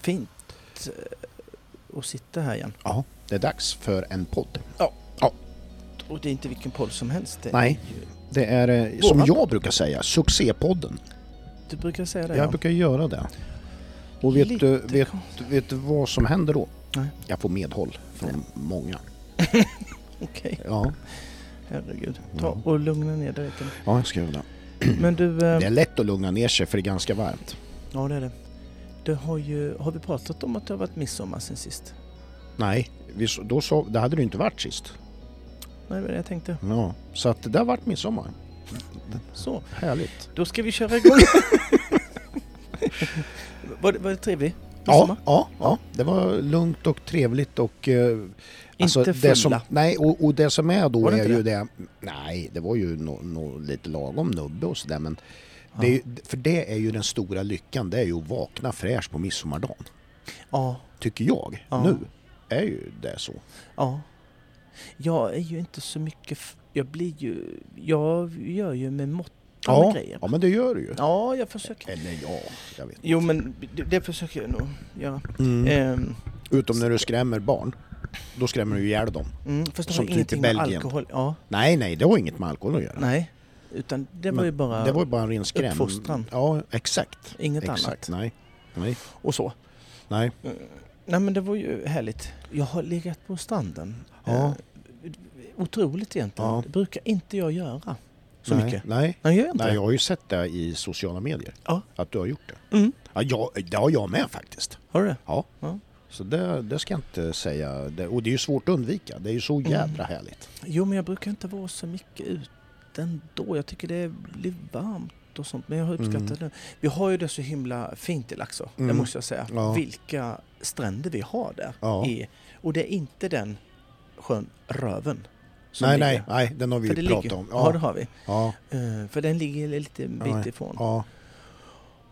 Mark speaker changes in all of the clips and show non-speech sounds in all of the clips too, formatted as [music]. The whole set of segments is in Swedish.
Speaker 1: Fint eh, att sitta här igen.
Speaker 2: Ja, det är dags för en podd.
Speaker 1: Och det är inte vilken podd som helst. Det.
Speaker 2: Nej. Det är, eh, som jag brukar säga, succépodden.
Speaker 1: Du brukar säga det
Speaker 2: Jag brukar göra det. Och vet
Speaker 1: Lite
Speaker 2: du, vet,
Speaker 1: konstigt.
Speaker 2: vet du vad som händer då?
Speaker 1: Nej.
Speaker 2: Jag får medhåll från många.
Speaker 1: [laughs] Okej,
Speaker 2: Ja,
Speaker 1: herregud.
Speaker 2: Mm.
Speaker 1: Ta och lugna ner dig lite.
Speaker 2: ja jag ska göra det. [clears throat]
Speaker 1: Men du, eh,
Speaker 2: Det är lätt att lugna ner sig för det är ganska varmt.
Speaker 1: ja det är det. Du har ju, har vi pratat om att det har varit midsommar sen sist?
Speaker 2: Nej, vi, då sa, det hade du inte varit sist.
Speaker 1: Nej, det var det jag tänkte.
Speaker 2: Ja, så att det där vart midsommar.
Speaker 1: Så,
Speaker 2: Härligt.
Speaker 1: då ska vi köra
Speaker 2: [laughs]
Speaker 1: igång. var, det, var det trevlig
Speaker 2: Ja,
Speaker 1: midsommar?
Speaker 2: ja, ja, det var lugnt och trevligt och... eh,
Speaker 1: Inte fulla.
Speaker 2: det som, Nej, och, och det som är då
Speaker 1: Var det
Speaker 2: är
Speaker 1: inte
Speaker 2: ju det... Nej, det var ju no, no, lite lagom nubbe och sådär men...
Speaker 1: Ja.
Speaker 2: Det är, ju- för det är ju den stora lyckan, det är ju att vakna fräsch på midsommardagen.
Speaker 1: ja,
Speaker 2: Tycker jag,
Speaker 1: Ja.
Speaker 2: nu, är ju det så.
Speaker 1: ja. Jag är ju inte så mycket, f- jag blir ju, jag gör ju med måtta med grejer.
Speaker 2: ja men det gör du ju.
Speaker 1: Ja, jag försöker.
Speaker 2: Eller ja, jag vet
Speaker 1: Jo, men det, det försöker jag nog göra.
Speaker 2: mm.
Speaker 1: Ehm,
Speaker 2: Utom när du skrämmer barn. Då skrämmer du ihjäl dem.
Speaker 1: Mm, fast det har
Speaker 2: Som typ i
Speaker 1: ingenting med
Speaker 2: Belgien.
Speaker 1: alkohol ja,
Speaker 2: Nej, nej, det har inget med alkohol att göra.
Speaker 1: nej. Utan det var
Speaker 2: Men
Speaker 1: ju bara
Speaker 2: Det var ju bara en ren skräm.
Speaker 1: uppfostran.
Speaker 2: Ja, exakt.
Speaker 1: inget
Speaker 2: exakt.
Speaker 1: annat.
Speaker 2: Nej. Nej.
Speaker 1: Och så.
Speaker 2: Nej.
Speaker 1: Nej men det var ju härligt. Jag har legat på stranden.
Speaker 2: Ja.
Speaker 1: Eh, otroligt egentligen.
Speaker 2: Ja.
Speaker 1: Det brukar inte jag göra så
Speaker 2: nej.
Speaker 1: mycket.
Speaker 2: Nej.
Speaker 1: Nej, jag gör inte
Speaker 2: nej,
Speaker 1: det.
Speaker 2: jag har ju sett det i sociala medier.
Speaker 1: Ja.
Speaker 2: Att du har gjort det.
Speaker 1: Mm.
Speaker 2: Ja, jag, det har jag med faktiskt.
Speaker 1: Har du det?
Speaker 2: Så det, det ska jag inte säga. Det, och det är ju svårt att undvika. Det är ju så
Speaker 1: Mm.
Speaker 2: jädra härligt.
Speaker 1: Jo men jag brukar inte vara så mycket ute ändå. Jag tycker det blir varmt och sånt. Men jag har uppskattat
Speaker 2: Mm.
Speaker 1: det. Vi har ju det så himla fint i Laxå. Det
Speaker 2: Mm.
Speaker 1: måste jag säga.
Speaker 2: Ja.
Speaker 1: Vilka stränder vi har där.
Speaker 2: Ja.
Speaker 1: I, och det är inte den sjön Röven. som
Speaker 2: Nej,
Speaker 1: ligger.
Speaker 2: nej, nej, den har vi
Speaker 1: För det
Speaker 2: ju pratat
Speaker 1: ligger,
Speaker 2: om.
Speaker 1: ja. det
Speaker 2: Ja,
Speaker 1: har vi.
Speaker 2: ja,
Speaker 1: Eh, för den ligger en liten bit
Speaker 2: Nej.
Speaker 1: ifrån.
Speaker 2: ja,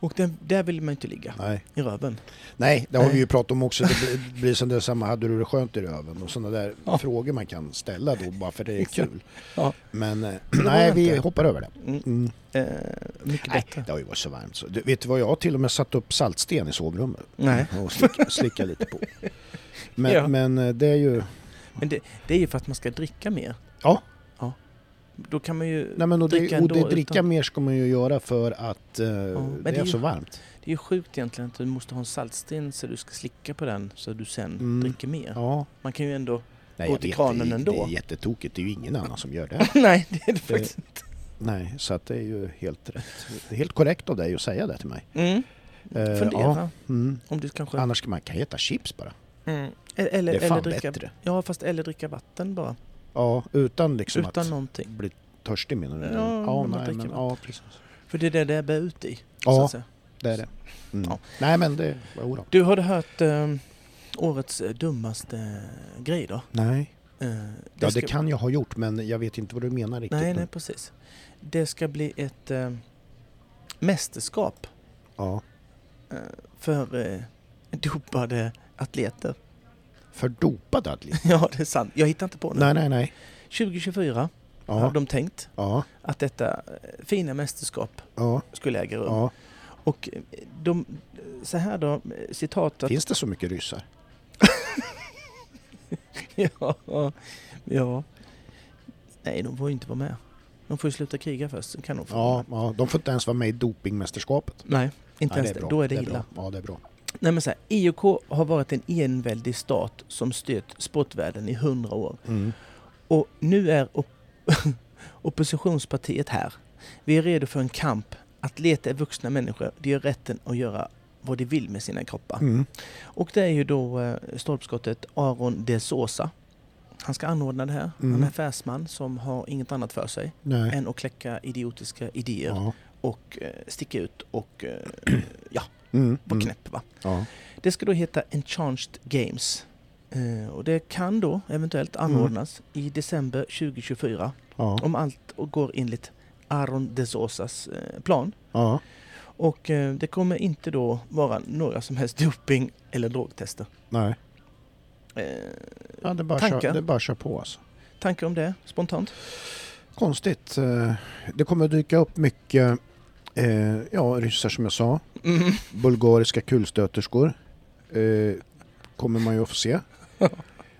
Speaker 1: Och den, där vill man inte ligga,
Speaker 2: nej.
Speaker 1: i röven.
Speaker 2: Nej, det har
Speaker 1: Nej.
Speaker 2: vi ju pratat om också. Det
Speaker 1: [laughs]
Speaker 2: blir- blir som det samma, hade du det skönt i röven? Och sådana där
Speaker 1: Ja.
Speaker 2: frågor man kan ställa då bara för det är
Speaker 1: Exakt.
Speaker 2: kul.
Speaker 1: Ja.
Speaker 2: Men eh,
Speaker 1: det
Speaker 2: nej,
Speaker 1: var det
Speaker 2: vi
Speaker 1: inte.
Speaker 2: hoppar över det.
Speaker 1: Mm,
Speaker 2: Mm.
Speaker 1: eh, mycket
Speaker 2: Nej,
Speaker 1: bättre.
Speaker 2: det har ju varit så varmt. Så, du, vet du vad, jag har till och med satt upp saltsten i sovrummet. Mm,
Speaker 1: Nej. [laughs]
Speaker 2: Och slicka, slicka lite på. Men,
Speaker 1: Ja.
Speaker 2: men eh, det är ju...
Speaker 1: Men det, det är ju för att man ska dricka mer.
Speaker 2: Ja.
Speaker 1: ja. Då kan man ju...
Speaker 2: Nej, men och
Speaker 1: Dricka
Speaker 2: det, och det
Speaker 1: ändå
Speaker 2: dricka
Speaker 1: utan-
Speaker 2: mer ska man ju göra för att eh, det,
Speaker 1: det är
Speaker 2: är
Speaker 1: ju-
Speaker 2: så varmt.
Speaker 1: Det är ju sjukt egentligen att du måste ha en saltsten så du ska slicka på den så du sen
Speaker 2: Mm.
Speaker 1: dricker mer.
Speaker 2: Ja.
Speaker 1: Man kan ju ändå...
Speaker 2: Nej,
Speaker 1: Gå
Speaker 2: jag
Speaker 1: till
Speaker 2: vet,
Speaker 1: kranen
Speaker 2: det, är-
Speaker 1: ändå.
Speaker 2: Det är jättetokigt, det är ju ingen annan som gör det.
Speaker 1: [laughs] Nej, det är det faktiskt inte.
Speaker 2: Nej, så att det är ju helt rätt. Helt korrekt av dig att säga det till mig.
Speaker 1: Mm.
Speaker 2: Eh,
Speaker 1: Fundera
Speaker 2: ja. Mm.
Speaker 1: om du kanske...
Speaker 2: Annars kan man kan äta chips bara.
Speaker 1: Mm. Eller, eller,
Speaker 2: Det är fan
Speaker 1: eller dricka,
Speaker 2: bättre.
Speaker 1: Ja, fast eller dricka vatten bara.
Speaker 2: Ja, utan liksom
Speaker 1: utan
Speaker 2: att
Speaker 1: någonting.
Speaker 2: bli törstig menar du?
Speaker 1: Ja,
Speaker 2: ja,
Speaker 1: när man
Speaker 2: nej,
Speaker 1: dricker
Speaker 2: men,
Speaker 1: vatten.
Speaker 2: ja, precis.
Speaker 1: För det är det det bär ut i. Så
Speaker 2: Ja,
Speaker 1: att säga.
Speaker 2: Det är det. Mm.
Speaker 1: Ja.
Speaker 2: Nej men det, jodå.
Speaker 1: Du, har du hört eh, årets eh, dummaste eh, grej då?
Speaker 2: Nej.
Speaker 1: Eh,
Speaker 2: Ja
Speaker 1: ska-
Speaker 2: det kan jag ha gjort men jag vet inte vad du menar riktigt.
Speaker 1: Nej, nej, precis. Det ska bli ett eh, mästerskap
Speaker 2: Ja.
Speaker 1: eh, för eh, dopade atleter.
Speaker 2: För
Speaker 1: [laughs]
Speaker 2: dopad atlet?
Speaker 1: ja, det är sant. Jag hittar inte på det.
Speaker 2: nej nej nej.
Speaker 1: 2024
Speaker 2: Ja,
Speaker 1: har de tänkt
Speaker 2: ja,
Speaker 1: att detta eh, fina mästerskap
Speaker 2: ja,
Speaker 1: skulle äga rum.
Speaker 2: ja.
Speaker 1: Och eh, de, så här då, eh, citatet.
Speaker 2: Finns det så mycket ryssar?
Speaker 1: [laughs] Mm. ja, ja. Nej, de får ju inte vara med. De får ju sluta kriga först, sen kan de få vara
Speaker 2: Ja,
Speaker 1: med.
Speaker 2: ja, de får inte ens vara med i dopingmästerskapet.
Speaker 1: Nej, inte
Speaker 2: Nej,
Speaker 1: ens det. Då är det,
Speaker 2: bra.
Speaker 1: illa.
Speaker 2: Ja, det är bra.
Speaker 1: Nej, men så här, IOK har varit en enväldig stat som styrt sportvärlden i hundra år.
Speaker 2: Mm.
Speaker 1: Och nu är op- [laughs] oppositionspartiet här. Vi är redo för en kamp. Atleter är vuxna människor. De har rätten att göra vad de vill med sina kroppar.
Speaker 2: Mm.
Speaker 1: Och det är ju då eh, stolpskottet Aron de Sosa. Han ska anordna det här. Han
Speaker 2: Mm.
Speaker 1: är affärsman som har inget annat för sig
Speaker 2: Nej.
Speaker 1: än att kläcka idiotiska idéer
Speaker 2: Ja.
Speaker 1: och eh, sticka ut och eh,
Speaker 2: Mm.
Speaker 1: vara
Speaker 2: Mm.
Speaker 1: knäpp. Va?
Speaker 2: Ja.
Speaker 1: Det ska då heta Enchanted Games. Eh, och det kan då eventuellt
Speaker 2: Mm.
Speaker 1: anordnas i december 2024
Speaker 2: Ja.
Speaker 1: om allt och går enligt Aron de Sosas eh, plan.
Speaker 2: Ja.
Speaker 1: Och eh, det kommer inte då vara några som helst doping eller drogtester.
Speaker 2: Nej.
Speaker 1: Eh,
Speaker 2: Ja, det är bara
Speaker 1: Tankar?
Speaker 2: kör, det är bara kör på alltså.
Speaker 1: tankar om det spontant?
Speaker 2: Konstigt. eh, Det kommer dyka upp mycket eh, ja, ryssar som jag sa.
Speaker 1: Mm.
Speaker 2: Bulgariska kulstöterskor. eh, kommer man ju att
Speaker 1: [laughs]
Speaker 2: få se.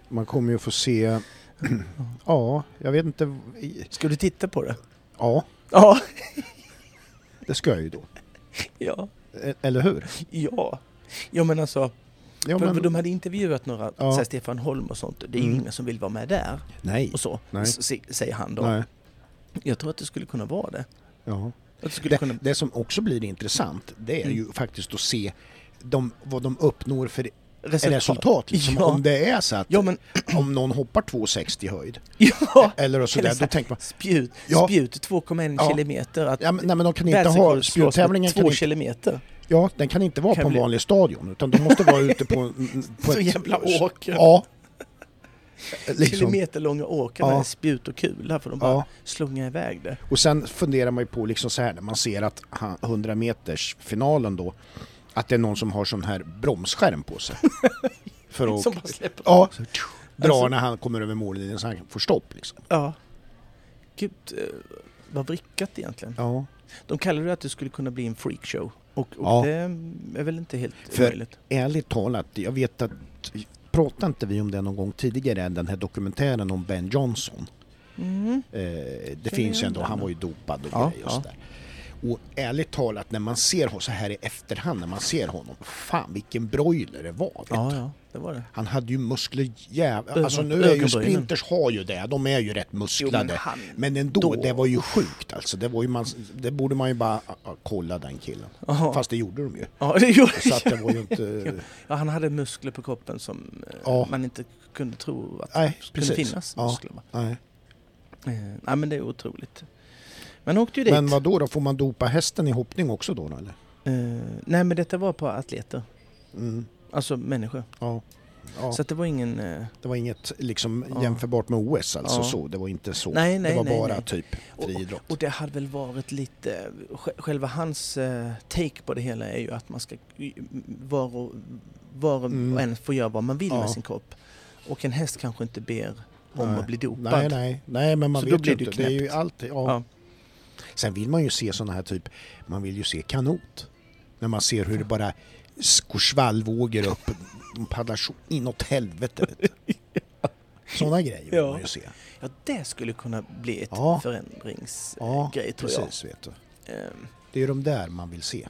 Speaker 2: Man kommer ju att få se, [clears throat] ja, jag vet inte,
Speaker 1: Ska du titta på det?
Speaker 2: ja,
Speaker 1: Ja.
Speaker 2: det ska jag ju då.
Speaker 1: Ja.
Speaker 2: E- Eller hur?
Speaker 1: Ja. Ja men alltså,
Speaker 2: Ja,
Speaker 1: för- för
Speaker 2: men,
Speaker 1: de hade intervjuat några,
Speaker 2: Ja.
Speaker 1: så här Stefan Holm och sånt. Det är ju
Speaker 2: Mm.
Speaker 1: ingen som vill vara med där.
Speaker 2: nej,
Speaker 1: Och så,
Speaker 2: Nej.
Speaker 1: s- se- säger han då.
Speaker 2: nej.
Speaker 1: Jag tror att det skulle kunna vara det.
Speaker 2: Ja.
Speaker 1: Att det skulle kunna...
Speaker 2: Det, det som också blir intressant, det är
Speaker 1: Mm.
Speaker 2: ju faktiskt att se de, vad de uppnår för
Speaker 1: Resultat.
Speaker 2: resultat. Liksom.
Speaker 1: Ja.
Speaker 2: Om det är så att
Speaker 1: Ja men,
Speaker 2: [clears throat] om någon hoppar 2,60 i höjd
Speaker 1: [laughs] ja!
Speaker 2: [laughs] eller
Speaker 1: Eller
Speaker 2: sådär,
Speaker 1: så
Speaker 2: då
Speaker 1: här.
Speaker 2: tänker man
Speaker 1: Spjut,
Speaker 2: Ja.
Speaker 1: spjut 2,1
Speaker 2: Ja.
Speaker 1: kilometer. Att
Speaker 2: Ja, men, nej, men de kan inte ha,
Speaker 1: världsrekord slås
Speaker 2: spjuttävlingen
Speaker 1: med
Speaker 2: kan
Speaker 1: två
Speaker 2: inte,
Speaker 1: kilometer.
Speaker 2: ja, den kan inte vara
Speaker 1: Kan
Speaker 2: på en
Speaker 1: bli-
Speaker 2: vanlig stadion utan de måste vara ute på,
Speaker 1: [laughs]
Speaker 2: på
Speaker 1: Så jävla åker. [laughs]
Speaker 2: Ja. Liksom.
Speaker 1: Kilometerlånga åker
Speaker 2: Ja.
Speaker 1: med spjut och kula för de bara
Speaker 2: Ja.
Speaker 1: slungar iväg det.
Speaker 2: Och sen funderar man ju på liksom så här när man ser att han- 100 meters finalen då att det är någon som har sån här bromsskärm
Speaker 1: [laughs]
Speaker 2: på sig. För att
Speaker 1: Som bara släpper.
Speaker 2: ja, så tju, dra
Speaker 1: Alltså-
Speaker 2: när han kommer över mållinjen så han får stopp. Liksom.
Speaker 1: Ja. Gud, eh, vad vrickat egentligen.
Speaker 2: Ja.
Speaker 1: De kallade det att det skulle kunna bli en freakshow. Och, och
Speaker 2: Ja.
Speaker 1: det är väl inte helt
Speaker 2: För-
Speaker 1: omöjligt.
Speaker 2: Ärligt talat, jag vet att pratade inte vi om det någon gång tidigare än den här dokumentären om Ben Johnson?
Speaker 1: Mm.
Speaker 2: Eh, det
Speaker 1: Känner
Speaker 2: finns ju
Speaker 1: igen
Speaker 2: ändå,
Speaker 1: den.
Speaker 2: han var ju dopad och
Speaker 1: Ja,
Speaker 2: grejer och
Speaker 1: ja.
Speaker 2: sådär. Och ärligt talat när man ser honom så här i efterhand när man ser honom, fan vilken broiler det var. vet
Speaker 1: Ja, ja, det var det.
Speaker 2: Han hade ju muskler jävla...
Speaker 1: Ögon-
Speaker 2: Alltså nu är ju
Speaker 1: ögonbrynen.
Speaker 2: sprinters har ju det, de är ju rätt musklade. men,
Speaker 1: han...
Speaker 2: ändå,
Speaker 1: då-
Speaker 2: det var ju sjukt alltså. Det, var ju man, det borde man ju bara ah, ah, kolla den killen.
Speaker 1: Ja.
Speaker 2: Fast det gjorde de ju.
Speaker 1: [laughs] Ja, det gjorde
Speaker 2: Så att det var ju inte...
Speaker 1: ja, han hade muskler på kroppen som eh,
Speaker 2: Ja.
Speaker 1: man inte kunde tro att
Speaker 2: Nej,
Speaker 1: kunde
Speaker 2: precis.
Speaker 1: finnas.
Speaker 2: Ja.
Speaker 1: Muskler. va?
Speaker 2: Nej.
Speaker 1: Eh, nej, men det är otroligt. Men han åkte ju dit.
Speaker 2: Men vad då, då? Får man dopa hästen i hoppning också då? då eller?
Speaker 1: Eh, nej, men detta var på atleter.
Speaker 2: Mm.
Speaker 1: Alltså människor.
Speaker 2: Ja. Ja,
Speaker 1: Så att det var ingen... Eh,
Speaker 2: det var inget liksom
Speaker 1: Ja.
Speaker 2: jämförbart med OS alltså
Speaker 1: Ja.
Speaker 2: så, det var inte så.
Speaker 1: Nej, nej,
Speaker 2: det var
Speaker 1: nej,
Speaker 2: bara
Speaker 1: nej.
Speaker 2: typ
Speaker 1: Och-
Speaker 2: friidrott.
Speaker 1: Och det hade väl varit lite, eh, sj- själva hans eh, take på det hela är ju att man ska, eh, var och, var och
Speaker 2: Mm.
Speaker 1: en får göra vad man vill
Speaker 2: Ja.
Speaker 1: med sin kropp. Och en häst kanske inte ber om
Speaker 2: Nej.
Speaker 1: att bli dopad.
Speaker 2: Nej, nej, nej, men man
Speaker 1: Så
Speaker 2: vet
Speaker 1: då blir
Speaker 2: ju
Speaker 1: det
Speaker 2: inte.
Speaker 1: ju
Speaker 2: Det är ju
Speaker 1: knäppt.
Speaker 2: alltid, ja.
Speaker 1: Ja.
Speaker 2: Sen vill man ju se sådana här typ, man vill ju se kanot. När man ser hur det bara går svallvågor upp, de paddlar så inåt helvete. Vet
Speaker 1: [laughs]
Speaker 2: du. Sådana grejer vill
Speaker 1: Ja.
Speaker 2: man ju se.
Speaker 1: Ja, det skulle kunna bli ett
Speaker 2: Ja.
Speaker 1: förändringsgrej
Speaker 2: Ja,
Speaker 1: tror jag.
Speaker 2: precis vet du.
Speaker 1: Ehm,
Speaker 2: Det är ju de där man vill se.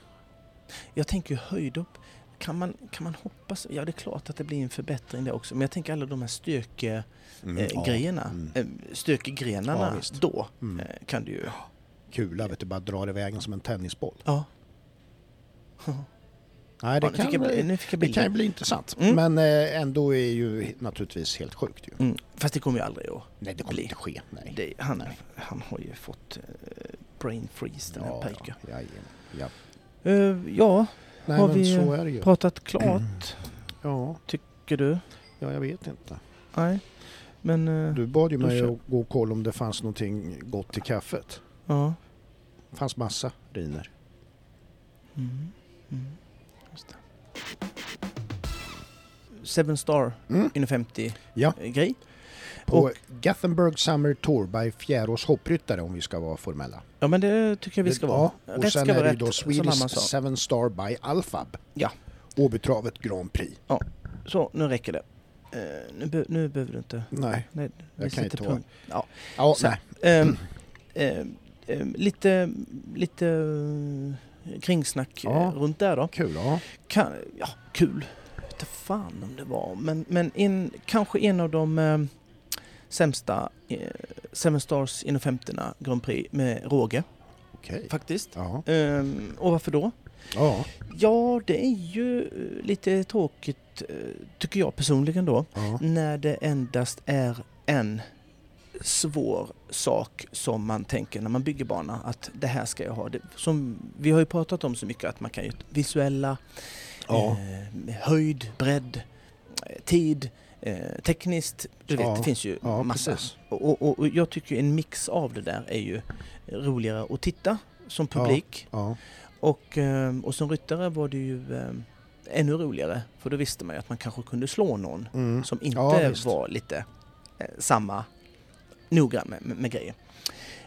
Speaker 1: Jag tänker ju höjdhopp. Kan man, kan man hoppa så? Ja, det är klart att det blir en förbättring där också. Men jag tänker alla de här stöke,
Speaker 2: Mm,
Speaker 1: eh,
Speaker 2: ja.
Speaker 1: grejerna,
Speaker 2: Mm.
Speaker 1: eh, stökegrenarna
Speaker 2: Ja, visst.
Speaker 1: då
Speaker 2: Mm.
Speaker 1: eh, kan du ju...
Speaker 2: Kula vet du, bara drar iväg en som en tennisboll.
Speaker 1: Ja.
Speaker 2: Nej, det,
Speaker 1: Ja, nu
Speaker 2: kan,
Speaker 1: fick jag, bli- nu fick jag
Speaker 2: det kan ju
Speaker 1: bilden.
Speaker 2: bli intressant.
Speaker 1: Mm.
Speaker 2: Men eh, ändå är ju naturligtvis helt sjukt ju.
Speaker 1: Mm. Fast det kommer ju aldrig att
Speaker 2: Nej, det kommer
Speaker 1: Bli.
Speaker 2: inte ske. Nej.
Speaker 1: Det, han, är, han har ju fått eh, brain freeze den här
Speaker 2: ja,
Speaker 1: pojken.
Speaker 2: ja, jajamän. ja.
Speaker 1: Eh, ja,
Speaker 2: Nej,
Speaker 1: Har
Speaker 2: men
Speaker 1: vi-
Speaker 2: så är det ju.
Speaker 1: pratat klart
Speaker 2: Mm. Ja,
Speaker 1: tycker du?
Speaker 2: ja, jag vet inte.
Speaker 1: Nej. Men eh,
Speaker 2: Du bad ju
Speaker 1: Då
Speaker 2: mig
Speaker 1: kör-
Speaker 2: att gå och kolla om det fanns någonting gott till kaffet.
Speaker 1: ja.
Speaker 2: Det fanns massa riner.
Speaker 1: Mm. Mm. Just det. Seven Star
Speaker 2: Mm.
Speaker 1: in 50
Speaker 2: Ja.
Speaker 1: eh, grej.
Speaker 2: På
Speaker 1: Och-
Speaker 2: Gothenburg Summer Tour by Fjärås hoppryttare om vi ska vara formella.
Speaker 1: Ja men det tycker jag vi ska vara.
Speaker 2: Ja, och sen är det ju då Swedish Seven Star by Alfab.
Speaker 1: Ja.
Speaker 2: Åbytravet Grand Prix.
Speaker 1: Så, nu räcker det. Eh, nu, be- nu behöver du inte...
Speaker 2: Nej,
Speaker 1: Nej, vi
Speaker 2: jag kan ju
Speaker 1: sätter
Speaker 2: ta...
Speaker 1: punkt. Ja.
Speaker 2: Ja,
Speaker 1: Så-
Speaker 2: nej.
Speaker 1: Ehm, ehm, ehm, lite, lite eh, kringsnack eh,
Speaker 2: Ja.
Speaker 1: runt där då.
Speaker 2: Kul, ja.
Speaker 1: Kan, ja, kul. Inte fan om det var, men, men en, kanske en av de eh, sämsta eh, Seven Stars inom 50 Grand Prix med råge
Speaker 2: Okej.
Speaker 1: faktiskt.
Speaker 2: Ja.
Speaker 1: Ehm, och varför då?
Speaker 2: Ja.
Speaker 1: Ja, det är ju eh, lite tråkigt eh, tycker jag personligen då
Speaker 2: ja.
Speaker 1: när det endast är en svår sak som man tänker när man bygger bana att det här ska jag ha. Det, som vi har ju pratat om så mycket att man kan ju visuella,
Speaker 2: Ja.
Speaker 1: eh, höjd, bredd, eh, tid, eh, tekniskt. Du vet,
Speaker 2: Ja.
Speaker 1: det finns ju
Speaker 2: Ja,
Speaker 1: massa.
Speaker 2: precis.
Speaker 1: Och, och, och jag tycker en mix av det där är ju roligare att titta som
Speaker 2: Ja.
Speaker 1: publik.
Speaker 2: Ja.
Speaker 1: Och, eh, och som ryttare var det ju eh, ännu roligare för då visste man ju att man kanske kunde slå någon
Speaker 2: Mm.
Speaker 1: som inte
Speaker 2: Ja, visst.
Speaker 1: var lite eh, samma noggrann med, med, med grejer.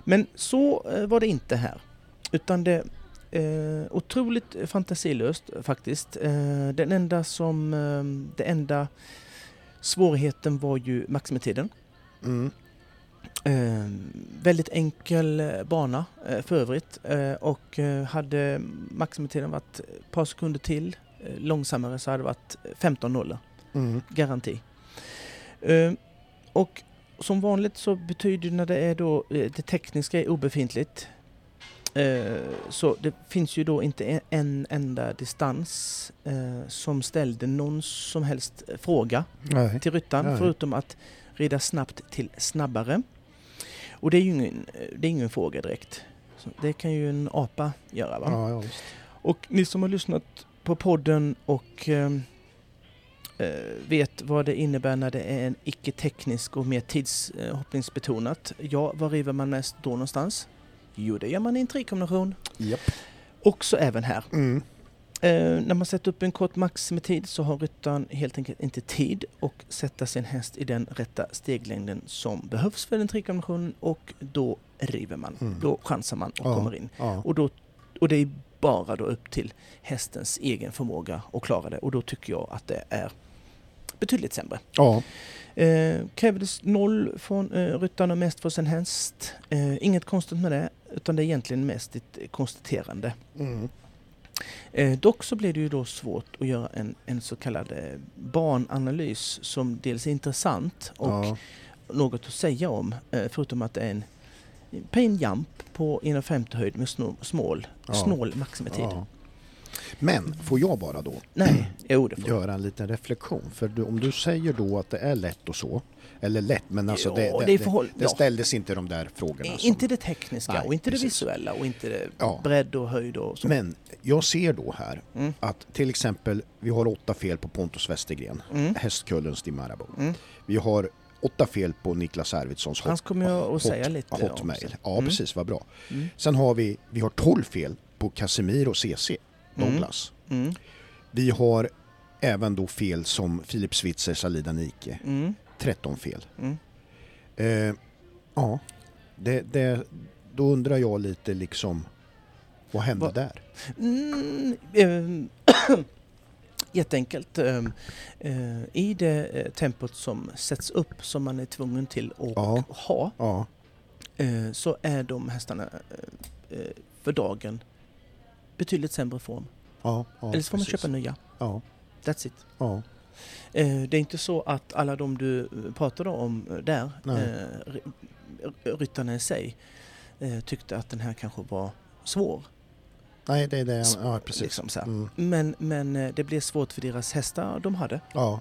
Speaker 1: Men så eh, var det inte här. Utan det Eh, otroligt fantasilöst faktiskt. Eh, den enda som, eh, det enda svårigheten var ju maximitiden.
Speaker 2: Mm.
Speaker 1: Eh, väldigt enkel eh, bana eh, för övrigt eh, och eh, hade maximitiden varit ett par sekunder till eh, långsammare så hade det varit 15 nollor,
Speaker 2: Mm.
Speaker 1: garanti. Eh, och som vanligt så betyder det när det är då eh, det tekniska är obefintligt eh, så det finns ju då inte en- en enda distans eh, som ställde någon som helst fråga
Speaker 2: Nej.
Speaker 1: till ryttaren
Speaker 2: Nej.
Speaker 1: förutom att rida snabbt till snabbare. Och det är ju ingen, eh, det är ingen fråga direkt. Så det kan ju en apa göra. Va?
Speaker 2: Ja, ja, visst.
Speaker 1: Och ni som har lyssnat på podden och eh, eh, vet vad det innebär när det är en icke-teknisk och mer tidshoppningsbetonat. Ja, var river man mest då någonstans? Jo, det gör man i en trikombination.
Speaker 2: Japp.
Speaker 1: Också även här.
Speaker 2: Mm.
Speaker 1: Eh, när man sätter upp en kort maximitid så har ryttaren helt enkelt inte tid och sätta sin häst i den rätta steglängden som behövs för den trikombinationen och då river man.
Speaker 2: Mm.
Speaker 1: Då chansar man och
Speaker 2: Ja.
Speaker 1: kommer in.
Speaker 2: Ja.
Speaker 1: Och, då, och det är bara då upp till hästens egen förmåga att klara det och då tycker jag att det är betydligt sämre.
Speaker 2: ja.
Speaker 1: Eh, krävdes noll från eh, ryttaren och mest från sin häst. Eh, inget konstigt med det utan det är egentligen mest ett konstaterande.
Speaker 2: Mm.
Speaker 1: Eh, dock så blir det ju då svårt att göra en, en så kallad eh, barnanalys som dels är intressant och
Speaker 2: ja.
Speaker 1: något att säga om eh, förutom att det är en pain jump på 1,50 höjd med snå, smål,
Speaker 2: Ja.
Speaker 1: snål maximitid.
Speaker 2: Ja. Men får jag bara då
Speaker 1: Nej, [clears throat] jo det får
Speaker 2: göra en liten reflektion? För du, om du säger då att det är lätt och så, eller lätt, men alltså det,
Speaker 1: Ja,
Speaker 2: det,
Speaker 1: det är
Speaker 2: det,
Speaker 1: förhåll-
Speaker 2: det
Speaker 1: ja.
Speaker 2: ställdes inte de där frågorna.
Speaker 1: I-
Speaker 2: som-
Speaker 1: Inte det tekniska
Speaker 2: Nej,
Speaker 1: och inte det
Speaker 2: precis.
Speaker 1: visuella och inte det
Speaker 2: Ja.
Speaker 1: bredd och höjd och så.
Speaker 2: Men jag ser då här
Speaker 1: Mm.
Speaker 2: att till exempel vi har åtta fel på Pontus Westergren,
Speaker 1: Mm.
Speaker 2: hästkullens Dimarabo.
Speaker 1: Mm.
Speaker 2: Vi har åtta fel på Niklas Arvidssons
Speaker 1: Han kommer jag att säga lite om
Speaker 2: hotmail.
Speaker 1: sen.
Speaker 2: Ja,
Speaker 1: Mm.
Speaker 2: precis, vad bra.
Speaker 1: Mm.
Speaker 2: Sen har vi, vi har 12 fel på Casemiro CC,
Speaker 1: Mm.
Speaker 2: Douglas.
Speaker 1: Mm.
Speaker 2: Vi har även då fel som Filip Switzer, Salida Nike.
Speaker 1: Mm.
Speaker 2: 13 fel.
Speaker 1: Mm.
Speaker 2: Eh, ja, det, det, då undrar jag lite liksom, vad hände
Speaker 1: Vad-
Speaker 2: där?
Speaker 1: Mm, ehm, [clears throat] jätteenkelt. ehm, eh, I det eh, tempot som sätts upp, som man är tvungen till att
Speaker 2: Ja.
Speaker 1: ha,
Speaker 2: Ja,
Speaker 1: eh, så är de hästarna eh, eh, för dagen betydligt sämre form.
Speaker 2: ja, ja.
Speaker 1: Eller så får man
Speaker 2: precis.
Speaker 1: köpa nya.
Speaker 2: Ja,
Speaker 1: That's it.
Speaker 2: ja.
Speaker 1: Eh, Det är inte så att alla de du eh, pratade om eh, där,
Speaker 2: Nej.
Speaker 1: eh, ry- ry- ryttarna i sig, eh, tyckte att den här kanske var svår.
Speaker 2: Nej, det är det. Ja, precis.
Speaker 1: Liksom så här.
Speaker 2: Mm.
Speaker 1: Men, men eh, det blev svårt för deras hästar de hade.
Speaker 2: Ja,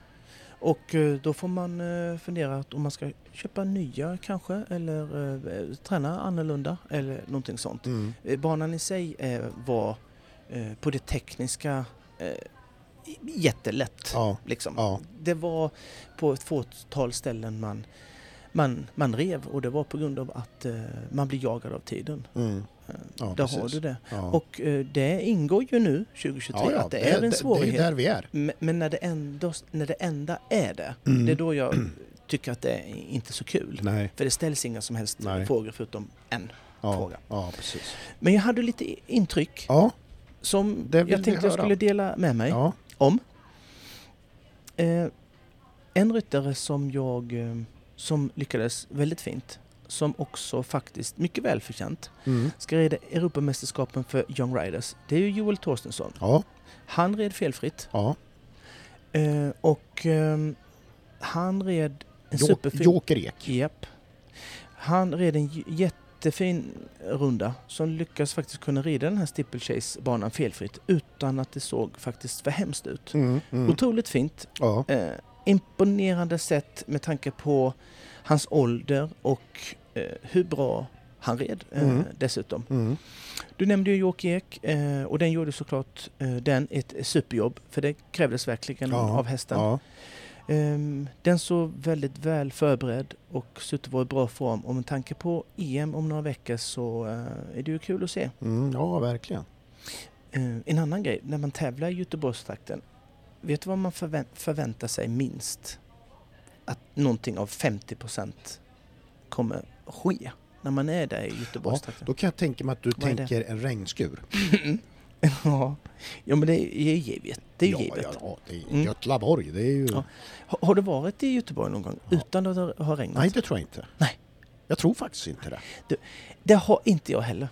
Speaker 1: Och eh, då får man eh, fundera att om man ska köpa nya kanske eller eh, träna annorlunda eller någonting sånt.
Speaker 2: mm.
Speaker 1: Eh, Banan i sig eh, var eh, på det tekniska eh, jättelätt.
Speaker 2: ja,
Speaker 1: Liksom.
Speaker 2: ja,
Speaker 1: Det var på ett fåtal ställen man, man, man rev och det var på grund av att eh, man blir jagad av tiden.
Speaker 2: mm.
Speaker 1: Eh,
Speaker 2: ja
Speaker 1: Där
Speaker 2: precis.
Speaker 1: har du det.
Speaker 2: Ja.
Speaker 1: Och eh, det ingår ju nu 2023
Speaker 2: ja, ja,
Speaker 1: att det, är en svårighet.
Speaker 2: Det är där vi är.
Speaker 1: Men- Men när det, ändå, när det enda är det,
Speaker 2: Mm.
Speaker 1: det är då jag tycker att det är inte så kul.
Speaker 2: Nej,
Speaker 1: För det ställs inga som helst
Speaker 2: Nej.
Speaker 1: frågor förutom en.
Speaker 2: ja,
Speaker 1: Fråga.
Speaker 2: ja precis.
Speaker 1: Men jag hade lite i- intryck
Speaker 2: Ja,
Speaker 1: som
Speaker 2: Det vill
Speaker 1: jag
Speaker 2: vi
Speaker 1: tänkte jag
Speaker 2: höra.
Speaker 1: skulle dela med mig
Speaker 2: ja,
Speaker 1: om. Eh, en ryttare som jag eh, som lyckades väldigt fint, som också faktiskt mycket välförtjänt,
Speaker 2: mm.
Speaker 1: ska rida Europamästerskapen för Young Riders. Det är ju Joel Torstensson.
Speaker 2: ja,
Speaker 1: Han red felfritt.
Speaker 2: ja.
Speaker 1: Eh, och ehm, han red en
Speaker 2: Jo-
Speaker 1: superfin...
Speaker 2: Joker Ek.
Speaker 1: Japp. Han red en j- jättefin runda som lyckas faktiskt kunna rida den här steeplechase-banan felfritt utan att det såg faktiskt för hemskt ut.
Speaker 2: Mm, mm.
Speaker 1: Otroligt fint.
Speaker 2: Ja,
Speaker 1: Eh, imponerande sätt med tanke på hans ålder och eh, hur bra han red eh,
Speaker 2: Mm.
Speaker 1: dessutom.
Speaker 2: mm.
Speaker 1: Du nämnde ju Jocke Ek eh, och den gjorde såklart eh, den ett superjobb för det krävdes verkligen
Speaker 2: Ja,
Speaker 1: av hästen.
Speaker 2: ja,
Speaker 1: Ehm, Den såg väldigt väl förberedd och suttit var i bra form och med tanke på EM om några veckor så eh, är det ju kul att se.
Speaker 2: mm. ja, verkligen.
Speaker 1: Eh, En annan grej, när man tävlar i Göteborgstrakten, vet du vad man förvä- förväntar sig minst? Att någonting av 50 kommer ske när man är där i Göteborgstrakten.
Speaker 2: Då kan jag tänka mig att du
Speaker 1: Vad är det?
Speaker 2: tänker en regnskur.
Speaker 1: [laughs] Ja. ja, men det är ju givet. Det är ju
Speaker 2: ja,
Speaker 1: givet.
Speaker 2: ja, ja, det är
Speaker 1: Mm.
Speaker 2: Götlaborg, det är ju...
Speaker 1: Ja. Har, har du varit i Göteborg någon gång
Speaker 2: Ja.
Speaker 1: utan att det har regnat?
Speaker 2: Nej, det tror jag inte.
Speaker 1: alltså- Nej.
Speaker 2: Jag tror faktiskt inte det.
Speaker 1: Det har inte jag heller.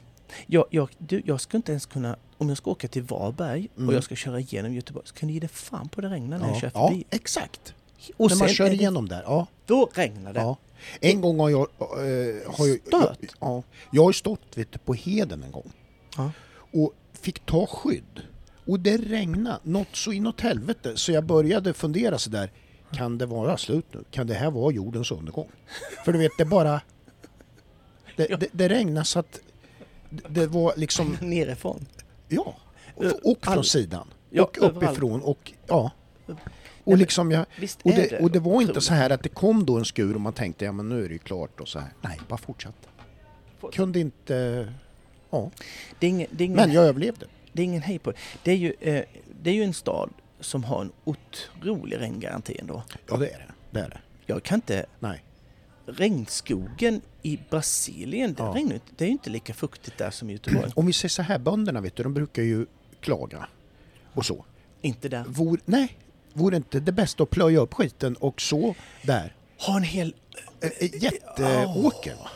Speaker 1: Jag, jag, du, jag skulle inte ens kunna, om jag ska åka till Varberg
Speaker 2: Mm.
Speaker 1: och jag ska köra igenom Göteborg så kan du ge det fan på det regnar när jag
Speaker 2: Ja,
Speaker 1: kör
Speaker 2: ja
Speaker 1: förbi.
Speaker 2: exakt.
Speaker 1: Och
Speaker 2: När man
Speaker 1: sen
Speaker 2: kör
Speaker 1: är det-
Speaker 2: igenom där. Ja,
Speaker 1: Då regnar det.
Speaker 2: ja. En gång har jag... eh, har jag
Speaker 1: Stört.
Speaker 2: Jag, ja, jag har ju stått vet du, på Heden en gång
Speaker 1: Ja.
Speaker 2: och fick ta skydd. Och det regnade något så inåt helvete så jag började fundera sådär. Kan det vara slut nu? Kan det här vara jordens undergång? För du vet, det bara... Det,
Speaker 1: Ja.
Speaker 2: det, det regnade så att det- det var liksom...
Speaker 1: [laughs] Nerifrån.
Speaker 2: Ja,
Speaker 1: Ö-
Speaker 2: och, och från
Speaker 1: Eh, all-
Speaker 2: sidan.
Speaker 1: Ja,
Speaker 2: och
Speaker 1: överallt.
Speaker 2: uppifrån och ja.
Speaker 1: men
Speaker 2: Och, liksom jag,
Speaker 1: Visst
Speaker 2: och,
Speaker 1: är
Speaker 2: det, och det var inte
Speaker 1: otroligt.
Speaker 2: så här att det kom då en skur och man tänkte ja men nu är det ju klart och så här. Nej, bara fortsatte. Kunde inte... Ja.
Speaker 1: Det är ingen, det är ingen,
Speaker 2: Men jag överlevde.
Speaker 1: det är ingen hej på det. Det är, ju, eh, det är ju en stad som har en otrolig regngaranti ändå.
Speaker 2: Ja det är det. Det är det.
Speaker 1: Jag kan inte...
Speaker 2: Nej. [clears throat]
Speaker 1: Regnskogen i Brasilien, det,
Speaker 2: Ja.
Speaker 1: regnar, ju inte- det är ju inte lika fuktigt där som i
Speaker 2: [clears throat]
Speaker 1: Göteborg.
Speaker 2: Om vi säger så här, bönderna vet du, de brukar ju klaga och så.
Speaker 1: inte där.
Speaker 2: Vore, nej, vore inte det bästa att plöja upp skiten och så där?
Speaker 1: Ha en hel...
Speaker 2: Eh, eh, Jätteåker va?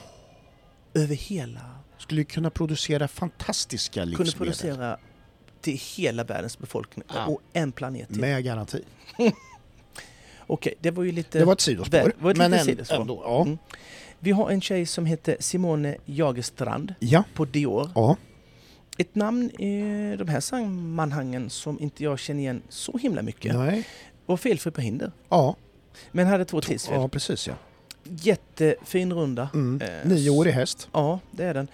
Speaker 1: Över hela...
Speaker 2: Skulle ju kunna producera fantastiska livsmedel.
Speaker 1: Kunde producera till hela världens befolkning
Speaker 2: Ja.
Speaker 1: och en planet till.
Speaker 2: Med garanti.
Speaker 1: Okej, det var ju lite...
Speaker 2: Det var ett sidospår.
Speaker 1: Det var ett
Speaker 2: men
Speaker 1: litet
Speaker 2: en-
Speaker 1: sidospår.
Speaker 2: ändå. Ja.
Speaker 1: Mm. Vi har en tjej som heter Simone Jagerstrand
Speaker 2: Ja.
Speaker 1: på Dior.
Speaker 2: ja.
Speaker 1: Ett namn i de här sammanhangen som inte jag känner igen så himla mycket.
Speaker 2: Nej.
Speaker 1: Var felfri på hinder.
Speaker 2: Ja.
Speaker 1: Men hade två tidsfel.
Speaker 2: ja, precis ja.
Speaker 1: Jättefin runda.
Speaker 2: Mm.
Speaker 1: Eh,
Speaker 2: Nioårig häst.
Speaker 1: Ja, det är den.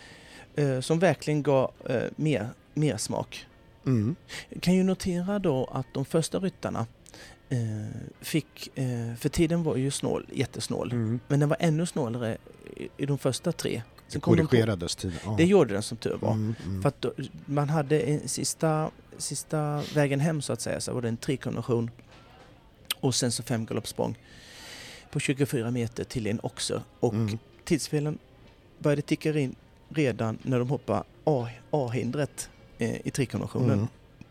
Speaker 1: Eh, Som verkligen gav eh, mer, mer smak.
Speaker 2: Mm.
Speaker 1: Kan ju notera då att de första ryttarna eh, fick, eh, för tiden var ju snål, jättesnål,
Speaker 2: Mm.
Speaker 1: men den var ännu snålare i, i de första tre.
Speaker 2: Det
Speaker 1: Sen kom de på,
Speaker 2: korrigerades tiden. Ja.
Speaker 1: det gjorde den som tur var.
Speaker 2: Mm, mm.
Speaker 1: För att då, man hade en sista, sista vägen hem så att säga, så var det en trekonvention och sen så fem galoppsprång på 24 meter till en oxer. Och
Speaker 2: Mm.
Speaker 1: tidsfelen började ticka in redan när de hoppade A- A-hindret eh, i trekonventionen.
Speaker 2: Mm.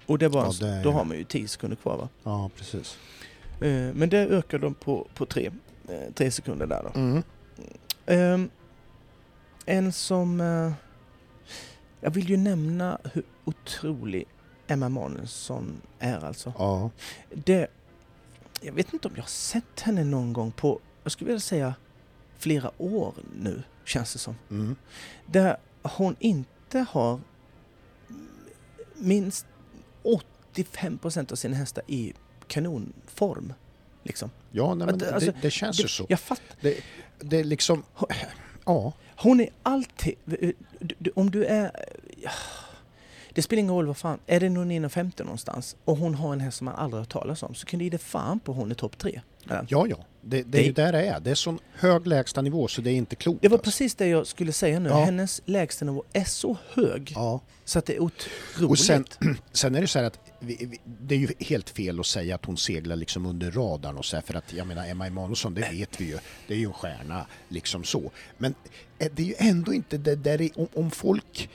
Speaker 1: Och det var
Speaker 2: Ja,
Speaker 1: en,
Speaker 2: det är-
Speaker 1: då har man ju 10 sekunder kvar va?
Speaker 2: Ja, precis.
Speaker 1: Eh, men det ökar de på, på tre, eh, tre sekunder där då.
Speaker 2: Mm.
Speaker 1: Ehm, en som... Eh, jag vill ju nämna hur otrolig Emma Manelsson är alltså.
Speaker 2: Ja.
Speaker 1: Det, jag vet inte om jag har sett henne någon gång på, jag skulle vilja säga flera år nu, känns det som.
Speaker 2: Mm.
Speaker 1: Där hon inte har minst 85% av sina hästar i kanonform. Liksom.
Speaker 2: Ja, nej, men
Speaker 1: Att,
Speaker 2: det,
Speaker 1: alltså,
Speaker 2: det, det känns ju så.
Speaker 1: Jag fattar
Speaker 2: Det, det är liksom... [clears throat] Ja.
Speaker 1: Hon är alltid... eh, du- du- Om du är... Det spelar ingen roll vad fan. Är det någon inom 50 någonstans och hon har en häst som man aldrig har hört talas om så kan du ge dig fan på hon är topp tre. Ja.
Speaker 2: Ja, ja. Det, det
Speaker 1: Det-
Speaker 2: är ju där det är. Det är sån hög lägstanivå så det är inte klokt.
Speaker 1: Det var
Speaker 2: alltså.
Speaker 1: precis det jag skulle säga nu.
Speaker 2: Ja.
Speaker 1: Hennes lägstanivå är så hög
Speaker 2: Ja.
Speaker 1: så att det är otroligt.
Speaker 2: Och sen- Sen är det så här att vi, vi, det är ju helt fel att säga att hon seglar liksom under radarn och så här, för att jag menar Emma Emanuelsson, det vet vi ju, det är ju en stjärna liksom så. Men eh, det är ju ändå inte det där i- om, om folk,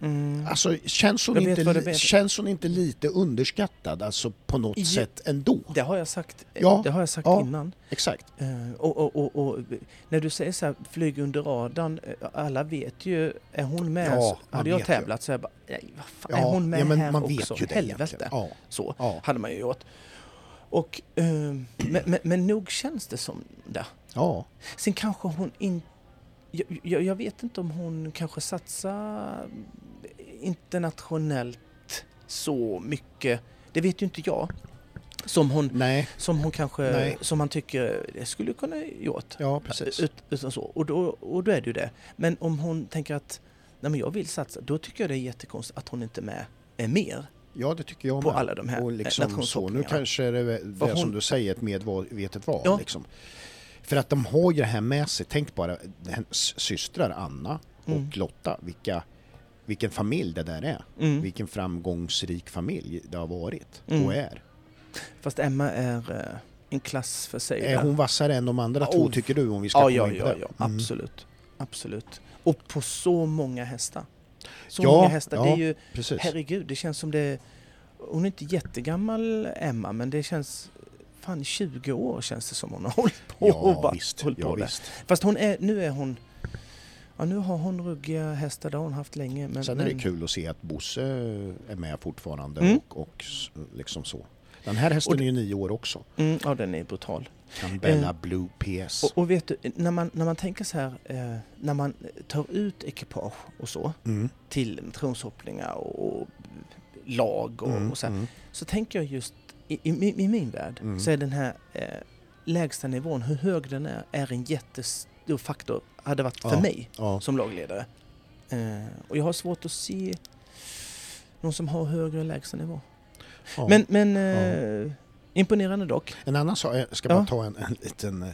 Speaker 1: mm.
Speaker 2: alltså känns hon,
Speaker 1: Jag vet
Speaker 2: inte,
Speaker 1: vad du
Speaker 2: li-
Speaker 1: menar.
Speaker 2: känns hon inte lite underskattad alltså på något
Speaker 1: Ja.
Speaker 2: sätt ändå?
Speaker 1: Det har jag sagt,
Speaker 2: Ja.
Speaker 1: det har jag sagt
Speaker 2: Ja.
Speaker 1: innan.
Speaker 2: Exakt.
Speaker 1: Eh, Och, och, och, och när du säger så här, flyg under radarn, eh, alla vet ju, är hon med?
Speaker 2: Ja,
Speaker 1: så,
Speaker 2: man
Speaker 1: hade jag
Speaker 2: vet ju.
Speaker 1: tävlat så här, bara, nej, vad fan, är hon med här också? Helvete.
Speaker 2: egentligen. Ja,
Speaker 1: Så
Speaker 2: ja,
Speaker 1: hade man ju gjort. Och, eh, men, men, men nog känns det som det.
Speaker 2: ja.
Speaker 1: Sen kanske hon inte... Jag, jag, jag vet inte om hon kanske satsar internationellt så mycket. Det vet ju inte jag. Som hon,
Speaker 2: Nej,
Speaker 1: som hon kanske...
Speaker 2: Nej.
Speaker 1: Som man tycker det skulle kunna gjort.
Speaker 2: ja precis.
Speaker 1: Ut, utan så. Och, då, och då är det ju det. Men om hon tänker att nej men jag vill satsa, då tycker jag det är jättekonstigt att hon inte är med är mer
Speaker 2: Ja, det tycker jag
Speaker 1: på
Speaker 2: med.
Speaker 1: alla de här
Speaker 2: och liksom så. Nu
Speaker 1: nationshoppningarna.
Speaker 2: kanske det är det
Speaker 1: För hon-
Speaker 2: som du säger ett medvetet val.
Speaker 1: Ja.
Speaker 2: Liksom. För att de har ju det här med sig. Tänk bara hennes systrar Anna
Speaker 1: Mm.
Speaker 2: och Lotta. Vilka, vilken familj det där är.
Speaker 1: Mm.
Speaker 2: Vilken framgångsrik familj det har varit
Speaker 1: Mm.
Speaker 2: och är.
Speaker 1: Fast Emma är eh, en klass för sig.
Speaker 2: Är
Speaker 1: där.
Speaker 2: hon vassare än de andra
Speaker 1: Ja,
Speaker 2: två
Speaker 1: oh.
Speaker 2: tycker du? Om vi ska
Speaker 1: ja,
Speaker 2: komma
Speaker 1: ja,
Speaker 2: in på
Speaker 1: ja,
Speaker 2: det?
Speaker 1: ja,
Speaker 2: Mm.
Speaker 1: absolut. Absolut. Och på så många hästar. Så
Speaker 2: Ja,
Speaker 1: många hästar. Det
Speaker 2: ja.
Speaker 1: är ju,
Speaker 2: Precis.
Speaker 1: herregud, det känns som det... Hon är inte jättegammal, Emma, men det känns... Fan, 20 år känns det som hon har [laughs] hållit på. och
Speaker 2: Ja,
Speaker 1: bara
Speaker 2: visst.
Speaker 1: hållit
Speaker 2: Ja,
Speaker 1: på där.
Speaker 2: visst.
Speaker 1: Fast hon är, nu är hon... Ja, nu har hon ruggiga hästar, det har hon haft länge. Men,
Speaker 2: Sen är det
Speaker 1: men-
Speaker 2: kul att se att Bosse är med fortfarande
Speaker 1: Mm.
Speaker 2: och, och s- liksom så. Den här hästen
Speaker 1: Och
Speaker 2: är ju nio år också.
Speaker 1: Mm, ja, den är brutal.
Speaker 2: Cambella Blue PS.
Speaker 1: Eh, Och, och vet du, när man, när man tänker så här, eh, när man tar ut ekipage och så
Speaker 2: Mm,
Speaker 1: till motionshoppningar och, och lag och,
Speaker 2: mm,
Speaker 1: och så här,
Speaker 2: mm.
Speaker 1: så tänker jag just i, i, min- i min värld
Speaker 2: Mm.
Speaker 1: så är den här eh, lägsta nivån, hur hög den är, är en jättestor faktor, hade varit för
Speaker 2: Ja.
Speaker 1: mig
Speaker 2: Ja,
Speaker 1: som lagledare. Eh, och jag har svårt att se någon som har högre lägsta nivå.
Speaker 2: ja.
Speaker 1: Men, men eh, imponerande dock.
Speaker 2: En annan sak, jag ska bara
Speaker 1: Ja.
Speaker 2: ta en, en liten eh,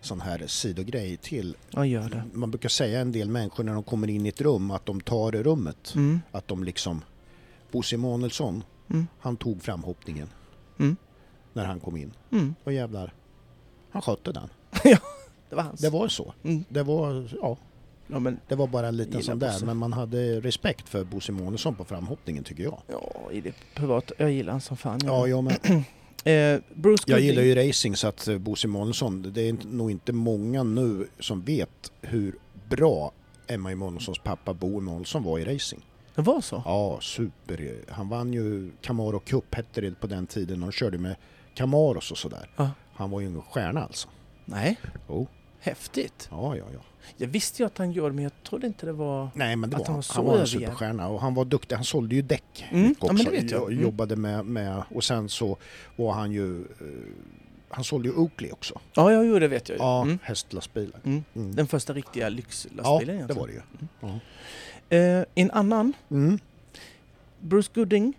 Speaker 2: sån här sidogrej till.
Speaker 1: Ja, gör det.
Speaker 2: Man brukar säga en del människor när de kommer in i ett rum att de tar rummet.
Speaker 1: Mm.
Speaker 2: Att de liksom... Bosse Emanuelsson,
Speaker 1: Mm.
Speaker 2: han tog framhoppningen
Speaker 1: Mm.
Speaker 2: när han kom in.
Speaker 1: Mm.
Speaker 2: Och jävlar, han skötte den.
Speaker 1: Det var hans.
Speaker 2: Det var så.
Speaker 1: Mm.
Speaker 2: Det var, ja,
Speaker 1: Ja, men
Speaker 2: Det var bara en liten
Speaker 1: Gillar
Speaker 2: sån där,
Speaker 1: Bosse.
Speaker 2: men man hade respekt för Bosse Månesson på framhoppningen tycker jag.
Speaker 1: ja, i det privat. Jag gillar han som fan.
Speaker 2: Ja, jag, men, [clears throat]
Speaker 1: Eh, Bruce
Speaker 2: jag
Speaker 1: Gooding.
Speaker 2: gillar ju racing så att eh, Bosse Månesson, det är inte- nog inte många nu som vet hur bra Emma Månessons pappa Bo Månesson var i racing.
Speaker 1: Det var så?
Speaker 2: Ja, super. Han vann ju Camaro Cup hette det på den tiden och körde med Camaros och sådär.
Speaker 1: Ja.
Speaker 2: Han var ju ingen stjärna alltså.
Speaker 1: Nej.
Speaker 2: Jo.
Speaker 1: Häftigt.
Speaker 2: Ja, ja, ja.
Speaker 1: Jag visste ju att han gjorde, men jag trodde inte det var...
Speaker 2: Nej men det
Speaker 1: Att
Speaker 2: var
Speaker 1: han
Speaker 2: han.
Speaker 1: var så
Speaker 2: Var han var en
Speaker 1: övrig.
Speaker 2: superstjärna och han var duktig. Han sålde ju däck
Speaker 1: Mm,
Speaker 2: mycket
Speaker 1: ja,
Speaker 2: också.
Speaker 1: men det vet jag.
Speaker 2: Jo-
Speaker 1: Mm.
Speaker 2: Jobbade med, med och sen så var han ju eh, han sålde ju Oakley också.
Speaker 1: Ja, jag gjorde det vet jag ju.
Speaker 2: Ja,
Speaker 1: Eh, Mm.
Speaker 2: hästlastbilar.
Speaker 1: Mm.
Speaker 2: Mm.
Speaker 1: Den första riktiga
Speaker 2: ja,
Speaker 1: lyxlastbilen
Speaker 2: det var det ju.
Speaker 1: det. Eh, en annan,
Speaker 2: Mm.
Speaker 1: Bruce Gooding,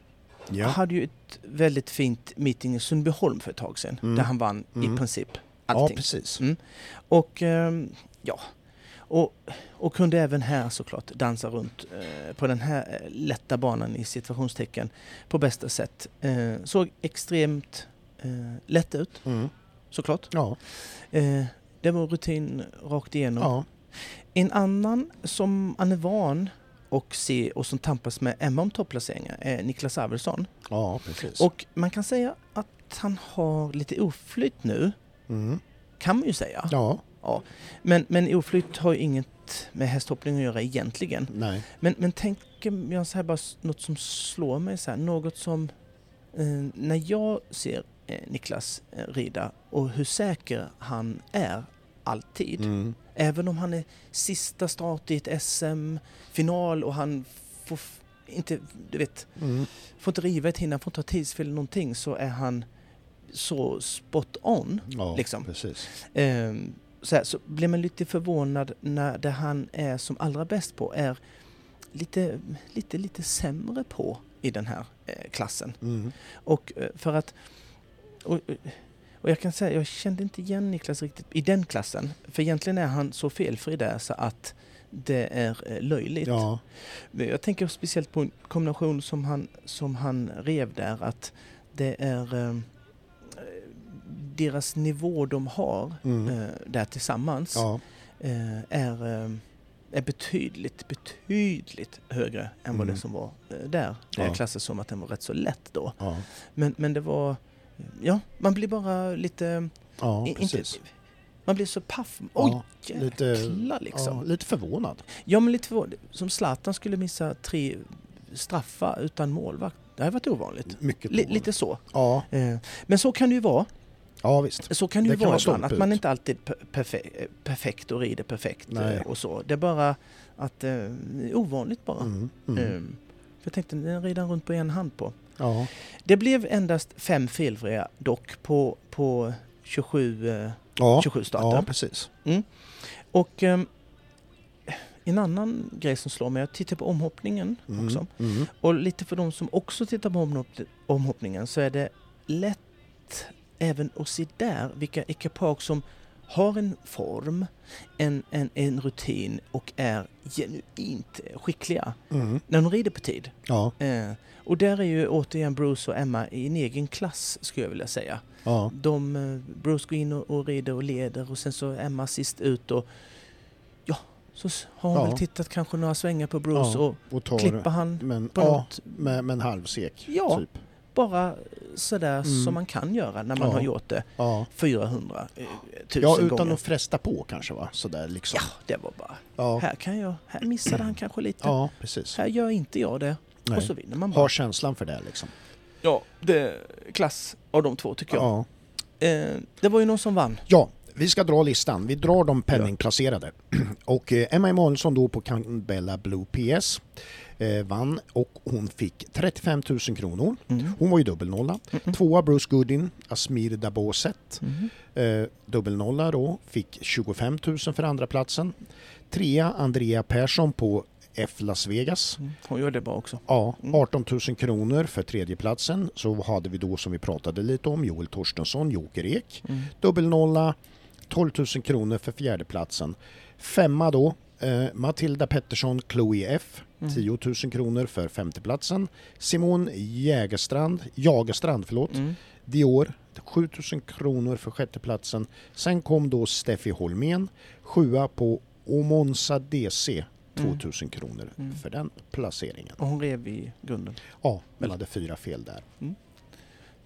Speaker 2: Ja.
Speaker 1: hade ju ett väldigt fint meeting i Sundbyholm för ett tag sedan.
Speaker 2: Mm.
Speaker 1: Där han vann i
Speaker 2: Mm.
Speaker 1: princip
Speaker 2: ja,
Speaker 1: allting.
Speaker 2: precis.
Speaker 1: Mm. och ehm, ja, och, och kunde även här såklart dansa runt eh, på den här eh, lätta banan i situationstecken på bästa sätt. Eh, såg extremt eh, lätt ut
Speaker 2: Mm.
Speaker 1: såklart.
Speaker 2: Ja,
Speaker 1: Eh, det var rutin rakt igenom.
Speaker 2: ja.
Speaker 1: En annan som han är van och se och som tampas med Emma om topplaceringar är Niklas Arvidsson.
Speaker 2: ja precis.
Speaker 1: Och man kan säga att han har lite oflytt nu,
Speaker 2: Mm.
Speaker 1: kan man ju säga.
Speaker 2: Ja,
Speaker 1: Men, men oflytt har ju inget med hästhoppning att göra egentligen.
Speaker 2: nej.
Speaker 1: Men, men tänker jag så här bara s- något som slår mig så här, något som eh, när jag ser eh, Niklas eh, rida och hur säker han är alltid.
Speaker 2: Mm.
Speaker 1: Även om han är sista start i ett SM-final och han får f- inte, du vet,
Speaker 2: Mm.
Speaker 1: får inte riva ett hinna, får inte ha tidsfel eller någonting så är han så spot on.
Speaker 2: Ja,
Speaker 1: Liksom.
Speaker 2: precis.
Speaker 1: Ehm, så, här, så blir man lite förvånad när det han är som allra bäst på är lite, lite, lite sämre på i den här eh, klassen.
Speaker 2: Mm.
Speaker 1: Och eh, för att... Och, och jag kan säga, jag kände inte igen Niklas riktigt i den klassen. För egentligen är han så felfri där så att det är eh, löjligt.
Speaker 2: Ja,
Speaker 1: Men Jag tänker speciellt på en kombination som han, som han rev där, att det är eh, deras nivå de har
Speaker 2: mm.
Speaker 1: eh, där tillsammans
Speaker 2: ja.
Speaker 1: eh, är, eh, är betydligt, betydligt högre än vad det
Speaker 2: Mm.
Speaker 1: som var eh, där. Det
Speaker 2: Ja.
Speaker 1: klassas som att den var rätt så lätt då.
Speaker 2: ja.
Speaker 1: Men, men det var... Ja, man blir bara lite...
Speaker 2: ja
Speaker 1: i-
Speaker 2: precis.
Speaker 1: man blir så paff. Oj,
Speaker 2: Ja, lite-
Speaker 1: jäklar liksom.
Speaker 2: Ja, lite förvånad.
Speaker 1: Ja, men lite förvånad. Som Zlatan skulle missa tre straffar utan målvakt. Det hade varit ovanligt.
Speaker 2: Mycket
Speaker 1: Li-
Speaker 2: förvånad.
Speaker 1: lite så.
Speaker 2: Ja,
Speaker 1: Eh, Men så kan det ju vara.
Speaker 2: ja visst.
Speaker 1: Så kan det ju
Speaker 2: Det kan
Speaker 1: vara
Speaker 2: vara
Speaker 1: ibland. Att man
Speaker 2: stolput.
Speaker 1: inte alltid är per- perfe- eh, perfekt och rider perfekt.
Speaker 2: Nej.
Speaker 1: eh, Och så. Det är bara att... eh, Ovanligt bara.
Speaker 2: Mm. Mm.
Speaker 1: Eh, För jag tänkte, den rider han runt på en hand på.
Speaker 2: Ja.
Speaker 1: Det blev endast fem felfria dock på, på 27, eh,
Speaker 2: Ja.
Speaker 1: 27 starter.
Speaker 2: ja, precis.
Speaker 1: Och ehm, en annan grej som slår mig, jag tittar på omhoppningen
Speaker 2: Mm,
Speaker 1: också.
Speaker 2: Mm.
Speaker 1: Och lite för de som också tittar på omhopp- omhoppningen så är det lätt även att se där vilka ekipage som har en form, en, en, en rutin och är genuint skickliga
Speaker 2: Mm.
Speaker 1: när de rider på tid.
Speaker 2: Ja,
Speaker 1: Eh, och där är ju återigen Bruce och Emma i en egen klass skulle jag vilja säga.
Speaker 2: ja,
Speaker 1: De, eh, Bruce går in och, och rider och leder och sen så Emma sist ut och ja, Så s- har hon
Speaker 2: Ja.
Speaker 1: väl tittat kanske några svängar på Bruce
Speaker 2: Ja,
Speaker 1: och
Speaker 2: Och tar,
Speaker 1: klipper han
Speaker 2: men,
Speaker 1: på
Speaker 2: ja,
Speaker 1: något.
Speaker 2: men, men halvsek.
Speaker 1: Ja.
Speaker 2: Typ.
Speaker 1: Bara sådär
Speaker 2: Mm.
Speaker 1: som man kan göra när man
Speaker 2: Ja.
Speaker 1: har gjort det
Speaker 2: Ja.
Speaker 1: 400 eh, 000
Speaker 2: ja, utan
Speaker 1: gånger.
Speaker 2: att fresta på kanske va? Sådär liksom.
Speaker 1: Ja, det var bara...
Speaker 2: Ja, ja.
Speaker 1: Här kan jag... Här missade han kanske lite.
Speaker 2: precis.
Speaker 1: Här gör inte jag det. Och
Speaker 2: Nej.
Speaker 1: så vinner man bara.
Speaker 2: Har känslan för det liksom.
Speaker 1: Ja, det är klass av de två tycker jag.
Speaker 2: Ja.
Speaker 1: Eh, det var ju någon som vann.
Speaker 2: ja, vi ska dra listan. Vi drar de penningplacerade. [clears throat] Och eh, Emma Emanuelsson då på Canberra Blue PS eh, vann och hon fick 35 000 kronor.
Speaker 1: Mm.
Speaker 2: Hon var ju dubbelnolla.
Speaker 1: Mm-mm.
Speaker 2: Tvåa Bruce Goodin, Asmir Daboset.
Speaker 1: Mhm.
Speaker 2: Eh, dubbelnolla då, fick 25 000 för andra platsen. Trea Andrea Persson på F Las Vegas.
Speaker 1: Mm. Hon gör det bra också.
Speaker 2: Ja,
Speaker 1: Mm.
Speaker 2: 18 000 kronor för tredjeplatsen. Så hade vi då som vi pratade lite om Joel Torstensson, Joker Ek.
Speaker 1: Mm.
Speaker 2: Dubbelnolla, 12 000 kronor för fjärdeplatsen. Femma då, eh, Matilda Pettersson, Chloe F.
Speaker 1: Mm.
Speaker 2: 10 000 kronor för femteplatsen. Simon Jägerstrand, Jagerstrand förlåt,
Speaker 1: Mm.
Speaker 2: Dior 7000 kronor för sjätteplatsen. Sen kom då Steffi Holmén, sjua på Omonsa DC. 2000 kronor
Speaker 1: Mm.
Speaker 2: för den placeringen.
Speaker 1: Och hon rev i grunden.
Speaker 2: Ja, men hade fyra fel där.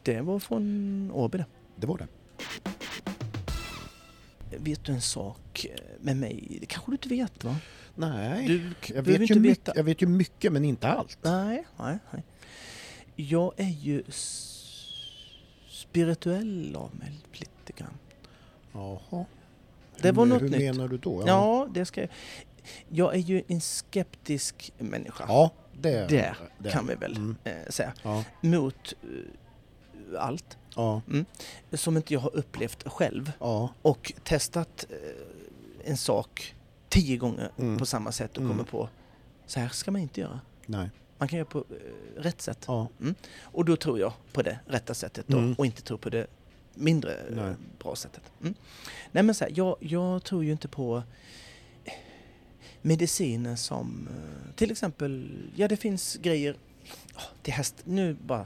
Speaker 1: Det var från Åby det.
Speaker 2: Det var det.
Speaker 1: Vet du en sak med mig? Det kanske du inte vet va?
Speaker 2: Nej,
Speaker 1: Du
Speaker 2: jag,
Speaker 1: behöver
Speaker 2: vet
Speaker 1: inte
Speaker 2: ju
Speaker 1: veta.
Speaker 2: mycket, jag vet ju mycket men inte allt.
Speaker 1: Nej, nej, nej. Jag är ju s- spirituell av mig lite grann.
Speaker 2: Jaha.
Speaker 1: Det var
Speaker 2: hur,
Speaker 1: något
Speaker 2: hur
Speaker 1: nytt.
Speaker 2: menar du då?
Speaker 1: Ja,
Speaker 2: Ja,
Speaker 1: det ska jag. Jag är ju en skeptisk människa.
Speaker 2: ja det,
Speaker 1: det,
Speaker 2: det-
Speaker 1: kan vi väl
Speaker 2: Mm.
Speaker 1: eh, säga.
Speaker 2: Ja,
Speaker 1: Mot eh, allt
Speaker 2: ja,
Speaker 1: som inte jag har upplevt själv
Speaker 2: ja.
Speaker 1: och testat eh, en sak tio gånger
Speaker 2: Mm.
Speaker 1: på samma sätt och
Speaker 2: Mm.
Speaker 1: kommer på så här ska man inte göra.
Speaker 2: Nej.
Speaker 1: Man kan göra på eh, rätt sätt.
Speaker 2: Ja.
Speaker 1: Och då tror jag på det rätta sättet då,
Speaker 2: Mm.
Speaker 1: och inte tror på det mindre eh,
Speaker 2: Nej.
Speaker 1: bra sättet. Mm. Nej men så här, jag, jag tror ju inte på eh, mediciner som eh, till exempel, ja det finns grejer oh, till häst, nu bara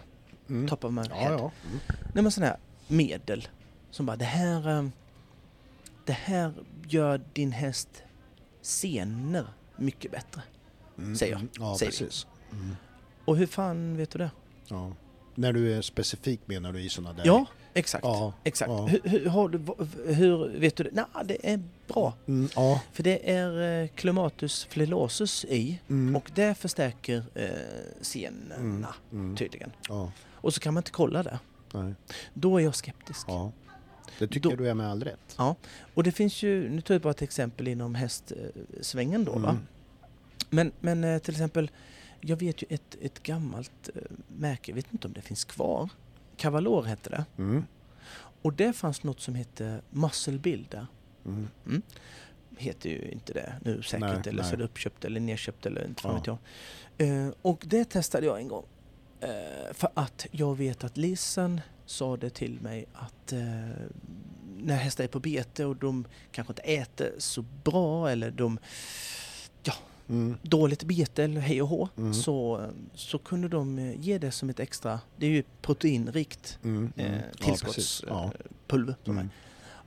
Speaker 2: Mm.
Speaker 1: top of my
Speaker 2: Ja,
Speaker 1: head.
Speaker 2: ja. Mm.
Speaker 1: Nej men sådana här medel som bara det här, eh, det här gör din häst senor mycket bättre.
Speaker 2: Mm.
Speaker 1: Säger jag.
Speaker 2: mm. Ja,
Speaker 1: Säger vi.
Speaker 2: precis. Mm.
Speaker 1: Och hur fan vet du det?
Speaker 2: Ja. När du är specifik menar du i sådana där...
Speaker 1: Ja, exakt.
Speaker 2: Ja.
Speaker 1: Exakt.
Speaker 2: Ja.
Speaker 1: Hur, hur, har du, hur vet du det? Nej, det är bra.
Speaker 2: Mm, ja.
Speaker 1: För det är eh, Clematus flelosus i
Speaker 2: Mm.
Speaker 1: och det förstärker eh, senorna
Speaker 2: Mm. Mm.
Speaker 1: tydligen.
Speaker 2: Ja.
Speaker 1: Och så kan man inte kolla det.
Speaker 2: Nej.
Speaker 1: Då är jag skeptisk.
Speaker 2: Ja. Det tycker
Speaker 1: Då-
Speaker 2: du är med all rätt.
Speaker 1: Och det finns ju, nu tar jag bara ett exempel inom hästsvängen då va.
Speaker 2: Mm.
Speaker 1: Men, men eh, till exempel, jag vet ju ett, ett gammalt eh, märke, jag vet inte om det finns kvar. Cavalor hette det.
Speaker 2: Mm.
Speaker 1: Och det fanns något som hette Muscle Builder.
Speaker 2: Mm.
Speaker 1: heter ju inte det nu säkert,
Speaker 2: Nej,
Speaker 1: eller så
Speaker 2: nej.
Speaker 1: är det uppköpt eller nedköpt eller inte fan
Speaker 2: Ja.
Speaker 1: vet jag. Eh, och det testade jag en gång. Eh, för att jag vet att Lisen sa det till mig att eh, när hästar är på bete och de kanske inte äter så bra eller de
Speaker 2: Mm.
Speaker 1: dåligt bete eller hej och hå
Speaker 2: Mm.
Speaker 1: så, så kunde de eh, ge det som ett extra, det är ju proteinrikt
Speaker 2: Mm.
Speaker 1: eh,
Speaker 2: Mm. Ja, precis. Ja.
Speaker 1: tillskottspulver. som är.
Speaker 2: Mm.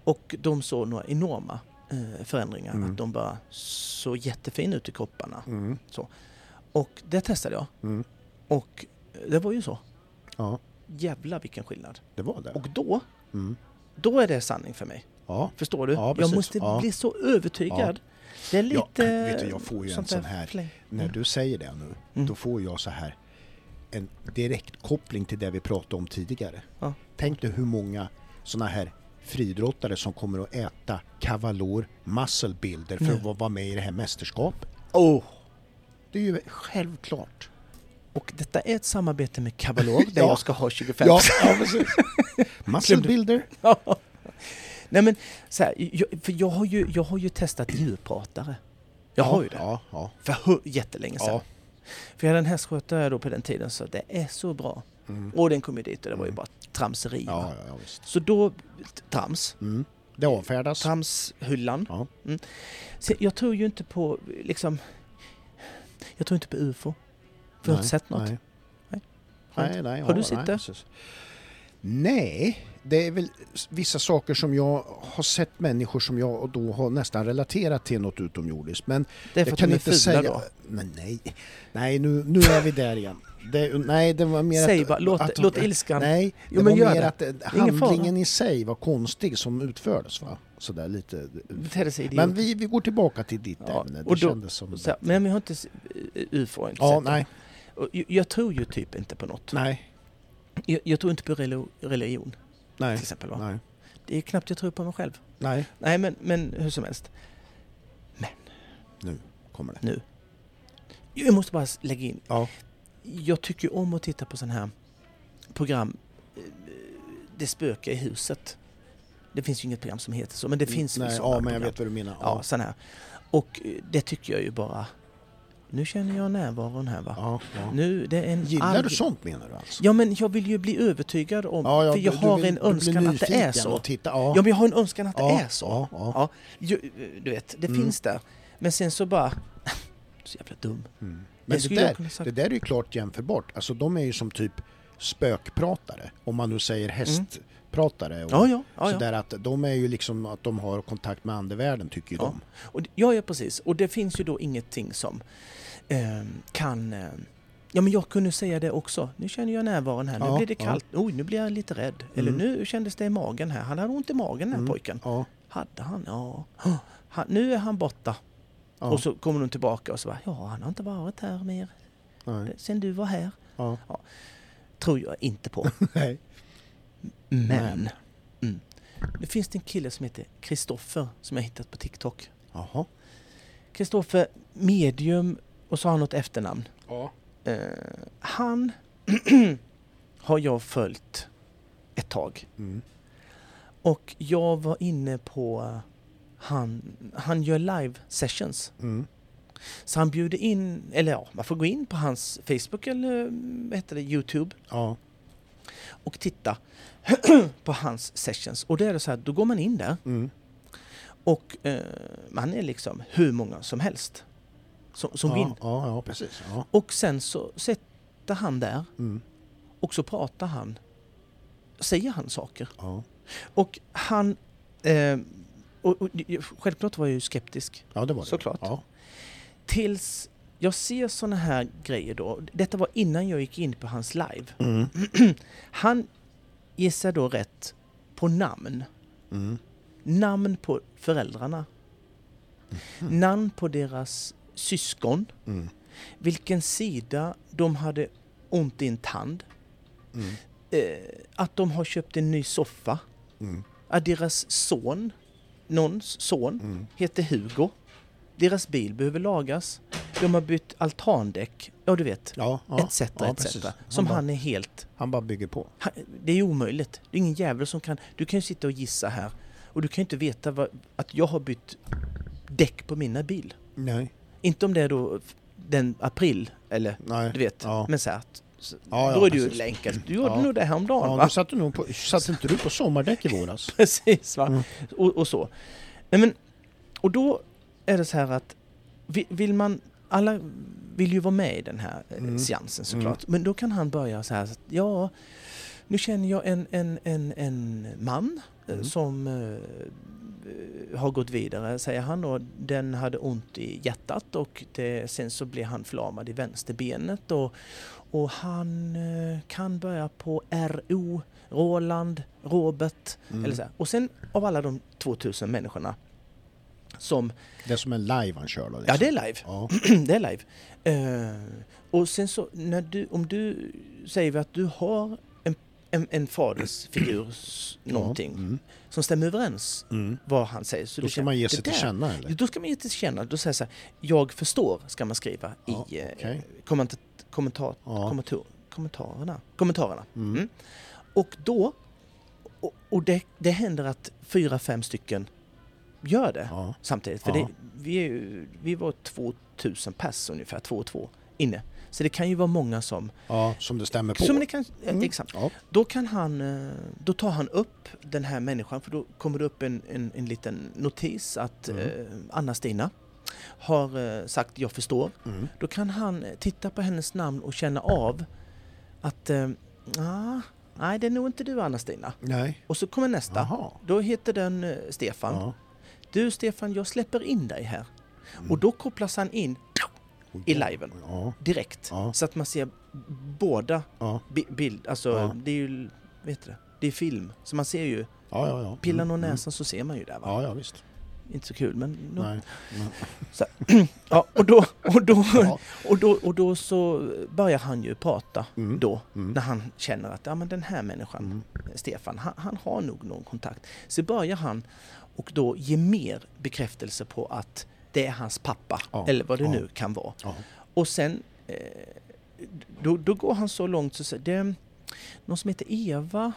Speaker 1: Och de såg några enorma eh, förändringar.
Speaker 2: Mm.
Speaker 1: Att de bara såg jättefina ut i kropparna.
Speaker 2: Mm.
Speaker 1: Och det testade jag.
Speaker 2: Mm.
Speaker 1: Och det var ju så.
Speaker 2: Ja,
Speaker 1: Jävla vilken skillnad.
Speaker 2: det var det.
Speaker 1: Och då,
Speaker 2: Mm.
Speaker 1: då är det sanning för mig.
Speaker 2: Ja.
Speaker 1: Förstår du?
Speaker 2: Ja,
Speaker 1: jag
Speaker 2: precis.
Speaker 1: måste
Speaker 2: Ja.
Speaker 1: bli så övertygad. Det är
Speaker 2: Ja,
Speaker 1: lite...
Speaker 2: vet du, jag får ju en
Speaker 1: sånt
Speaker 2: sån
Speaker 1: där
Speaker 2: här-
Speaker 1: fläng.
Speaker 2: När
Speaker 1: Mm.
Speaker 2: du säger det nu,
Speaker 1: Mm.
Speaker 2: då får jag så här en direkt koppling till det vi pratade om tidigare.
Speaker 1: Ja.
Speaker 2: Tänk dig hur många sådana här friidrottare som kommer att äta Cavalor muscle builder för
Speaker 1: Nej.
Speaker 2: att vara- vara med i det här mästerskapet.
Speaker 1: Oh.
Speaker 2: Det är ju självklart.
Speaker 1: Och detta är ett samarbete med Cavalor där
Speaker 2: [laughs] Ja.
Speaker 1: jag ska ha 25 [laughs]
Speaker 2: ja [laughs] precis. muscle
Speaker 1: Glömde.
Speaker 2: builder.
Speaker 1: Nej men, så här, jag, för jag har, ju, jag har ju testat djurpratare. Jag har ju det.
Speaker 2: Ja, ja.
Speaker 1: För hu- jättelänge sedan.
Speaker 2: ja.
Speaker 1: För jag hade en hästskötare då på den tiden så det är så bra.
Speaker 2: Mm.
Speaker 1: Och den kom ju dit och det var ju bara tramseri.
Speaker 2: Ja,
Speaker 1: va?
Speaker 2: ja, ja, visst.
Speaker 1: Så då, trams.
Speaker 2: Mm. Det avfärdas.
Speaker 1: Tramshyllan.
Speaker 2: Ja.
Speaker 1: Mm. Så jag tror ju inte på, liksom, jag tror inte på UFO. För jag har inte sett något.
Speaker 2: Nej,
Speaker 1: Nej.
Speaker 2: nej, nej
Speaker 1: Har du
Speaker 2: ja,
Speaker 1: sett
Speaker 2: nej,
Speaker 1: det?
Speaker 2: precis. Nej, det är väl s- vissa saker som jag har sett människor som jag och då har nästan relaterat till något utomjordiskt. Men
Speaker 1: Det är för
Speaker 2: jag
Speaker 1: att
Speaker 2: kan
Speaker 1: de är
Speaker 2: inte
Speaker 1: fula
Speaker 2: säga...
Speaker 1: då.
Speaker 2: Men nej, nej nu, nu är vi där igen. Det, nej, det var mer
Speaker 1: Säg
Speaker 2: att,
Speaker 1: bara, låt,
Speaker 2: att,
Speaker 1: låt ilskan...
Speaker 2: Nej, det
Speaker 1: Jo, men
Speaker 2: var
Speaker 1: gör
Speaker 2: mer
Speaker 1: det.
Speaker 2: att eh,
Speaker 1: ingen fara.
Speaker 2: handlingen i sig var konstig som utfördes. Va? Sådär lite.
Speaker 1: Bete sig idiot.
Speaker 2: Men vi, vi går tillbaka till ditt
Speaker 1: Ja,
Speaker 2: ämne. Det
Speaker 1: och då-
Speaker 2: kändes som...
Speaker 1: Så här, men jag har inte s- eh, ufo. har jag Inte
Speaker 2: ja,
Speaker 1: sett.
Speaker 2: nej,
Speaker 1: Och jag- Jag tror ju typ inte på något.
Speaker 2: nej,
Speaker 1: Jag, jag tror inte på relo- religion till
Speaker 2: nej,
Speaker 1: exempel. Va?
Speaker 2: nej,
Speaker 1: Det är knappt jag tror på mig själv.
Speaker 2: nej,
Speaker 1: Nej, men, men hur som helst.
Speaker 2: kommer det.
Speaker 1: Jag måste bara s- lägga in.
Speaker 2: Ja.
Speaker 1: Jag tycker ju om att titta på sådana här program. eh, Det spökar i huset. Det finns ju inget program som heter så, men det finns
Speaker 2: nej,
Speaker 1: väl
Speaker 2: Ja,
Speaker 1: sådana
Speaker 2: men jag
Speaker 1: program.
Speaker 2: vet vad du menar.
Speaker 1: Ja, sådana här. Och eh, det tycker jag ju bara... Nu känner jag närvaron här va.
Speaker 2: ja, ja.
Speaker 1: Nu, det är en
Speaker 2: Gillar
Speaker 1: arg-
Speaker 2: du sånt menar du alltså?
Speaker 1: Ja, men jag vill ju bli övertygad om...
Speaker 2: Ja, ja,
Speaker 1: för jag
Speaker 2: du- du
Speaker 1: har
Speaker 2: vill-
Speaker 1: en
Speaker 2: du blir
Speaker 1: önskan att det är
Speaker 2: nyfiken
Speaker 1: så.
Speaker 2: Och titta, ja.
Speaker 1: Ja, men jag har en önskan att
Speaker 2: ja,
Speaker 1: det är så.
Speaker 2: Ja, ja.
Speaker 1: Ja. Ju- Du vet, det
Speaker 2: Mm.
Speaker 1: finns där. Men sen så bara... [laughs] Så jävla dum.
Speaker 2: Mm. Men
Speaker 1: Det
Speaker 2: det,
Speaker 1: skulle jag
Speaker 2: där,
Speaker 1: kunna sagt.
Speaker 2: det där är ju klart jämförbart. Alltså de är ju som typ spökpratare. Om man nu säger hästpratare. Och
Speaker 1: Mm. Ja, ja. ja, ja.
Speaker 2: Sådär att de är ju liksom att de har kontakt med andevärlden tycker ju
Speaker 1: Ja.
Speaker 2: de.
Speaker 1: Och, d- ja, ja, precis. Och det finns ju då ingenting som ehm, kan... ehm, ja, men jag kunde säga det också. Nu känner jag närvaron här. Nu
Speaker 2: Ja,
Speaker 1: blir det
Speaker 2: ja.
Speaker 1: kallt. Oj, nu blir jag lite rädd. Eller
Speaker 2: Mm.
Speaker 1: nu kändes det i magen här. Han hade ont i magen den här
Speaker 2: Mm.
Speaker 1: pojken.
Speaker 2: Ja.
Speaker 1: Hade han? Ja. [gasps] Hå, Han, nu är han borta.
Speaker 2: Ja.
Speaker 1: Och så kommer de tillbaka och så bara, ja han har inte varit här mer
Speaker 2: Nej.
Speaker 1: sen du var här.
Speaker 2: Ja. [laughs]
Speaker 1: Tror jag inte på.
Speaker 2: Nej.
Speaker 1: Men. Mm. Det finns det en kille som heter Kristoffer som jag hittat på TikTok.
Speaker 2: Jaha.
Speaker 1: Kristoffer medium och så har han något efternamn.
Speaker 2: Ja.
Speaker 1: Eh, han [clears throat] har jag följt ett tag.
Speaker 2: Mm.
Speaker 1: Och jag var inne på eh, han, han gör live sessions.
Speaker 2: Mm.
Speaker 1: Så han bjuder in, eller ja, man får gå in på hans Facebook eller mm, vad heter det, Youtube.
Speaker 2: Ja.
Speaker 1: och titta [clears throat] på hans sessions. Och det är det så här, då går man in där
Speaker 2: Mm.
Speaker 1: och eh, man är liksom hur många som helst som, som vill.
Speaker 2: ja. ja, ja, precis. Ja.
Speaker 1: Och sen så sitter han där
Speaker 2: Mm.
Speaker 1: och så pratar han, säger han saker.
Speaker 2: Ja.
Speaker 1: Och han, eh, och, och, självklart var jag ju skeptisk
Speaker 2: ja, det var det.
Speaker 1: Såklart.
Speaker 2: Ja.
Speaker 1: tills jag ser såna här grejer då. Detta var innan jag gick in på hans live.
Speaker 2: Mm.
Speaker 1: [clears throat] Han gissar då rätt på namn.
Speaker 2: Mm.
Speaker 1: namn på föräldrarna, namn på deras syskon,
Speaker 2: Mm.
Speaker 1: vilken sida de hade ont i en tand,
Speaker 2: Mm.
Speaker 1: eh, att de har köpt en ny soffa,
Speaker 2: Mm.
Speaker 1: att deras son, någons son,
Speaker 2: Mm.
Speaker 1: heter Hugo, deras bil behöver lagas, de har bytt altandäck, ja du vet,
Speaker 2: Ja, ja.
Speaker 1: etc.
Speaker 2: ja,
Speaker 1: etc.
Speaker 2: precis.
Speaker 1: Som
Speaker 2: bara,
Speaker 1: han är helt...
Speaker 2: han bara bygger på.
Speaker 1: Han, det är omöjligt. Det är ingen jävel som kan... Du kan ju sitta och gissa här och du kan ju inte veta vad, att jag har bytt däck på mina bil.
Speaker 2: Nej.
Speaker 1: Inte om det är då f- den april eller
Speaker 2: Nej.
Speaker 1: du vet.
Speaker 2: Ja.
Speaker 1: Men så här att, så,
Speaker 2: Ja,
Speaker 1: då
Speaker 2: ja,
Speaker 1: är det ju
Speaker 2: precis.
Speaker 1: enkelt. Du gjorde
Speaker 2: Ja.
Speaker 1: nog det häromdagen
Speaker 2: Ja,
Speaker 1: va?
Speaker 2: nu satt, du nog på, satt inte du på sommardäck i våras?
Speaker 1: [laughs] Precis va?
Speaker 2: Mm.
Speaker 1: Och, och så. Nej, men, och då är det så här att vi- vill man, alla vill ju vara med i den här eh,
Speaker 2: Mm.
Speaker 1: seansen såklart. Men då kan han börja så här, så att, ja, nu känner jag en, en, en, en man eh,
Speaker 2: Mm.
Speaker 1: som eh, har gått vidare, säger han och den hade ont i hjärtat och det, sen så blev han förlamad i vänsterbenet och, och han eh, kan börja på RO, Roland, Robert,
Speaker 2: Mm.
Speaker 1: eller så här. Och sen av alla de 2000 människorna som...
Speaker 2: Det är som en live han kör då?
Speaker 1: Ja,
Speaker 2: liksom.
Speaker 1: det är live. Mm,
Speaker 2: Ja.
Speaker 1: [clears throat] det är live. Eh, och sen så, när du, om du säger att du har en, en, en fadersfigur, s- någonting,
Speaker 2: Ja. Mm.
Speaker 1: som stämmer överens
Speaker 2: Mm.
Speaker 1: vad han säger. Så
Speaker 2: Då
Speaker 1: du
Speaker 2: ska
Speaker 1: känner,
Speaker 2: man ge
Speaker 1: det
Speaker 2: sig till
Speaker 1: där-
Speaker 2: känna eller?
Speaker 1: Då ska man ge till känna, då säger jag så här, jag förstår ska man skriva
Speaker 2: Ja,
Speaker 1: i eh,
Speaker 2: okej.
Speaker 1: kommentar, kommentar,
Speaker 2: Ja.
Speaker 1: kommentar, kommentarerna. kommentarerna.
Speaker 2: Mm.
Speaker 1: Mm. Och då, och, och det, det händer att fyra, fem stycken gör det
Speaker 2: Ja.
Speaker 1: samtidigt. För
Speaker 2: Ja.
Speaker 1: det, vi, är ju- vi var 2000 pers ungefär, två och två inne. Så det kan ju vara många som...
Speaker 2: ja, som det stämmer på.
Speaker 1: som det kan, eh,
Speaker 2: Mm.
Speaker 1: Exakt.
Speaker 2: Ja.
Speaker 1: Då kan han, eh, då tar han upp den här människan för då kommer det upp en, en, en liten notis att
Speaker 2: Mm.
Speaker 1: eh, Anna-Stina har eh, sagt jag förstår.
Speaker 2: Mm.
Speaker 1: Då kan han eh, titta på hennes namn och känna av att eh, ah, Nej, det är nog inte du Anna-Stina.
Speaker 2: Nej.
Speaker 1: Och så kommer nästa.
Speaker 2: Jaha.
Speaker 1: Då heter den eh, Stefan.
Speaker 2: Ja.
Speaker 1: Du Stefan, jag släpper in dig här.
Speaker 2: Mm.
Speaker 1: Och då kopplas han in i liven
Speaker 2: Ja.
Speaker 1: direkt.
Speaker 2: Ja.
Speaker 1: Så att man ser båda
Speaker 2: Ja.
Speaker 1: bi- bild, alltså
Speaker 2: Ja.
Speaker 1: det är ju, vet du det? Det är film. Så man ser ju,
Speaker 2: Ja, ja, ja.
Speaker 1: pillar
Speaker 2: Mm,
Speaker 1: någon
Speaker 2: mm.
Speaker 1: näsan så ser man ju där va.
Speaker 2: Ja, ja visst.
Speaker 1: Inte så kul men... nog. [laughs]
Speaker 2: Nej. Men,
Speaker 1: Ja, och, då, och, då,
Speaker 2: ja.
Speaker 1: och, då, och då så börjar han ju prata
Speaker 2: Mm.
Speaker 1: då.
Speaker 2: Mm.
Speaker 1: När han känner att ja, men den här människan,
Speaker 2: Mm.
Speaker 1: Stefan, han, han har nog någon kontakt. Så börjar han och då ge mer bekräftelse på att det är hans pappa,
Speaker 2: Ja,
Speaker 1: eller vad det
Speaker 2: ja.
Speaker 1: nu kan vara.
Speaker 2: Ja.
Speaker 1: Och sen, eh, då, då går han så långt så säger det är någon som heter Eva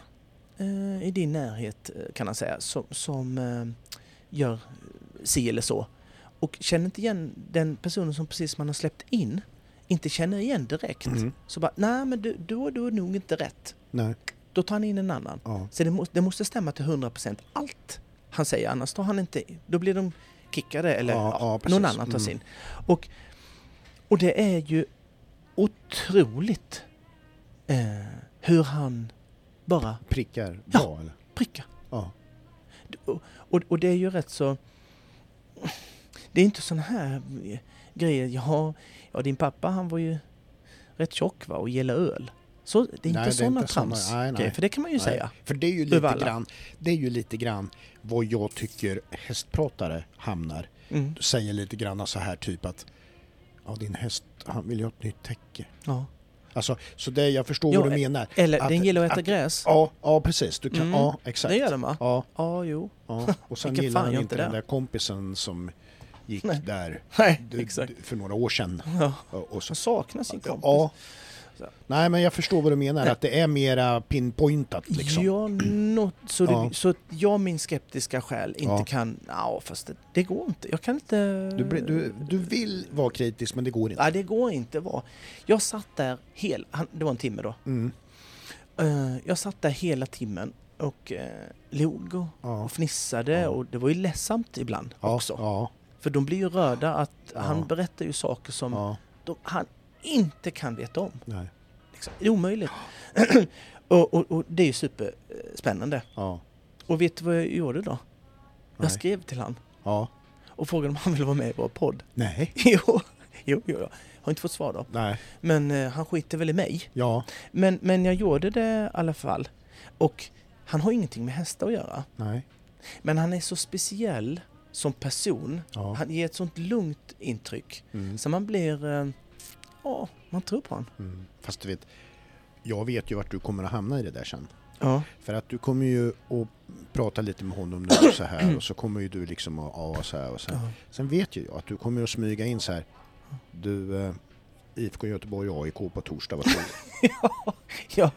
Speaker 1: eh, i din närhet eh, kan han säga, som, som eh, gör si eller så. Och känner inte igen den personen som precis man har släppt in, inte känner igen direkt.
Speaker 2: Mm.
Speaker 1: Så bara, nej men du, du, har- du har nog inte rätt.
Speaker 2: Nej.
Speaker 1: Då tar han in en annan.
Speaker 2: Ja.
Speaker 1: Så det, må, det måste stämma till 100% allt han säger, annars tar han inte, då blir de kickade eller
Speaker 2: Ja,
Speaker 1: ja,
Speaker 2: ja, precis.
Speaker 1: någon annan tas
Speaker 2: Mm.
Speaker 1: in. Och, och det är ju otroligt eh, hur han bara
Speaker 2: Prickar
Speaker 1: Ja.
Speaker 2: bra eller?
Speaker 1: prickar.
Speaker 2: Ja.
Speaker 1: Och, och, och det är ju rätt så... Det är inte såna här eh, grejer, ja, ja din pappa han var ju rätt tjock va och gillade öl. Så, det är inte
Speaker 2: Nej, det är
Speaker 1: såna
Speaker 2: inte såna-
Speaker 1: trams
Speaker 2: nej, nej.
Speaker 1: grejer, för det kan man ju
Speaker 2: Nej.
Speaker 1: säga.
Speaker 2: För det är ju lite
Speaker 1: Uvala.
Speaker 2: grann, det är ju lite grann vad jag tycker hästpratare hamnar.
Speaker 1: Mm,
Speaker 2: Säger lite grann så här typ att ja, din häst, han vill ju ha ett nytt täcke.
Speaker 1: ja.
Speaker 2: Alltså, så det, jag förstår
Speaker 1: Ja,
Speaker 2: vad du
Speaker 1: eh,
Speaker 2: menar.
Speaker 1: Eller,
Speaker 2: Att-
Speaker 1: den gillar att äta
Speaker 2: att-
Speaker 1: gräs.
Speaker 2: Ja, ja precis. Du kan,
Speaker 1: Mm,
Speaker 2: ja, exakt.
Speaker 1: Det gör den va?
Speaker 2: Ja,
Speaker 1: Ja, jo. [laughs]
Speaker 2: ja. Och sen
Speaker 1: Vilken
Speaker 2: gillar
Speaker 1: fan
Speaker 2: han
Speaker 1: gör
Speaker 2: inte
Speaker 1: inte
Speaker 2: den
Speaker 1: det?
Speaker 2: där kompisen som gick
Speaker 1: Nej.
Speaker 2: där
Speaker 1: Nej,
Speaker 2: d-
Speaker 1: [laughs] exakt.
Speaker 2: d- för några år sedan.
Speaker 1: Ja.
Speaker 2: Och, och så,
Speaker 1: Han saknar sin kompis.
Speaker 2: ja.
Speaker 1: Så.
Speaker 2: Nej, men jag förstår vad du menar. Att det är mera pinpointat liksom.
Speaker 1: Ja, något, så, det,
Speaker 2: Ja.
Speaker 1: så att jag min skeptiska själ inte
Speaker 2: Ja.
Speaker 1: kan... Ja, fast det, det går inte. Jag kan inte...
Speaker 2: Du, blir- du, du vill vara kritisk men det går inte.
Speaker 1: Nej, det går inte vara. Jag satt där hel... Han, det var en timme då.
Speaker 2: Mm.
Speaker 1: Eh, jag satt där hela timmen och uh, log och,
Speaker 2: Ja.
Speaker 1: och fnissade
Speaker 2: Ja.
Speaker 1: och det var ju ledsamt ibland
Speaker 2: Ja,
Speaker 1: också.
Speaker 2: Ja,
Speaker 1: För de blir ju röda att
Speaker 2: Ja.
Speaker 1: han berättar ju saker som
Speaker 2: ja,
Speaker 1: de, han inte kan veta om.
Speaker 2: nej,
Speaker 1: Liksom. Det är omöjligt. [clears throat] och, och, och det är ju superspännande.
Speaker 2: ja,
Speaker 1: Och vet du vad jag gjorde då?
Speaker 2: Nej.
Speaker 1: Jag skrev till han
Speaker 2: ja,
Speaker 1: och frågade om han ville vara med i vår podd. [laughs]
Speaker 2: nej,
Speaker 1: jo, jo, jo, jag har inte fått svar då.
Speaker 2: nej,
Speaker 1: Men eh, han skiter väl i mig.
Speaker 2: ja,
Speaker 1: Men, men jag gjorde det i alla fall. Och han har ingenting med hästar att göra.
Speaker 2: nej,
Speaker 1: Men han är så speciell som person.
Speaker 2: ja.
Speaker 1: Han ger ett sånt lugnt intryck.
Speaker 2: Mm,
Speaker 1: Så man blir... eh, Ja, man tror på honom.
Speaker 2: mm. Fast du vet, jag vet ju vart du kommer att hamna i det där sen.
Speaker 1: Ja.
Speaker 2: För att du kommer ju att prata lite med honom nu och så här och så kommer ju du liksom att, ja, så här och så här.
Speaker 1: Ja.
Speaker 2: Sen vet ju jag att du kommer att smyga in så här, du, eh, IFK Göteborg och AIK på torsdag, vad tror du?
Speaker 1: [laughs] ja.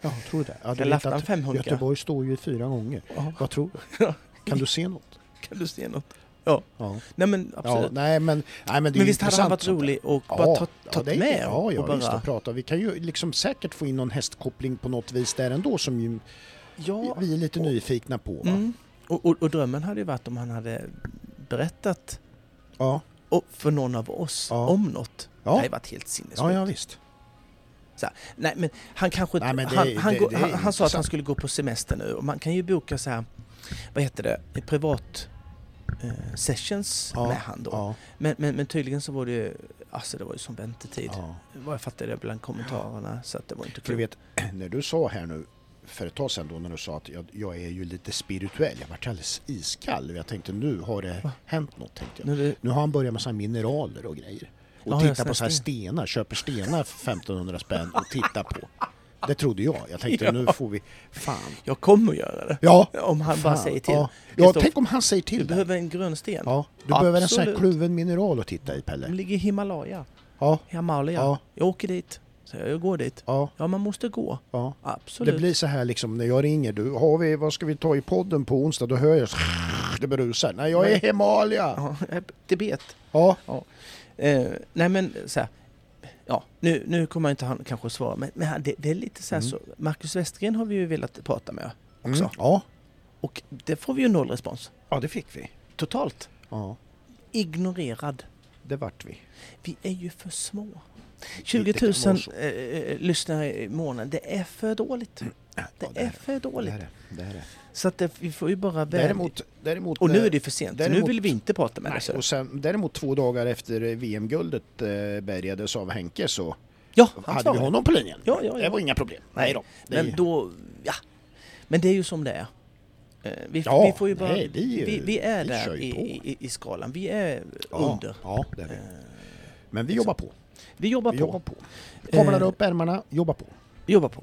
Speaker 2: Ja, tror du det? Ja,
Speaker 1: Kan
Speaker 2: du vet
Speaker 1: lafta en
Speaker 2: att
Speaker 1: femhundra?
Speaker 2: Göteborg står ju fyra gånger.
Speaker 1: Ja.
Speaker 2: Vad tror du?
Speaker 1: [laughs]
Speaker 2: Kan du se något?
Speaker 1: Kan du se något? Ja.
Speaker 2: Ja.
Speaker 1: Nej men
Speaker 2: Ja,
Speaker 1: absolut.
Speaker 2: nej, men, nej, men, det är ju
Speaker 1: men visst hade han
Speaker 2: intressant
Speaker 1: varit
Speaker 2: sånt där.
Speaker 1: rolig och
Speaker 2: Ja,
Speaker 1: bara ta-
Speaker 2: ja,
Speaker 1: tagit
Speaker 2: det är-
Speaker 1: med
Speaker 2: Ja, ja
Speaker 1: och bara...
Speaker 2: visst att prata. Vi kan ju liksom säkert få in någon hästkoppling på något vis där ändå som ju,
Speaker 1: ja.
Speaker 2: vi är lite nyfikna på. Va?
Speaker 1: Mm. Och, och, och drömmen hade ju varit om han hade berättat
Speaker 2: Ja.
Speaker 1: och för någon av oss
Speaker 2: Ja.
Speaker 1: om något.
Speaker 2: Ja.
Speaker 1: Det hade ju varit helt sinnessjukt.
Speaker 2: ja, ja visst.
Speaker 1: Så här, Nej men han kanske...
Speaker 2: Nej, men det-
Speaker 1: han,
Speaker 2: det-
Speaker 1: han,
Speaker 2: det
Speaker 1: går,
Speaker 2: är
Speaker 1: han, han sa att han
Speaker 2: intressant.
Speaker 1: skulle gå på semester nu och man kan ju boka så här, vad heter det, privat eh, sessions
Speaker 2: Ja,
Speaker 1: med han då.
Speaker 2: Ja,
Speaker 1: Men, men, men tydligen så var det ju, alltså det var ju som väntetid.
Speaker 2: ja.
Speaker 1: Vad jag fattade det bland kommentarerna så att det var inte
Speaker 2: För du
Speaker 1: kul.
Speaker 2: vet, [clears throat] när du sa här nu för ett tag sedan då när du sa att jag, jag är ju lite spirituell. Jag vart alldeles iskall. Jag tänkte nu har det
Speaker 1: Va?
Speaker 2: hänt något. Tänkte jag.
Speaker 1: Nu är det,
Speaker 2: Nu har han börjat med så här mineraler och grejer. Och
Speaker 1: Ja, jag
Speaker 2: tittar på så här
Speaker 1: ser
Speaker 2: stenar, köper stenar för 1500 spänn och tittar på. Det trodde jag. Jag tänkte nu får vi, fan.
Speaker 1: jag kommer att göra det.
Speaker 2: Ja,
Speaker 1: Om han bara
Speaker 2: fan,
Speaker 1: säger till.
Speaker 2: Ja, ja
Speaker 1: Kristoffer,
Speaker 2: tänk om han säger
Speaker 1: Du
Speaker 2: till dig.
Speaker 1: behöver en grundsten.
Speaker 2: Ja, du behöver en sån här
Speaker 1: Absolut.
Speaker 2: kluven mineral att titta i
Speaker 1: De
Speaker 2: Pelle.
Speaker 1: ligger i Himalaya.
Speaker 2: Ja,
Speaker 1: I Himalaya.
Speaker 2: Ja.
Speaker 1: Jag åker dit. Så jag, jag går dit.
Speaker 2: ja,
Speaker 1: Ja, man måste gå.
Speaker 2: ja.
Speaker 1: Absolut.
Speaker 2: Det blir så här liksom när jag ringer. Du, har vi, vad ska vi ta i podden på onsdag? Då hör jag så det brusar. Nej, jag är i Himalaya.
Speaker 1: Ja, eh, Tibet.
Speaker 2: Ja,
Speaker 1: Eh, nej, men så här. Ja, nu, nu kommer inte han kanske svara, men, men han- det, det är lite så här
Speaker 2: Mm.
Speaker 1: så. Marcus Westergren har vi ju velat prata med också.
Speaker 2: mm, ja.
Speaker 1: Och det får vi ju noll respons.
Speaker 2: ja, det fick vi.
Speaker 1: Totalt.
Speaker 2: Ja,
Speaker 1: Ignorerad.
Speaker 2: det vart vi.
Speaker 1: Vi är ju för små.
Speaker 2: Det- det kan
Speaker 1: 20
Speaker 2: vara
Speaker 1: 000
Speaker 2: så.
Speaker 1: eh, lyssnare i månaden, det är för dåligt. Det
Speaker 2: Ja,
Speaker 1: är för
Speaker 2: Det
Speaker 1: dåligt.
Speaker 2: är det. det, är det.
Speaker 1: Så att det, vi får ju bara väl...
Speaker 2: Däremot, däremot...
Speaker 1: och nu
Speaker 2: eh,
Speaker 1: är det alltså. för sent. nu
Speaker 2: däremot-
Speaker 1: vill vi inte prata med dig.
Speaker 2: Nej,
Speaker 1: så.
Speaker 2: och sen, däremot två dagar efter eh, VM-guldet eh, bärgades av Henke så
Speaker 1: Ja, han
Speaker 2: hade vi
Speaker 1: svarar.
Speaker 2: honom på linjen.
Speaker 1: Ja, ja,
Speaker 2: Det
Speaker 1: ja.
Speaker 2: var inga problem.
Speaker 1: Nej,
Speaker 2: Nej då. Det,
Speaker 1: Men då... Ja. Men det är ju som det är. Eh, Vi,
Speaker 2: Ja,
Speaker 1: vi får ju bara...
Speaker 2: nej, vi, eh,
Speaker 1: vi, vi är
Speaker 2: vi
Speaker 1: där
Speaker 2: kör ju
Speaker 1: i,
Speaker 2: på.
Speaker 1: i, i skalan. Vi är
Speaker 2: ja,
Speaker 1: under.
Speaker 2: Ja, det är vi. Men vi jobbar på.
Speaker 1: Vi jobbar
Speaker 2: Vi
Speaker 1: på.
Speaker 2: jobbar på. Mm. Kameran
Speaker 1: Eh.
Speaker 2: upp, ärmarna, jobba på.
Speaker 1: Vi jobbar på.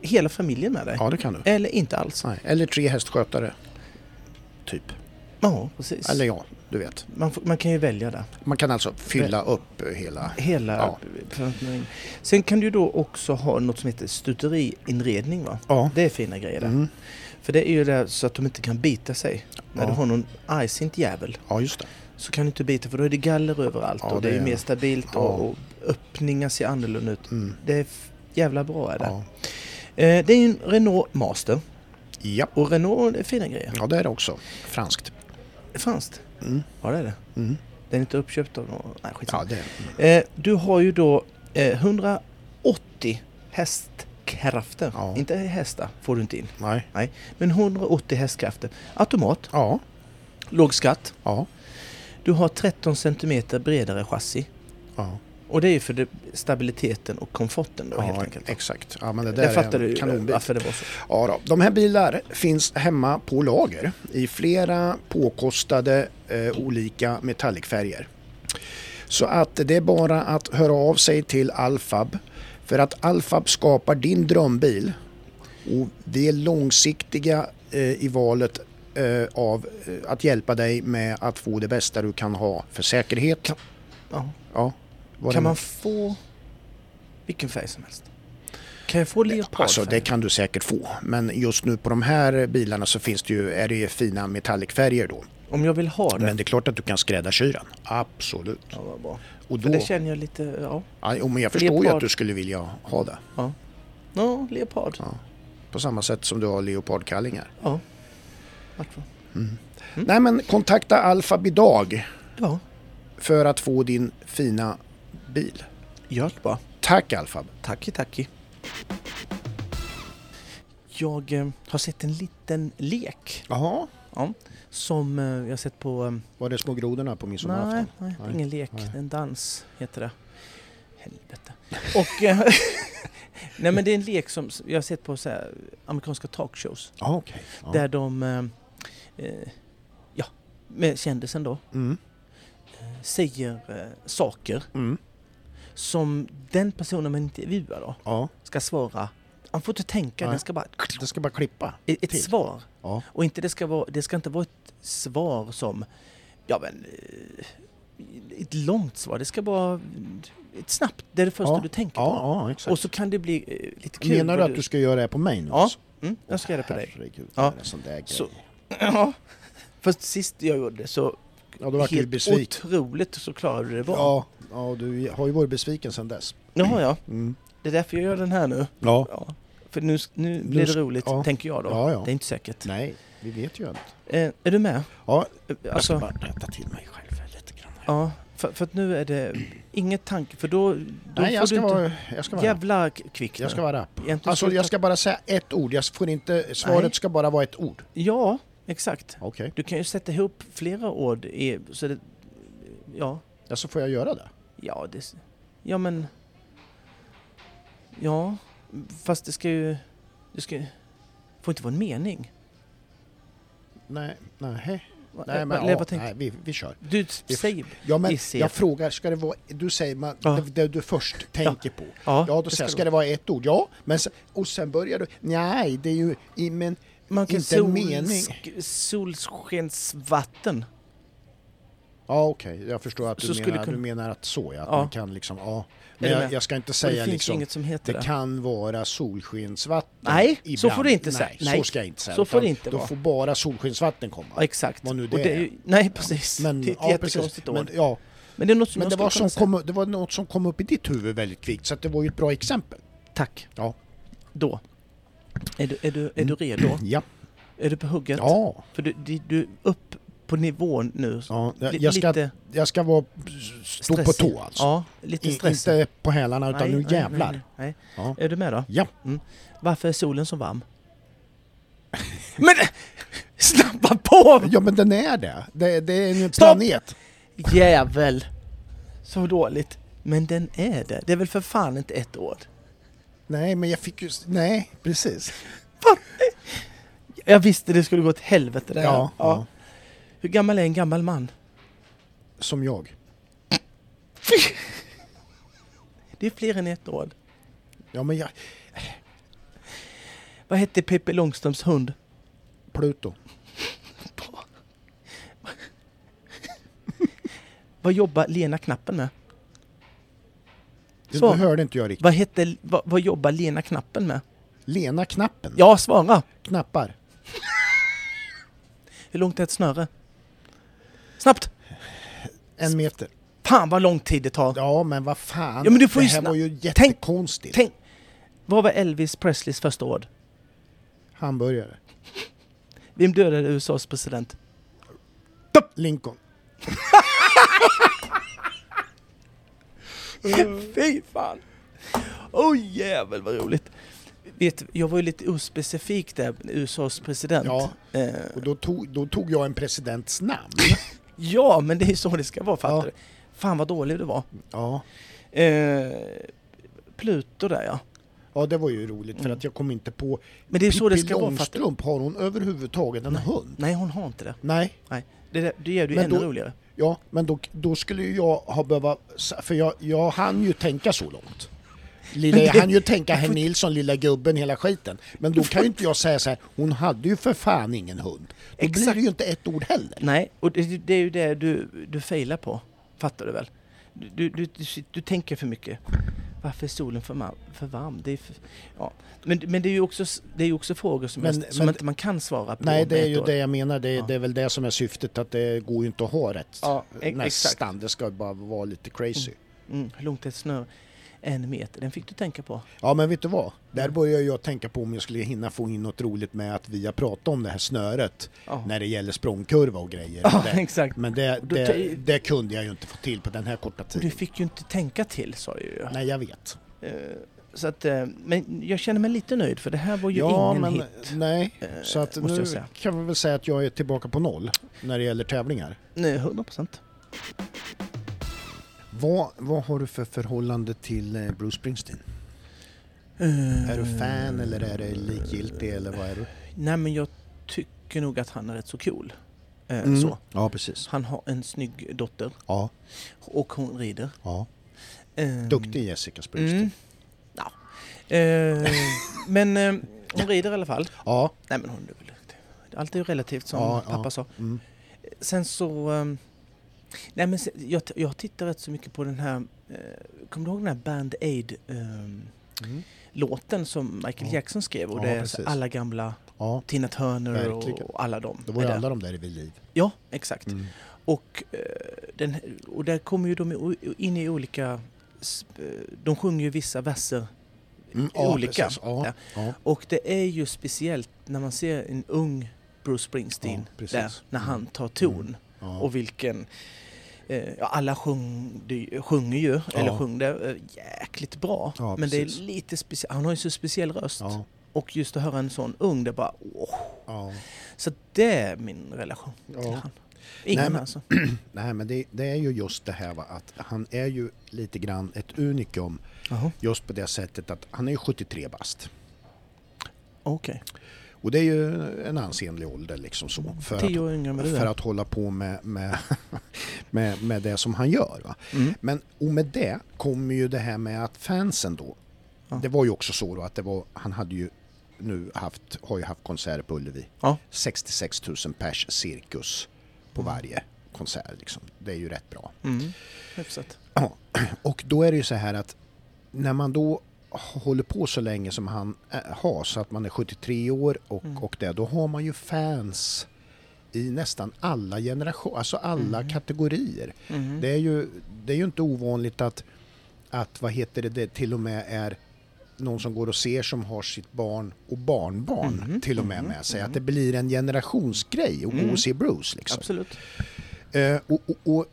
Speaker 1: hela familjen med dig.
Speaker 2: ja, det kan du.
Speaker 1: Eller inte alls.
Speaker 2: Nej. Eller tre hästskötare, typ.
Speaker 1: Ja, precis.
Speaker 2: Eller ja, du vet.
Speaker 1: Man, får, man kan ju välja där.
Speaker 2: Man kan alltså fylla upp eh, hela...
Speaker 1: Hela
Speaker 2: Ja.
Speaker 1: förvaltningen. Sen kan du då också ha något som heter stuteriinredning va?
Speaker 2: Ja.
Speaker 1: Det är fina grejer där.
Speaker 2: Mm.
Speaker 1: För det är ju där så att de inte kan bita sig. När
Speaker 2: Ja.
Speaker 1: du har någon argsint jävel
Speaker 2: ja, just det.
Speaker 1: så kan du inte bita för då är det galler överallt
Speaker 2: Ja,
Speaker 1: och det är
Speaker 2: det
Speaker 1: ju
Speaker 2: är-
Speaker 1: mer stabilt
Speaker 2: Ja.
Speaker 1: och, och öppningar ser annorlunda ut.
Speaker 2: Mm.
Speaker 1: Det är f- jävla bra är det.
Speaker 2: Ja.
Speaker 1: Eh, det är ju en Renault Master
Speaker 2: Ja.
Speaker 1: och Renault är fina grejer.
Speaker 2: ja, det är det också. Franskt.
Speaker 1: Franskt?
Speaker 2: Mm.
Speaker 1: Ja det är det.
Speaker 2: Mm.
Speaker 1: Den är inte uppköpt av någon... Nej skitsamma.
Speaker 2: Ja, det är mm.
Speaker 1: Eh, du har ju då eh, 180 hästkrafter.
Speaker 2: Ja.
Speaker 1: Inte hästar får du inte in.
Speaker 2: Nej.
Speaker 1: Nej, men 180 hästkrafter. Automat,
Speaker 2: Ja,
Speaker 1: låg skatt.
Speaker 2: ja,
Speaker 1: Du har 13 cm bredare chassi.
Speaker 2: ja.
Speaker 1: Och det är ju för det, stabiliteten och komforten då helt
Speaker 2: ja
Speaker 1: enkelt.
Speaker 2: exakt. Ja, men det där
Speaker 1: Där
Speaker 2: är
Speaker 1: fattar
Speaker 2: en
Speaker 1: du
Speaker 2: kanonbit.
Speaker 1: varför det var så.
Speaker 2: Ja, då. De här bilar finns hemma på lager i flera påkostade eh, olika metallicfärger. Så att det är bara att höra av sig till Alfab för att Alfab skapar din drömbil och vi är långsiktiga eh, i valet eh, av eh, att hjälpa dig med att få det bästa du kan ha för säkerhet.
Speaker 1: Ja.
Speaker 2: ja, vad
Speaker 1: Kan
Speaker 2: det-
Speaker 1: man få vilken färg som helst? Kan jag få leopardfärg?
Speaker 2: Alltså det kan du säkert få, men just nu på de här bilarna så finns det ju, är det ju fina metallicfärger då.
Speaker 1: Om jag vill ha det?
Speaker 2: Men det är klart att du kan skräddarsy den. Absolut.
Speaker 1: Ja, vad bra.
Speaker 2: Och
Speaker 1: För
Speaker 2: då,
Speaker 1: det känner jag lite, ja.
Speaker 2: ja, jo, men jag förstår ju
Speaker 1: Leopard.
Speaker 2: att du skulle vilja ha det.
Speaker 1: Ja, ja leopard.
Speaker 2: Ja. På samma sätt som du har leopardkallingar.
Speaker 1: Ja. Vart var- Mm.
Speaker 2: Nej men kontakta Alfab idag
Speaker 1: Ja,
Speaker 2: för att få din fina bil.
Speaker 1: gör det bara.
Speaker 2: Tack Alfab!
Speaker 1: Tacki, tacki. Jag eh, har sett en liten lek
Speaker 2: Jaha,
Speaker 1: ja, som eh, jag har sett på... Eh,
Speaker 2: var det små grodorna på
Speaker 1: nej,
Speaker 2: midsommarafton?
Speaker 1: nej,
Speaker 2: Nej,
Speaker 1: ingen lek.
Speaker 2: nej.
Speaker 1: En dans heter det. Helvete. Och... Eh, [laughs] nej men det är en lek som s- jag har sett på så här, amerikanska talkshows.
Speaker 2: Ja, Ah, okej. Ja.
Speaker 1: Där de... Eh, eh, ja, med kändisen då.
Speaker 2: Mm,
Speaker 1: eh, Säger eh, saker
Speaker 2: mm,
Speaker 1: som den personen man intervjuar då
Speaker 2: ja.
Speaker 1: ska svara. Han får inte tänka,
Speaker 2: Nej.
Speaker 1: den ska bara...
Speaker 2: Det ska bara klippa.
Speaker 1: Ett, ett
Speaker 2: Till.
Speaker 1: svar.
Speaker 2: Ja.
Speaker 1: Och inte det, ska vara, det ska inte vara ett svar som... Ja men... eh, Ett långt svar. Det ska vara ett snabbt. Det är det första
Speaker 2: Ja.
Speaker 1: du tänker på.
Speaker 2: Ja, ja, exakt.
Speaker 1: Och så kan det bli eh, lite kul.
Speaker 2: Menar du
Speaker 1: vad
Speaker 2: att du ska göra det här på mig nu? alltså?
Speaker 1: Ja, mm, jag ska göra det på dig.
Speaker 2: Herregud,
Speaker 1: Ja.
Speaker 2: ja. en sån där grej.
Speaker 1: Så- [clears throat] Ja. Fast sist jag gjorde det så...
Speaker 2: Ja, då vart du
Speaker 1: helt
Speaker 2: besviken.
Speaker 1: otroligt så klarade du det bra.
Speaker 2: Ja, ja, du har ju varit besviken sedan dess.
Speaker 1: Jaha, ja.
Speaker 2: Mm.
Speaker 1: Det är därför jag gör den här nu.
Speaker 2: Ja.
Speaker 1: Ja. För nu, nu blir det
Speaker 2: ska-
Speaker 1: roligt,
Speaker 2: ja.
Speaker 1: tänker jag då.
Speaker 2: Ja, ja.
Speaker 1: Det är inte säkert.
Speaker 2: Nej, vi vet ju inte.
Speaker 1: Eh, är du med?
Speaker 2: Ja,
Speaker 1: Eh,
Speaker 2: jag ska
Speaker 1: Alltså,
Speaker 2: bara rätta till mig själv lite grann. här.
Speaker 1: ja, för, för att nu är det inget tanke, för då, då
Speaker 2: Nej,
Speaker 1: får
Speaker 2: jag
Speaker 1: du
Speaker 2: ska,
Speaker 1: inte...
Speaker 2: vara, jag ska vara rapp.
Speaker 1: Jävla k- kvickt
Speaker 2: Jag ska
Speaker 1: nu.
Speaker 2: vara rapp.
Speaker 1: Egentligen
Speaker 2: Alltså,
Speaker 1: skulle
Speaker 2: jag
Speaker 1: ta-
Speaker 2: ska bara säga ett ord. Jag får inte, svaret
Speaker 1: Nej.
Speaker 2: ska bara vara ett ord.
Speaker 1: Ja, exakt.
Speaker 2: Okej.
Speaker 1: Du kan ju sätta ihop flera ord i... Så det, ja,
Speaker 2: Ja, så får jag göra det?
Speaker 1: ja, det... Ja, men... Ja, fast det ska ju... Det ska ju- får inte vara en mening.
Speaker 2: Nej, nej.
Speaker 1: Va-
Speaker 2: Nej,
Speaker 1: va-
Speaker 2: men
Speaker 1: eller
Speaker 2: ja,
Speaker 1: vad tänkte-
Speaker 2: nej, vi, vi kör.
Speaker 1: Du säger...
Speaker 2: Ja, men
Speaker 1: Vi ser.
Speaker 2: jag frågar, ska det vara, du säger man,
Speaker 1: Ja.
Speaker 2: det, det du först tänker på.
Speaker 1: Ja,
Speaker 2: Ja, då
Speaker 1: det
Speaker 2: säger jag,
Speaker 1: ska
Speaker 2: ska det vara ett ord? Ja, men sen, och sen börjar du, nej, det är ju, i- men
Speaker 1: Man kan
Speaker 2: inte en mening.
Speaker 1: solsk- solskensvatten.
Speaker 2: Ja okej, jag förstår att
Speaker 1: Så
Speaker 2: du
Speaker 1: skulle
Speaker 2: menar,
Speaker 1: kunna-
Speaker 2: du menar att så ja, att
Speaker 1: Ja.
Speaker 2: man kan liksom, ja. Men
Speaker 1: Är du
Speaker 2: jag,
Speaker 1: med?
Speaker 2: jag ska inte
Speaker 1: Och det
Speaker 2: säga
Speaker 1: finns ju
Speaker 2: liksom,
Speaker 1: inget som heter
Speaker 2: det
Speaker 1: det.
Speaker 2: kan vara solskensvatten
Speaker 1: Nej, så
Speaker 2: ibland.
Speaker 1: får du inte säga.
Speaker 2: Nej,
Speaker 1: Nej,
Speaker 2: så ska jag inte säga.
Speaker 1: så får
Speaker 2: utan
Speaker 1: det inte
Speaker 2: Då
Speaker 1: vara.
Speaker 2: får bara solskensvatten komma.
Speaker 1: Ja, exakt.
Speaker 2: Vad nu
Speaker 1: Och
Speaker 2: det
Speaker 1: det är
Speaker 2: är.
Speaker 1: ju, nej, precis.
Speaker 2: Men,
Speaker 1: det är ett
Speaker 2: ja, precis.
Speaker 1: jättekonstigt ord.
Speaker 2: Men,
Speaker 1: Men,
Speaker 2: ja,
Speaker 1: det är något som
Speaker 2: men
Speaker 1: jag
Speaker 2: det,
Speaker 1: skulle
Speaker 2: var
Speaker 1: kunna
Speaker 2: som
Speaker 1: säga.
Speaker 2: kom, det var något som kom upp i ditt huvud väldigt kvickt, så att det var ju ett bra exempel.
Speaker 1: Tack.
Speaker 2: Ja.
Speaker 1: Då. Är du, är du, är du redo?
Speaker 2: Ja,
Speaker 1: Är du på hugget?
Speaker 2: ja,
Speaker 1: För du, du, du är upp på nivån nu.
Speaker 2: ja. Jag,
Speaker 1: Li-
Speaker 2: jag, ska,
Speaker 1: lite
Speaker 2: jag ska vara, stå på
Speaker 1: stressig.
Speaker 2: tå alltså.
Speaker 1: Ja, lite
Speaker 2: I,
Speaker 1: stressig.
Speaker 2: inte på hälarna utan
Speaker 1: Nej,
Speaker 2: nu
Speaker 1: nej,
Speaker 2: jävlar.
Speaker 1: nej, nej.
Speaker 2: Ja.
Speaker 1: Är du med då?
Speaker 2: Ja.
Speaker 1: Mm. Varför är solen så varm? [laughs] Men snabba på!
Speaker 2: Ja men den är det. Det, det är en
Speaker 1: Stopp!
Speaker 2: planet.
Speaker 1: Jävel! Så dåligt. Men den är det. Det är väl för fan inte ett ord?
Speaker 2: Nej men jag fick ju, nej precis.
Speaker 1: Jag visste det skulle gå åt helvete det här.
Speaker 2: Ja, ja.
Speaker 1: Hur gammal är en gammal man?
Speaker 2: Som jag.
Speaker 1: Det är fler än ett år.
Speaker 2: Ja men jag,
Speaker 1: Vad hette Pippi Långstrumps hund?
Speaker 2: Pluto.
Speaker 1: Vad jobbar Lena Knappen med?
Speaker 2: Det
Speaker 1: Så.
Speaker 2: hörde inte jag riktigt.
Speaker 1: Vad, hette, vad, vad jobbar Lena Knappen med?
Speaker 2: Lena knappen.
Speaker 1: Ja, svara!
Speaker 2: Knappar.
Speaker 1: Hur långt är ett snöre? Snabbt!
Speaker 2: En meter.
Speaker 1: Fan vad lång tid det tar!
Speaker 2: Ja men vad fan.
Speaker 1: Ja, men du får
Speaker 2: det
Speaker 1: ju
Speaker 2: här
Speaker 1: snabbt-
Speaker 2: var ju jättekonstigt.
Speaker 1: Tänk! Vad var Elvis Presleys första ord?
Speaker 2: Hamburgare.
Speaker 1: Vem dödade USAs president?
Speaker 2: Lincoln. Mm.
Speaker 1: [laughs] Fy fan! Oj oh, jävel vad roligt! Vet, jag var ju lite ospecifik där, USAs president.
Speaker 2: Ja.
Speaker 1: Eh,
Speaker 2: Och då tog, då tog jag en
Speaker 1: [laughs]
Speaker 2: presidents namn.
Speaker 1: ja, men det är ju så det ska vara, fattar
Speaker 2: Ja.
Speaker 1: du? Fan vad dålig du var.
Speaker 2: Ja.
Speaker 1: Eh, Pluto där ja.
Speaker 2: Ja det var ju roligt för att jag kom inte på
Speaker 1: Men det är så det
Speaker 2: Pippi
Speaker 1: ska vara. Fattar du?
Speaker 2: Långstrump, har hon överhuvudtaget en hund?
Speaker 1: Nej, hon har inte det.
Speaker 2: Nej.
Speaker 1: Nej, det, där- det gör det ju
Speaker 2: Men
Speaker 1: ännu
Speaker 2: då-
Speaker 1: roligare.
Speaker 2: Ja, men då, då skulle ju jag ha behövt... För jag, jag hann ju tänka så långt. Lilla, jag hann ju tänka herr Nilsson, lilla gubben, hela skiten. Men då kan ju inte jag säga så här, hon hade ju för fan ingen hund. Då blir
Speaker 1: Exakt.
Speaker 2: det ju inte ett ord heller.
Speaker 1: Nej, och det, det är ju det du, du failar på. Fattar du väl? Du, du, du, du, sit- du tänker för mycket. Varför är solen för, ma- för varm? Det är för, ja. men, men det är ju också, s- det är ju också frågor som,
Speaker 2: Men-
Speaker 1: jag, som
Speaker 2: men-
Speaker 1: inte man kan svara på.
Speaker 2: Nej,
Speaker 1: med
Speaker 2: det är
Speaker 1: ett
Speaker 2: ju
Speaker 1: ord.
Speaker 2: det jag menar. Det,
Speaker 1: Ja.
Speaker 2: det är väl det som är syftet, att det går ju inte att ha rätt.
Speaker 1: Ja, e-
Speaker 2: Nästan, det ska bara vara lite crazy.
Speaker 1: Mm, hur långt är ett snö? En meter, den fick du tänka på.
Speaker 2: Ja, men vet du vad? Där börjar jag tänka på om jag skulle hinna få in något roligt med att vi har pratat om det här snöret
Speaker 1: Ja.
Speaker 2: när det gäller språngkurva och grejer.
Speaker 1: Ja,
Speaker 2: Det-
Speaker 1: exakt.
Speaker 2: Men det,
Speaker 1: Då
Speaker 2: det,
Speaker 1: tar-
Speaker 2: det kunde jag ju inte få till på den här korta
Speaker 1: Och Du
Speaker 2: tiden.
Speaker 1: fick ju inte tänka till sa jag ju.
Speaker 2: Nej, jag vet.
Speaker 1: Eh, Så att, eh, men jag känner mig lite nöjd för det här var ju ingen
Speaker 2: men
Speaker 1: hit.
Speaker 2: nej.
Speaker 1: Eh,
Speaker 2: Så att
Speaker 1: måste
Speaker 2: nu
Speaker 1: jag säga.
Speaker 2: kan vi väl säga att jag är tillbaka på noll när det gäller tävlingar.
Speaker 1: Nej, 100 procent.
Speaker 2: Vad, vad har du för förhållande till eh, Bruce Springsteen? Är du fan eller är det likgiltig eller vad är du?
Speaker 1: Nej men jag tycker nog att han är rätt så cool. Eh,
Speaker 2: Mm.
Speaker 1: Så.
Speaker 2: Ja, precis.
Speaker 1: Han har en snygg dotter
Speaker 2: Ja,
Speaker 1: och hon rider.
Speaker 2: ja.
Speaker 1: Ehm,
Speaker 2: Duktig Jessica Springsteen.
Speaker 1: Mm. Ja. Eh, men eh, hon rider i alla fall.
Speaker 2: Ja,
Speaker 1: Nej men hon är väl duktig. Allt är ju relativt som
Speaker 2: Ja,
Speaker 1: pappa
Speaker 2: ja.
Speaker 1: sa.
Speaker 2: mm.
Speaker 1: Sen så... ehm, nej men se- jag, jag tittar rätt så mycket på den här... Eh, kommer du ihåg den här Band Aid ehm,
Speaker 2: Mm.
Speaker 1: låten som Michael
Speaker 2: Ja.
Speaker 1: Jackson skrev? Och
Speaker 2: Ja,
Speaker 1: det är så
Speaker 2: precis.
Speaker 1: alla gamla
Speaker 2: ja.
Speaker 1: Tina Turner och,
Speaker 2: Verkligen.
Speaker 1: och alla dem.
Speaker 2: Det var ju
Speaker 1: Eller-
Speaker 2: alla de där vid liv.
Speaker 1: Ja, exakt.
Speaker 2: Mm.
Speaker 1: Och, eh, den, och där kommer ju de o- in i olika... sp- eh, De sjunger ju vissa verser.
Speaker 2: Mm, ja,
Speaker 1: Olika.
Speaker 2: precis. Ja,
Speaker 1: Ja.
Speaker 2: ja.
Speaker 1: Och det är ju speciellt när man ser en ung Bruce Springsteen
Speaker 2: Ja, precis.
Speaker 1: där, när
Speaker 2: Mm.
Speaker 1: han tar ton.
Speaker 2: Ja.
Speaker 1: Och vilken... Eh, ja, alla sjung, det- sjunger ju, eller sjöng det, eh, jäkligt bra.
Speaker 2: Ja,
Speaker 1: Men det är
Speaker 2: precis.
Speaker 1: lite speciellt. Han har ju så speciell röst.
Speaker 2: ja.
Speaker 1: Och just att höra en sån ung, det är bara åh.
Speaker 2: ja.
Speaker 1: Så det är min relation till
Speaker 2: Ja.
Speaker 1: han. Ingen
Speaker 2: Nej, men- [clears throat]
Speaker 1: alltså.
Speaker 2: Nej, men det, det är ju just det här va, att han är ju lite grann ett unikum
Speaker 1: Jaha,
Speaker 2: just på det sättet att han är ju 73 bast.
Speaker 1: okej.
Speaker 2: Och det är ju en ansenlig ålder liksom så. För
Speaker 1: Tio
Speaker 2: att,
Speaker 1: år yngre än vad du är.
Speaker 2: för att hålla på med, med, [laughs] med, med det som han gör. Va?
Speaker 1: Mm.
Speaker 2: Men och med det kommer ju det här med att fansen då.
Speaker 1: Ja.
Speaker 2: Det var ju också så då att det var, han hade ju nu haft, har ju haft konserter på Ullevi.
Speaker 1: Ja.
Speaker 2: 66 000 pers cirkus på varje konsert. Liksom. Det är ju rätt bra.
Speaker 1: Mm. Hyfsat.
Speaker 2: [clears throat] Och då är det ju så här att när man då håller på så länge som han eh, har, så att man är 73 år och,
Speaker 1: Mm.
Speaker 2: och det, då har man ju fans i nästan alla generationer, alltså alla
Speaker 1: Mm.
Speaker 2: kategorier.
Speaker 1: Mhm.
Speaker 2: Det är ju, det är ju inte ovanligt att, att, vad heter det, det till och med är någon som går och ser som har sitt barn och barnbarn
Speaker 1: Mhm,
Speaker 2: till och med
Speaker 1: mhm,
Speaker 2: med sig.
Speaker 1: mhm.
Speaker 2: Att det blir en generationsgrej att gå
Speaker 1: Mm.
Speaker 2: och se Bruce. Liksom.
Speaker 1: Absolut.
Speaker 2: Eh, och, och, [clears throat] och,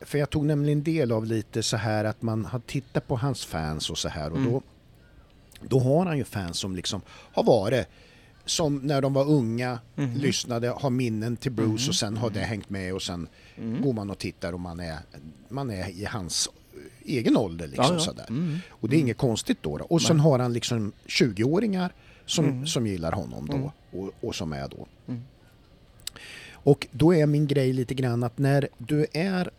Speaker 2: för jag tog nämligen del av lite så här att man har tittat på hans fans och så här och
Speaker 1: Mm.
Speaker 2: då, då har han ju fans som liksom har varit som när de var unga,
Speaker 1: Mhm.
Speaker 2: lyssnade, har minnen till Bruce
Speaker 1: Mhm.
Speaker 2: och sen har det hängt med och sen
Speaker 1: Mm.
Speaker 2: går man och tittar och man är, man är i hans egen ålder. Liksom, Sådär.
Speaker 1: Mm.
Speaker 2: Och det är inget konstigt då. då. Och sen har han liksom 20-åringar som, som gillar honom då
Speaker 1: Mm.
Speaker 2: och, och som är då.
Speaker 1: Mm.
Speaker 2: Och då är min grej lite grann att när du är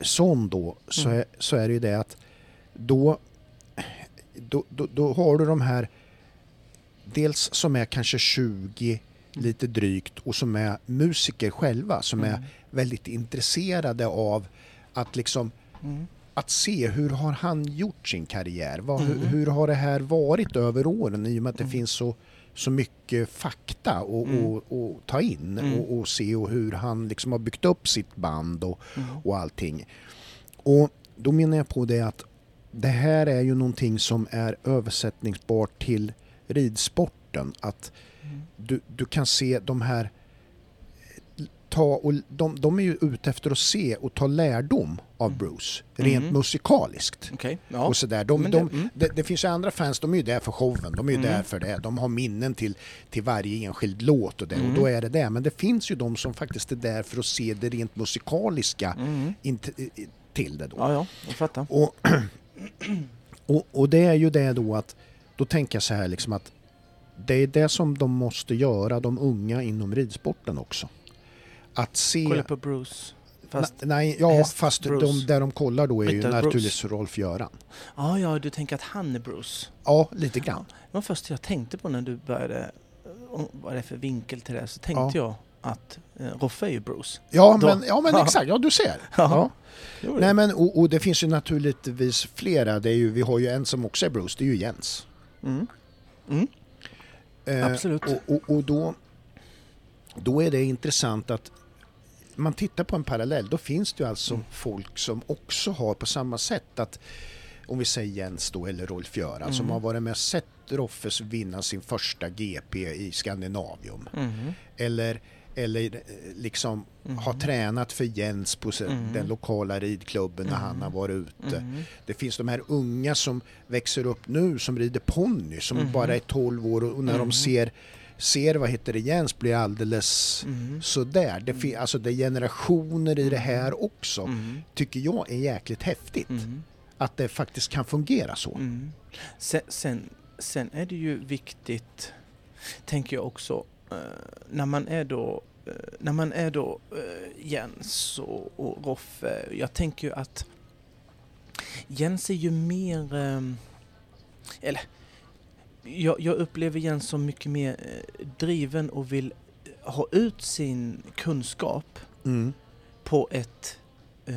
Speaker 2: sån då så,
Speaker 1: Mm.
Speaker 2: är, så är det ju det att då, då, då, då har du de här dels som är kanske 20
Speaker 1: Mm.
Speaker 2: lite drygt och som är musiker själva som är väldigt intresserade av att liksom
Speaker 1: Mm.
Speaker 2: att se hur har han gjort sin karriär? Vad, hur, hur har det här varit över åren i och med att det finns så, så mycket fakta att och, och, ta in och, och se och hur han liksom har byggt upp sitt band och,
Speaker 1: Mm.
Speaker 2: och allting. Och då menar jag på det att det här är ju någonting som är översättningsbart till ridsporten. Att du, du kan se de här ta och de, de är ju ute efter att se och ta lärdom av Bruce, rent musikaliskt.
Speaker 1: Okej. Mm. Ja.
Speaker 2: Och så där. De,
Speaker 1: Men
Speaker 2: det,
Speaker 1: det-
Speaker 2: de,
Speaker 1: mm.
Speaker 2: det, det finns ju andra fans, de är ju där för showen, de är ju där för det. De har minnen till, till varje enskild låt och, det, och då
Speaker 1: Mm.
Speaker 2: är det det. Men det finns ju de som faktiskt är där för att se det rent musikaliska
Speaker 1: Mm.
Speaker 2: inte, i- till det då.
Speaker 1: ja, ja. Jag fattar.
Speaker 2: Och, [clears throat] och, och det är ju det då att, då tänker jag så här liksom att det är det som de måste göra, de unga inom ridsporten också. Att se...
Speaker 1: Kolla på Bruce. Fast...
Speaker 2: Na- nej, ja,
Speaker 1: häst
Speaker 2: fast de,
Speaker 1: Bruce.
Speaker 2: där de kollar då är ju
Speaker 1: Ryttare Bruce.
Speaker 2: naturligtvis Rolf-Göran.
Speaker 1: Ja, ja, du tänker att han är Bruce.
Speaker 2: Ja, lite grann.
Speaker 1: Det var först jag tänkte på när du började, eh, om- vad är det för vinkel till det? här, Så tänkte jag att eh, Roffe är ju Bruce. [laughs]
Speaker 2: Ja,
Speaker 1: Då.
Speaker 2: men, ja men
Speaker 1: Ja.
Speaker 2: exakt, ja du ser. Ja.
Speaker 1: Ja.
Speaker 2: Nej, men, och, och det finns ju naturligtvis flera, det är ju, vi har ju en som också är Bruce, det är ju Jens.
Speaker 1: Mm. Mm.
Speaker 2: Eh,
Speaker 1: Absolut.
Speaker 2: Och, och, och då, då är det intressant att man tittar på en parallell, då finns det ju alltså folk som också har på samma sätt att om vi säger Jens då eller Rolf-Göran som har varit med och sett Roffes vinna sin första GP i Skandinavium.
Speaker 1: Mhm.
Speaker 2: Eller, eller eh, liksom
Speaker 1: Mm.
Speaker 2: har tränat för Jens på se- den lokala ridklubben när han har varit ute.
Speaker 1: Mm.
Speaker 2: Det finns de här unga som växer upp nu som rider ponny som
Speaker 1: Mhm.
Speaker 2: bara är 12 år och och när de ser ser vad heter det Jens blir alldeles
Speaker 1: Mm.
Speaker 2: sådär. Det, fin- alltså det är generationer i det här också
Speaker 1: Mm.
Speaker 2: tycker jag är jäkligt häftigt. Att det faktiskt kan fungera så.
Speaker 1: Mm. Sen, sen, sen är det ju viktigt, tänker jag också, eh, när man är då, eh, när man är då eh, Jens och, och Roffe. Jag tänker ju att Jens är ju mer, eh, eller jag, jag upplever Jens som mycket mer eh, driven och vill ha ut sin kunskap
Speaker 2: Mm.
Speaker 1: på ett eh,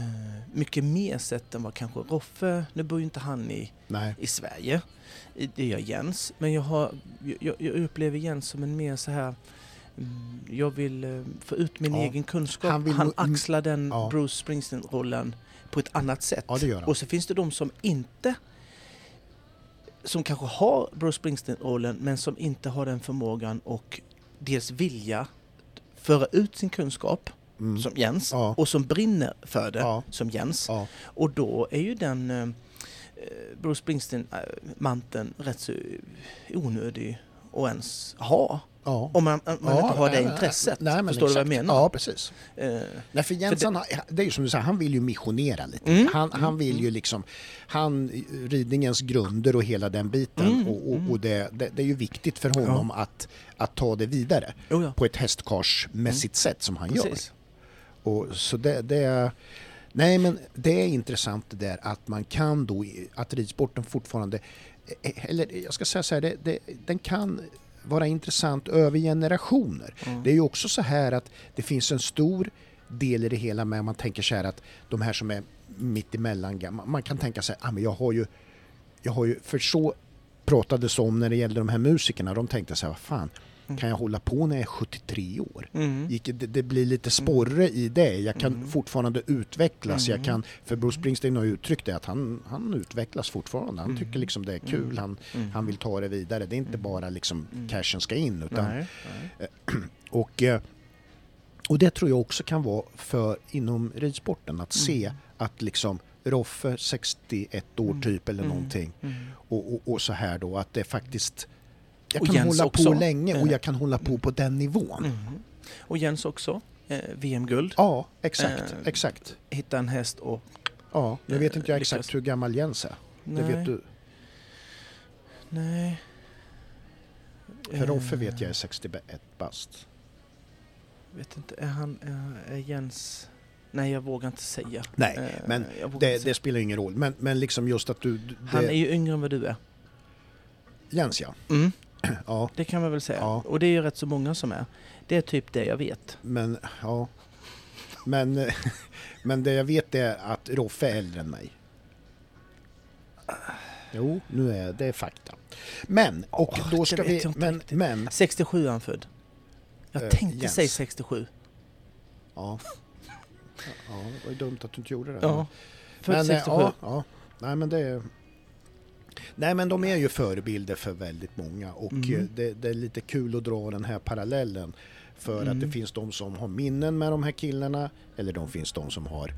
Speaker 1: mycket mer sätt än vad kanske Roffe, nu bor ju inte han i
Speaker 2: Nej.
Speaker 1: i Sverige. I- Det gör Jens. Men jag, har, jag, jag upplever Jens som en mer så här... mm, Jag vill eh, få ut min
Speaker 2: Ja.
Speaker 1: egen kunskap.
Speaker 2: Han
Speaker 1: Han,
Speaker 2: vill nå-
Speaker 1: axlar den
Speaker 2: Ja.
Speaker 1: Bruce Springsteen-rollen på ett annat sätt.
Speaker 2: Ja, det gör han.
Speaker 1: Och så finns det de som inte som kanske har Bruce Springsteen-rollen men som inte har den förmågan och dels vilja föra ut sin kunskap,
Speaker 2: Mm.
Speaker 1: som Jens,
Speaker 2: Ja.
Speaker 1: och som brinner för det,
Speaker 2: Ja.
Speaker 1: som Jens.
Speaker 2: Ja.
Speaker 1: Och då är ju den eh, Bruce Springsteen-manteln rätt så onödig att ens ha.
Speaker 2: Ja.
Speaker 1: Om man, om man
Speaker 2: Ja,
Speaker 1: inte har det
Speaker 2: nej, nej,
Speaker 1: intresset.
Speaker 2: nej, men
Speaker 1: Förstår du vad jag
Speaker 2: exakt.
Speaker 1: menar?
Speaker 2: Ja, precis.
Speaker 1: Eh,
Speaker 2: Nej, för Jens, han, har- det är ju som du säger, han vill ju missionera lite.
Speaker 1: Mm.
Speaker 2: Han, han vill ju liksom, han, ridningens grunder och hela den biten.
Speaker 1: Mm.
Speaker 2: Och, och, och det, det, det är ju viktigt för honom att, att ta det vidare
Speaker 1: Oh ja.
Speaker 2: på ett hästkarsmässigt sätt som han
Speaker 1: Precis.
Speaker 2: gör. Och, så det, det är, nej men det är intressant det där att man kan då, i- att ridsporten fortfarande, eh, eller jag ska säga så här, det, det, den kan vara intressant över generationer. Det är ju också så här att det finns en stor del i det hela med om man tänker så här att de här som är mitt emellan, gam- man- man kan tänka sig ah, men jag har ju, jag har ju, för så pratades om när det gällde de här musikerna, de tänkte så här, vad fan,
Speaker 1: Mm.
Speaker 2: kan jag hålla på när jag är 73 år?
Speaker 1: Mm.
Speaker 2: gick, det, det blir lite sporre i det. Jag kan
Speaker 1: Mm.
Speaker 2: fortfarande utvecklas.
Speaker 1: Mm.
Speaker 2: Jag kan, för Bruce Springsteen har ju uttryckt det att han, han utvecklas fortfarande. Han
Speaker 1: Mm.
Speaker 2: tycker liksom det är kul.
Speaker 1: Mm.
Speaker 2: Han,
Speaker 1: Mm.
Speaker 2: han vill ta det vidare. Det är inte
Speaker 1: Mm.
Speaker 2: bara liksom
Speaker 1: Mm.
Speaker 2: cashen ska in. Utan,
Speaker 1: Nej, nej.
Speaker 2: och, eh, och det tror jag också kan vara för inom ridsporten. Att se
Speaker 1: Mm.
Speaker 2: att liksom Roffe 61 år
Speaker 1: Mm.
Speaker 2: typ eller
Speaker 1: Mm.
Speaker 2: någonting.
Speaker 1: Mm.
Speaker 2: Och, och, och så här då att det faktiskt jag
Speaker 1: Och
Speaker 2: kan
Speaker 1: Jens
Speaker 2: hålla
Speaker 1: också.
Speaker 2: på länge och
Speaker 1: Eh.
Speaker 2: jag kan hålla på på den nivån.
Speaker 1: Mm. Och Jens också. Eh, VM-guld.
Speaker 2: Ja, exakt,
Speaker 1: Eh.
Speaker 2: exakt.
Speaker 1: Hitta en häst och...
Speaker 2: Ja, jag vet inte
Speaker 1: Eh,
Speaker 2: exakt
Speaker 1: lyckas.
Speaker 2: hur gammal Jens är.
Speaker 1: Nej.
Speaker 2: Det vet du.
Speaker 1: Nej.
Speaker 2: För Roffe
Speaker 1: Eh,
Speaker 2: vet jag är 61 bast.
Speaker 1: Vet inte. Är han... eh, Är Jens... Nej, jag vågar inte säga.
Speaker 2: Nej,
Speaker 1: Eh,
Speaker 2: men
Speaker 1: jag vågar inte
Speaker 2: det,
Speaker 1: säga.
Speaker 2: det spelar ingen roll. Men, men liksom just att du... du-
Speaker 1: Han
Speaker 2: det,
Speaker 1: är ju yngre än vad du är.
Speaker 2: Jens ja. [clears throat]
Speaker 1: Mm.
Speaker 2: ja.
Speaker 1: Det kan man väl säga.
Speaker 2: Ja.
Speaker 1: Och det är ju rätt så många som är. Det är typ det jag vet.
Speaker 2: Men, ja. Men, [laughs] eh, men det jag vet är att Roffe är äldre än mig. Jo, nu är det är fakta. Men, och
Speaker 1: Åh,
Speaker 2: då
Speaker 1: det
Speaker 2: ska
Speaker 1: vet
Speaker 2: vi...
Speaker 1: jag inte
Speaker 2: Men,
Speaker 1: riktigt.
Speaker 2: men,
Speaker 1: 67 är han född. Jag
Speaker 2: Eh,
Speaker 1: tänkte
Speaker 2: Jens.
Speaker 1: säga 67.
Speaker 2: ja. Ja, det var ju dumt att du inte gjorde det.
Speaker 1: Ja. Född
Speaker 2: Men, eh,
Speaker 1: 67.
Speaker 2: Ja, ja. Nej, men det är... Nej men de är ju förebilder för väldigt många och
Speaker 1: Mm.
Speaker 2: eh, det, det är lite kul att dra den här parallellen. För att det
Speaker 1: Mm.
Speaker 2: finns de som har minnen med de här killarna eller de finns de som har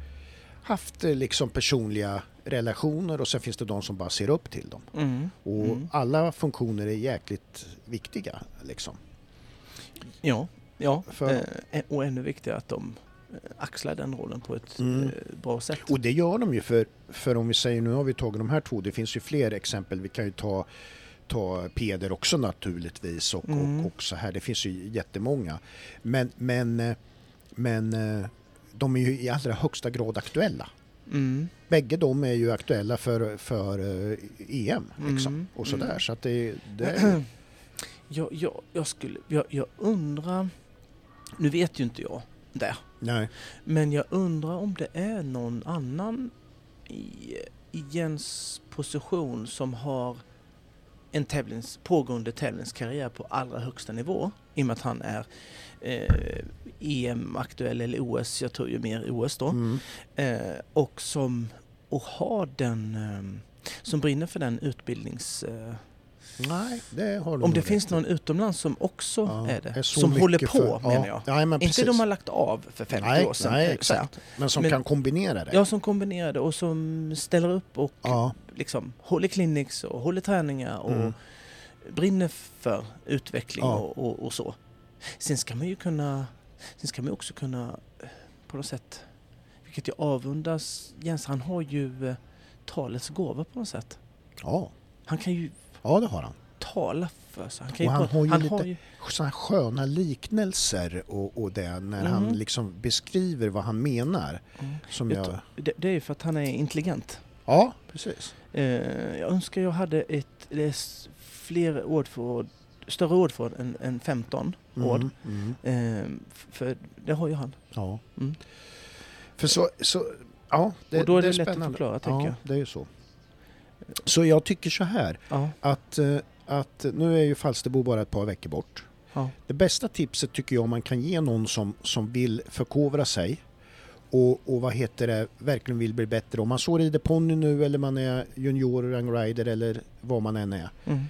Speaker 2: haft eh, liksom personliga relationer och sen finns det de som bara ser upp till dem.
Speaker 1: Mm.
Speaker 2: Och
Speaker 1: Mm.
Speaker 2: alla funktioner är jäkligt viktiga liksom.
Speaker 1: Ja. Ja.
Speaker 2: För-
Speaker 1: Eh, och ännu viktigare att de eh, axlar den rollen på ett
Speaker 2: Mm.
Speaker 1: eh, bra sätt.
Speaker 2: Och det gör de ju för, för om vi säger nu har vi tagit de här två, det finns ju fler exempel. Vi kan ju ta, ta Peder också naturligtvis och,
Speaker 1: Mm.
Speaker 2: och, och så här. Det finns ju jättemånga. Men, men, eh, men eh, de är ju i allra högsta grad aktuella.
Speaker 1: Mm.
Speaker 2: Bägge de är ju aktuella för, för eh, EM liksom.
Speaker 1: Mm,
Speaker 2: och sådär.
Speaker 1: mm.
Speaker 2: Så att det,
Speaker 1: [clears throat]
Speaker 2: det är,
Speaker 1: Jag, jag, jag, skulle, jag, jag undrar... Nu vet ju inte jag det.
Speaker 2: nej.
Speaker 1: Men jag undrar om det är någon annan i, i Jens position som har en tävlings, pågående tävlingskarriär på allra högsta nivå. I och med att han är eh, EM-aktuell eller OS, jag tror ju mer OS då.
Speaker 2: Mm.
Speaker 1: Eh, och som och har den, eh, som brinner för den utbildnings... Eh,
Speaker 2: nej, det har de
Speaker 1: om
Speaker 2: nog
Speaker 1: det
Speaker 2: rätt
Speaker 1: finns
Speaker 2: i.
Speaker 1: någon utomlands som också
Speaker 2: Ja,
Speaker 1: är det,
Speaker 2: är så
Speaker 1: som
Speaker 2: mycket
Speaker 1: håller på
Speaker 2: för- ja,
Speaker 1: menar jag.
Speaker 2: Nej, men precis.
Speaker 1: Inte de har lagt av för 50
Speaker 2: nej,
Speaker 1: år sedan.
Speaker 2: nej,
Speaker 1: eh, så här.
Speaker 2: exakt. Men som
Speaker 1: Men-
Speaker 2: kan kombinera det.
Speaker 1: Ja, som kombinerar det och som ställer upp och
Speaker 2: ja.
Speaker 1: liksom håller clinics och håller träningar och
Speaker 2: Mm.
Speaker 1: brinner för utveckling
Speaker 2: Ja.
Speaker 1: och, och, och så. Sen ska man ju kunna, sen ska man ju också kunna eh, på något sätt, vilket jag avundas Jens, han har ju eh, talets gåva på något sätt.
Speaker 2: ja.
Speaker 1: Han kan ju
Speaker 2: Ja, det har han.
Speaker 1: tala för sig. Han, kan ju
Speaker 2: Och han
Speaker 1: tala-
Speaker 2: har ju lite-
Speaker 1: har ju
Speaker 2: Sådana sköna liknelser och, och det när
Speaker 1: Mhm.
Speaker 2: han liksom beskriver vad han menar.
Speaker 1: Mm.
Speaker 2: Som
Speaker 1: Jag
Speaker 2: jag...
Speaker 1: tror- det, det är ju för att han är intelligent.
Speaker 2: Ja, precis.
Speaker 1: Eh, jag önskar jag hade ett, det är s- fler ord för, större ord för än, än 15 ord.
Speaker 2: Mm, mm,
Speaker 1: Ehm, f- för det har ju han.
Speaker 2: ja.
Speaker 1: Mm.
Speaker 2: För så, så, ja, det,
Speaker 1: och då är det, lätt
Speaker 2: spännande.
Speaker 1: att förklara, tänker
Speaker 2: Ja,
Speaker 1: jag.
Speaker 2: det är ju så. Så jag tycker så här
Speaker 1: Ja.
Speaker 2: att, eh, att nu är ju Falsterbo bara ett par veckor bort.
Speaker 1: Ja.
Speaker 2: Det bästa tipset tycker jag man kan ge någon som, som vill förkovra sig och, och vad heter det, verkligen vill bli bättre. Om man så rider ponny nu eller man är junior rang rider eller vad man än är.
Speaker 1: Mm.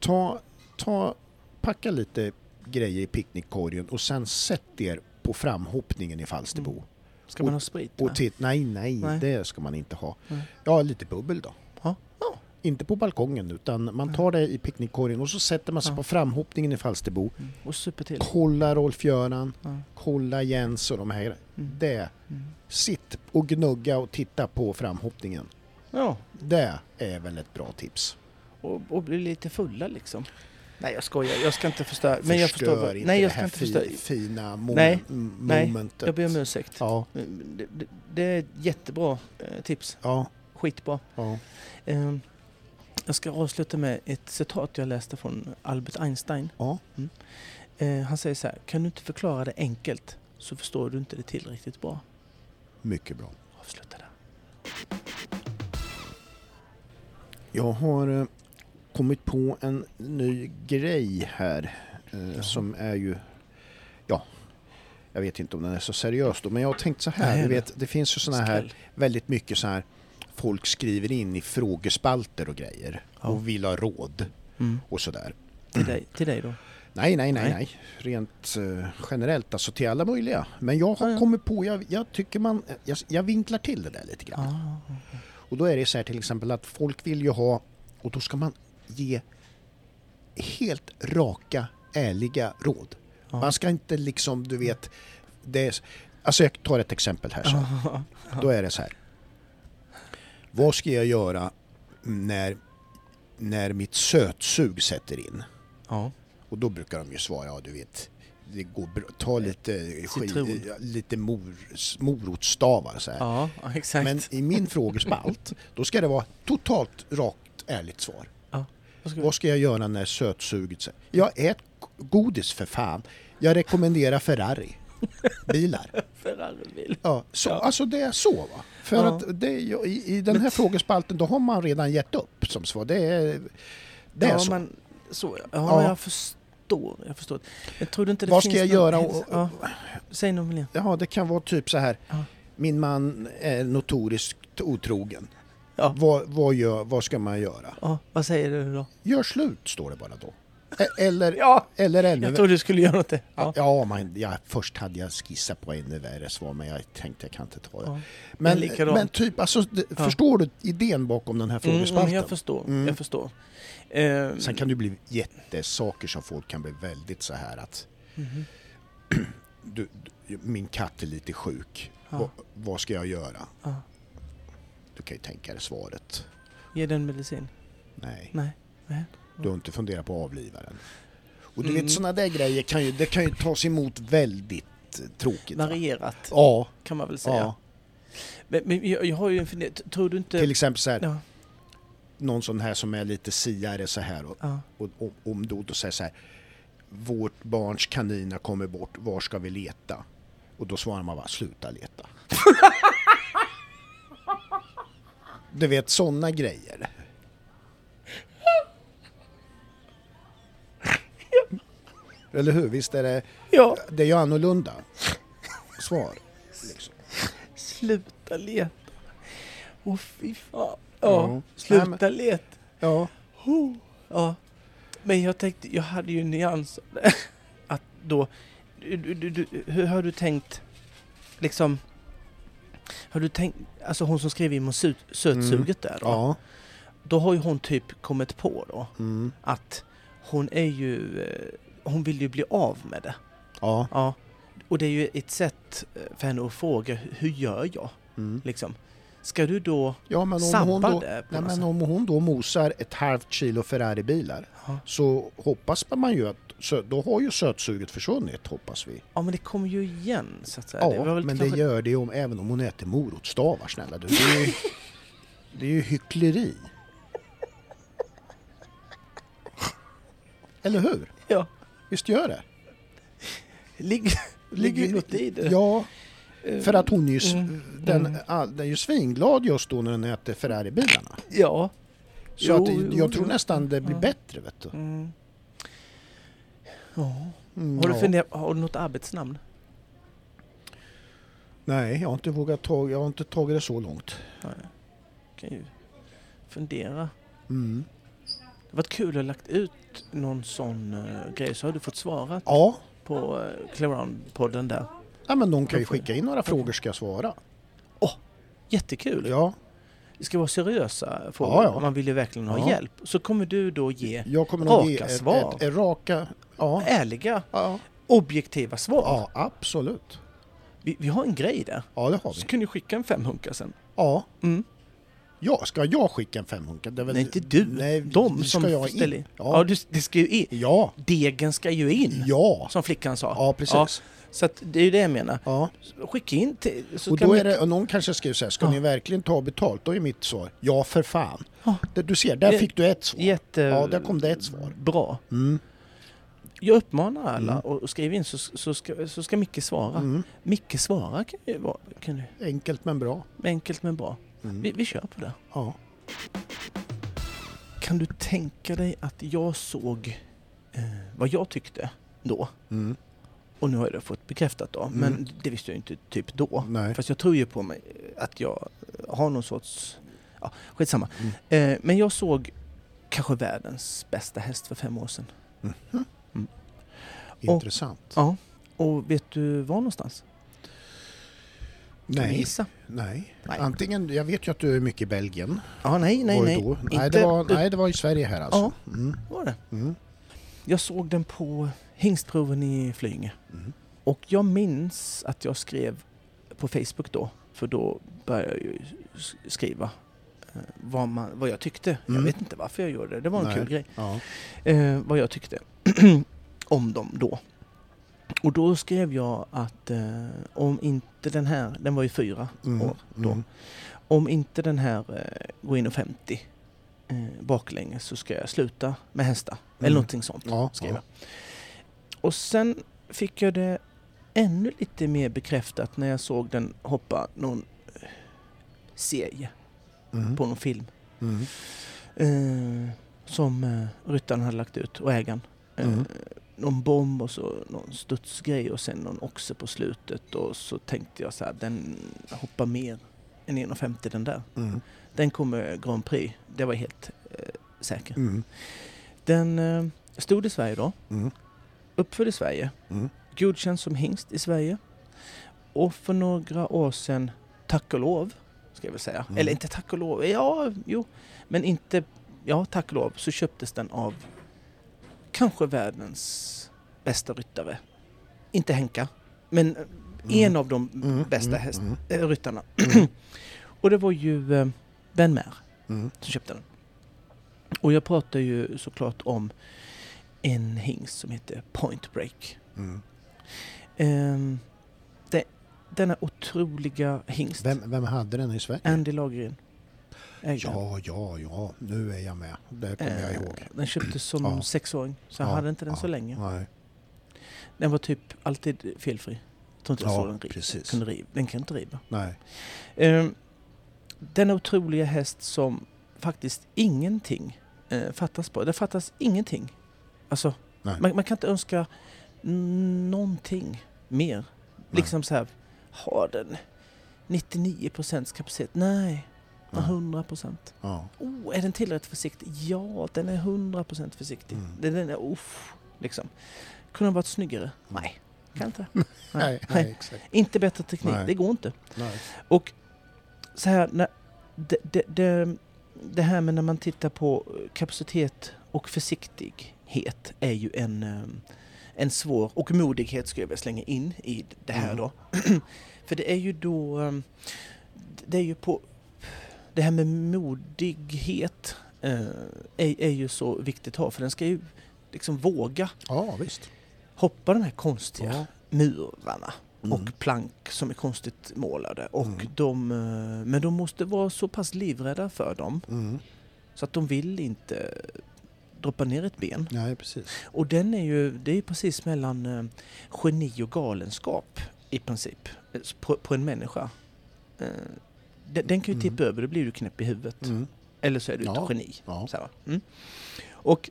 Speaker 2: ta, ta, packa lite grejer i picknickkorgen och sen sätt er på framhoppningen i Falsterbo.
Speaker 1: Mm. Ska man ha sprit?
Speaker 2: Och
Speaker 1: med?
Speaker 2: titt, nej, nej,
Speaker 1: Nej.
Speaker 2: det ska man inte ha.
Speaker 1: Nej.
Speaker 2: Ja, lite bubbel då.
Speaker 1: Ja. Ja.
Speaker 2: Inte på balkongen utan man tar det i picknickkorgen och så sätter man sig
Speaker 1: Ja.
Speaker 2: på framhoppningen i Falsterbo.
Speaker 1: Mm. Och super till?
Speaker 2: Kolla Rolf-Göran,
Speaker 1: Ja.
Speaker 2: kolla Jens och de här.
Speaker 1: Mm.
Speaker 2: Det,
Speaker 1: Mm.
Speaker 2: sitt och gnugga och titta på framhoppningen.
Speaker 1: ja.
Speaker 2: Det är väl ett bra tips.
Speaker 1: Och, och bli lite fulla liksom. Nej jag skojar, jag ska inte förstöra. Men jag förstår. vad-
Speaker 2: inte
Speaker 1: Nej jag
Speaker 2: det
Speaker 1: ska
Speaker 2: här
Speaker 1: inte
Speaker 2: fi-
Speaker 1: förstöra.
Speaker 2: fina mom-
Speaker 1: Nej,
Speaker 2: m-
Speaker 1: nej,
Speaker 2: momentet.
Speaker 1: Jag ber om ursäkt. Mm,
Speaker 2: Ja,
Speaker 1: Det, det, det är ett jättebra eh, tips.
Speaker 2: ja,
Speaker 1: Skitbra.
Speaker 2: ja.
Speaker 1: Ehm, jag ska avsluta med ett citat jag läste från Albert Einstein. Ehm,
Speaker 2: Ja.
Speaker 1: Mm. Eh, han säger så här, kan du inte förklara det enkelt så förstår du inte det tillräckligt bra.
Speaker 2: Mycket bra.
Speaker 1: Avsluta där.
Speaker 2: Jag har eh, kommit på en ny grej här eh,
Speaker 1: Jaha.
Speaker 2: som är ju, ja, jag vet inte om den är så seriös då, men jag har tänkt så här,
Speaker 1: Nej,
Speaker 2: du
Speaker 1: nej.
Speaker 2: vet, det finns ju sådana här,
Speaker 1: Skräll.
Speaker 2: väldigt mycket så här, folk skriver in i frågespalter och grejer
Speaker 1: Ja.
Speaker 2: och vill ha råd
Speaker 1: Mm.
Speaker 2: och sådär.
Speaker 1: Till, dig, till dig då?
Speaker 2: Nej, nej, nej,
Speaker 1: Nej.
Speaker 2: nej. Rent eh, generellt, alltså till alla möjliga. Men jag har
Speaker 1: Ja, ja.
Speaker 2: kommit på, jag, jag tycker man, eh, jag, jag vinklar till det där lite grann.
Speaker 1: Ah.
Speaker 2: Och då är det så här till exempel att folk vill ju ha, och då ska man ge helt raka, ärliga råd.
Speaker 1: Ja.
Speaker 2: Man ska inte liksom, du vet, det är, alltså jag tar ett exempel här. Så.
Speaker 1: Ah.
Speaker 2: Då är det så här. Vad ska jag göra när, när mitt sötsug sätter in?
Speaker 1: Ja.
Speaker 2: Och då brukar de ju svara, ja du vet, det går bra. ta lite,
Speaker 1: Citron.
Speaker 2: skid, lite mor, morotstavar så här.
Speaker 1: ja, ja, exakt.
Speaker 2: Men i min frågespalt, då ska det vara totalt rakt ärligt svar.
Speaker 1: Vad ska vi-
Speaker 2: Vad ska jag göra när sötsuget säger? Jag ät godis för fan. Jag rekommenderar Ferrari. Bilar.
Speaker 1: Ferraribil.
Speaker 2: Ja, så,
Speaker 1: Ja.
Speaker 2: Alltså det är så va. För
Speaker 1: Ja.
Speaker 2: att det, är ju- i, i den här frågespalten då har man redan gett upp som svar. Det är, det är
Speaker 1: ja,
Speaker 2: så.
Speaker 1: Men, så ja. ja,
Speaker 2: Ja.
Speaker 1: jag förstår. Jag förstår. Men tror du inte det
Speaker 2: Vad ska
Speaker 1: finns
Speaker 2: jag
Speaker 1: någon-
Speaker 2: göra? Och,
Speaker 1: Ja, säg någon miljö.
Speaker 2: ja, det kan vara typ så här.
Speaker 1: Ja.
Speaker 2: Min man är notoriskt otrogen.
Speaker 1: Ja.
Speaker 2: Vad, vad, gör, vad ska man göra?
Speaker 1: Ja, vad säger du då?
Speaker 2: Gör slut står det bara då. E- Eller,
Speaker 1: Ja,
Speaker 2: eller ännu
Speaker 1: jag trodde du skulle göra något. där.
Speaker 2: Ja,
Speaker 1: Ja.
Speaker 2: ja man, ja, först hade jag skissat på ännu värre svar men jag tänkte jag kan inte ta det.
Speaker 1: Ja. Men
Speaker 2: Men,
Speaker 1: likadant.
Speaker 2: men typ, alltså, d-
Speaker 1: Ja.
Speaker 2: förstår du idén bakom den här
Speaker 1: Mm,
Speaker 2: frågespalten?
Speaker 1: jag förstår.
Speaker 2: Mm.
Speaker 1: Jag förstår. Ehm,
Speaker 2: Sen kan det ju bli jättesaker som folk kan bli väldigt så här att
Speaker 1: mhm.
Speaker 2: du, du, min katt är lite sjuk,
Speaker 1: Ja.
Speaker 2: Va, vad ska jag göra?
Speaker 1: Ja.
Speaker 2: Du kan ju tänka dig svaret.
Speaker 1: Ge den medicin.
Speaker 2: Nej,
Speaker 1: Nej.
Speaker 2: du har inte funderat på att avliva den. Och du
Speaker 1: Mm.
Speaker 2: vet sådana där grejer kan ju, det kan ju tas emot väldigt eh, tråkigt. va?
Speaker 1: Varierat
Speaker 2: Ja,
Speaker 1: kan man väl säga.
Speaker 2: ja.
Speaker 1: Men, men jag, jag har ju en fundering. T- Tror du inte...
Speaker 2: Till exempel så här,
Speaker 1: ja,
Speaker 2: någon sån här som är lite siare så här och,
Speaker 1: ja.
Speaker 2: och, och om då, då säger så här Vårt barns kaniner kommer bort, var ska vi leta? Och då svarar man bara sluta leta. [laughs] du vet sådana grejer. [laughs] Eller hur? Visst är det,
Speaker 1: ja,
Speaker 2: det är ju annorlunda svar. Liksom.
Speaker 1: sluta leta. Åh fy fan. Ja,
Speaker 2: Ja.
Speaker 1: sluta
Speaker 2: Nej,
Speaker 1: leta.
Speaker 2: Ja,
Speaker 1: Ho. Ja. Men jag tänkte, jag hade ju en nyans av det. [laughs] Att då, du, du, du, du, hur har du tänkt, liksom, har du tänkt, alltså hon som skrev in om sut- sötsuget där då,
Speaker 2: Mm. ja.
Speaker 1: då har ju hon typ kommit på då
Speaker 2: Mm,
Speaker 1: att hon är ju, eh, hon vill ju bli av med det.
Speaker 2: ja.
Speaker 1: Ja. Och det är ju ett sätt eh, för henne att fråga, "Hu- hur gör jag?
Speaker 2: Mm.
Speaker 1: Liksom. Ska du då
Speaker 2: Ja, men om hon
Speaker 1: sabba
Speaker 2: då,
Speaker 1: det? På
Speaker 2: Nej,
Speaker 1: något
Speaker 2: men
Speaker 1: sätt?
Speaker 2: om hon då mosar ett halvt kilo Ferraribilar
Speaker 1: Ja.
Speaker 2: så hoppas man ju att så, då har ju sötsuget försvunnit hoppas vi.
Speaker 1: ja men det kommer ju igen så att säga.
Speaker 2: Ja,
Speaker 1: Det var väl
Speaker 2: men
Speaker 1: kanske-
Speaker 2: det gör det ju om, även om hon äter morotstavar snälla du. Det är ju,
Speaker 1: [laughs]
Speaker 2: det är ju hyckleri. Eller hur?
Speaker 1: Ja.
Speaker 2: Visst gör det? [laughs]
Speaker 1: Ligger, ligger ju något i det.
Speaker 2: Ja,
Speaker 1: Eh,
Speaker 2: för att hon är ju, s-
Speaker 1: Mm.
Speaker 2: den,
Speaker 1: Mm.
Speaker 2: all- den är ju svinglad just då när den äter Ferraribilarna.
Speaker 1: ja.
Speaker 2: Så
Speaker 1: Jo,
Speaker 2: att,
Speaker 1: jo,
Speaker 2: jag tror
Speaker 1: jo.
Speaker 2: nästan det blir
Speaker 1: Ja.
Speaker 2: bättre vet du.
Speaker 1: Mm. Ja.
Speaker 2: Mm,
Speaker 1: Har, du
Speaker 2: ja.
Speaker 1: funderat, har du något arbetsnamn?
Speaker 2: Nej, jag har inte vågat ta, jag har inte tagit det så långt.
Speaker 1: Nej. Kan ju fundera.
Speaker 2: Mm.
Speaker 1: Det var kul att ha lagt ut någon sån eh, grej så har du fått svara
Speaker 2: Ja,
Speaker 1: på uh, Clearound-podden där.
Speaker 2: ja, men någon kan ju
Speaker 1: Då får-
Speaker 2: skicka in några frågor ska jag svara.
Speaker 1: Jättekul!
Speaker 2: Ja,
Speaker 1: Det ska vara seriösa frågor.
Speaker 2: Ja, ja.
Speaker 1: och Man vill ju verkligen ha
Speaker 2: Ja.
Speaker 1: hjälp. Så kommer du då ge
Speaker 2: jag kommer nog
Speaker 1: Raka
Speaker 2: ge ett,
Speaker 1: svar.
Speaker 2: ett, ett raka... Ja,
Speaker 1: ärliga,
Speaker 2: ja,
Speaker 1: objektiva svar.
Speaker 2: ja, absolut.
Speaker 1: Vi, vi har en grej där.
Speaker 2: Ja, det har
Speaker 1: Så
Speaker 2: vi.
Speaker 1: kan du skicka en femhunka sen.
Speaker 2: Ja.
Speaker 1: Mm.
Speaker 2: Ja, ska jag skicka en femhunka? Det är väl-
Speaker 1: Nej, inte du.
Speaker 2: Nej,
Speaker 1: De
Speaker 2: ska
Speaker 1: som
Speaker 2: jag in.
Speaker 1: ställer in. Ja,
Speaker 2: Ja,
Speaker 1: du, det ska ju in.
Speaker 2: ja,
Speaker 1: Degen ska ju in,
Speaker 2: ja,
Speaker 1: som flickan sa.
Speaker 2: ja, precis.
Speaker 1: så att det är ju det jag menar.
Speaker 2: Ja.
Speaker 1: Skicka in till... Så
Speaker 2: Och
Speaker 1: kan
Speaker 2: då
Speaker 1: vi-
Speaker 2: är det, och någon kanske skriver så här, ska
Speaker 1: Ja.
Speaker 2: ni verkligen ta betalt? Då är mitt svar, ja för fan.
Speaker 1: Ja.
Speaker 2: Det- Du ser, där
Speaker 1: Det-
Speaker 2: fick du ett svar.
Speaker 1: Jätte...
Speaker 2: Ja, där kom det ett svar.
Speaker 1: Bra.
Speaker 2: Mm.
Speaker 1: Jag uppmanar alla
Speaker 2: Mm.
Speaker 1: och skriv in så, så, ska, så ska Micke svara.
Speaker 2: Mm.
Speaker 1: Micke svara kan ju vara kan ju,
Speaker 2: Enkelt men bra.
Speaker 1: enkelt men bra.
Speaker 2: Mm.
Speaker 1: Vi, vi kör på det.
Speaker 2: Ja.
Speaker 1: Kan du tänka dig att jag såg eh, vad jag tyckte då?
Speaker 2: Mm.
Speaker 1: Och nu har jag det fått bekräftat då,
Speaker 2: Mm.
Speaker 1: men det visste jag inte typ då.
Speaker 2: Nej.
Speaker 1: Fast jag tror ju på mig eh, att jag eh, har någon sorts... Ja, skitsamma.
Speaker 2: Mm.
Speaker 1: Eh, men jag såg kanske världens bästa häst för fem år sedan.
Speaker 2: Mm.
Speaker 1: Mm.
Speaker 2: Intressant.
Speaker 1: Ja. Och vet du var någonstans? Kan du
Speaker 2: Nej.
Speaker 1: Gissa?
Speaker 2: Nej.
Speaker 1: Nej.
Speaker 2: Antingen, jag vet ju att du är mycket i Belgien.
Speaker 1: Ja, nej, nej,
Speaker 2: var det
Speaker 1: nej.
Speaker 2: Då? Nej,
Speaker 1: Inte-
Speaker 2: det var, nej, det var i Sverige här alltså. Mm.
Speaker 1: Var det?
Speaker 2: Mm.
Speaker 1: Jag såg den på hingstproven i Flyinge.
Speaker 2: Mm.
Speaker 1: Och jag minns att jag skrev på Facebook då, för då började jag ju s- skriva eh, vad, man, vad jag tyckte. Jag
Speaker 2: Mm.
Speaker 1: vet inte varför jag gjorde det, det var en
Speaker 2: Nej.
Speaker 1: kul grej.
Speaker 2: Ja.
Speaker 1: Eh, vad jag tyckte [clears throat] om dem då. Och då skrev jag att eh, om inte den här, den var ju fyra,
Speaker 2: Mm.
Speaker 1: år då.
Speaker 2: Mm.
Speaker 1: om inte den här eh, går in och 50 eh, baklänges så ska jag sluta med hästar. Eller
Speaker 2: Mm.
Speaker 1: någonting sånt
Speaker 2: Ja.
Speaker 1: skrev
Speaker 2: ja.
Speaker 1: jag. Och sen fick jag det ännu lite mer bekräftat när jag såg den hoppa någon eh, serie
Speaker 2: Mm.
Speaker 1: på någon film
Speaker 2: Mm.
Speaker 1: eh, som eh, ryttaren hade lagt ut och ägaren. Eh,
Speaker 2: Mm.
Speaker 1: Någon bomb och så någon studsgrej och sen någon oxe på slutet och så tänkte jag så här, den hoppar mer än 1,50 den där.
Speaker 2: Mm.
Speaker 1: Den kommer Grand Prix, det var jag helt eh, säker.
Speaker 2: Mm.
Speaker 1: Den eh, stod i Sverige då,
Speaker 2: Mm.
Speaker 1: uppfödd i Sverige,
Speaker 2: Mm.
Speaker 1: godkänd som hingst i Sverige och för några år sedan, tack och lov, ska jag väl säga,
Speaker 2: Mm.
Speaker 1: eller inte tack och lov, ja, jo, men inte, ja, tack och lov, så köptes den av kanske världens bästa ryttare. Inte Henka, men eh, en av de
Speaker 2: Mm.
Speaker 1: bästa
Speaker 2: Mm.
Speaker 1: häst,
Speaker 2: Mm.
Speaker 1: eh, ryttarna. [clears throat] och det var ju eh, Ben Mer
Speaker 2: Mm.
Speaker 1: som köpte den. Och jag pratar ju såklart om en hingst som heter Point Break.
Speaker 2: Mm.
Speaker 1: Ehm, det, denna otroliga hingst,
Speaker 2: Vem, vem hade den i Sverige?
Speaker 1: Andy Lagergren. ägaren.
Speaker 2: Ja, ja, ja. Nu är jag med. Det kommer jag
Speaker 1: Ehm,
Speaker 2: ihåg.
Speaker 1: Den köptes som
Speaker 2: Ja.
Speaker 1: sexåring, så jag
Speaker 2: Ja,
Speaker 1: hade inte den så
Speaker 2: ja,
Speaker 1: länge.
Speaker 2: Nej.
Speaker 1: Den var typ alltid felfri. Jag tror inte jag
Speaker 2: Ja,
Speaker 1: såg den riva.
Speaker 2: precis.
Speaker 1: Kunde riva. Den kan inte riva.
Speaker 2: Nej.
Speaker 1: Ehm, denna otroliga häst som faktiskt ingenting eh, fattas på. Det fattas ingenting. Alltså,
Speaker 2: Nej.
Speaker 1: man, man kan inte önska n- någonting mer. Liksom så här, har den 99% kapacitet? Nej, den har
Speaker 2: Nej.
Speaker 1: 100%.
Speaker 2: Ja.
Speaker 1: Oh, är den tillräckligt försiktig? Ja, den är 100% försiktig.
Speaker 2: Mm.
Speaker 1: Den, den är uff, liksom. Kunde den varit snyggare? Nej, kan inte.
Speaker 2: Nej, nej, exakt.
Speaker 1: Inte bättre teknik,
Speaker 2: Nej.
Speaker 1: det går inte.
Speaker 2: Nej.
Speaker 1: Och så här, när, det, det, det, det här med när man tittar på eh, kapacitet och försiktighet är ju en, eh, en svår, och modighet skulle jag vilja slänga in i det här
Speaker 2: Mm.
Speaker 1: då. [clears throat] För det är ju då, eh, det är ju på, det här med modighet eh, är, är ju så viktigt att ha för den ska ju liksom våga
Speaker 2: Ja, visst.
Speaker 1: hoppa de här konstiga
Speaker 2: Ja.
Speaker 1: murarna
Speaker 2: Mm.
Speaker 1: och plank som är konstigt målade. Och
Speaker 2: Mm.
Speaker 1: de, eh, men de måste vara så pass livrädda för dem
Speaker 2: Mm.
Speaker 1: så att de vill inte droppa ner ett ben.
Speaker 2: Nej, precis.
Speaker 1: Och den är ju, det är ju precis mellan eh, geni och galenskap i princip eh, på, på en människa. Eh, Den, den kan ju
Speaker 2: Mm.
Speaker 1: tippa över, då blir du knäpp i huvudet.
Speaker 2: Mm.
Speaker 1: Eller så är du ett
Speaker 2: Ja.
Speaker 1: geni.
Speaker 2: Ja.
Speaker 1: Så här, va? mm. Och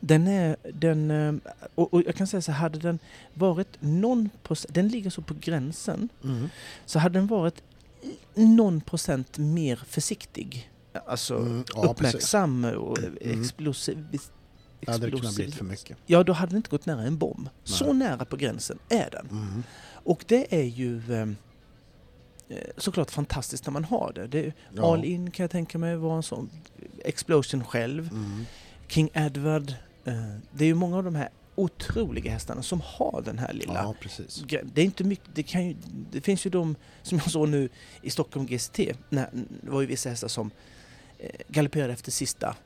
Speaker 1: den är, den, eh, och, och jag kan säga så här, hade den varit någon procent, den ligger så på gränsen,
Speaker 2: Mm.
Speaker 1: så hade den varit någon procent mer försiktig, alltså
Speaker 2: Mm. Ja, precis.
Speaker 1: uppmärksam och
Speaker 2: Mm.
Speaker 1: explosiv.
Speaker 2: Det hade det kunnat
Speaker 1: explosiv-
Speaker 2: blivit för mycket.
Speaker 1: Ja, då hade den inte gått nära en bomb. Så
Speaker 2: Nej.
Speaker 1: nära på gränsen är den.
Speaker 2: Mm.
Speaker 1: Och det är ju eh, eh, såklart fantastiskt när man har det. det
Speaker 2: Ja.
Speaker 1: All In kan jag tänka mig var en sån. Explosion själv.
Speaker 2: Mm.
Speaker 1: King Edward. Eh, det är ju många av de här otroliga hästarna som har den här lilla...
Speaker 2: Ja, precis.
Speaker 1: gre- Det, är inte mycket, det, kan ju, det finns ju de som jag såg nu i Stockholm GST. När, det var ju vissa hästar som eh, galopperade efter sista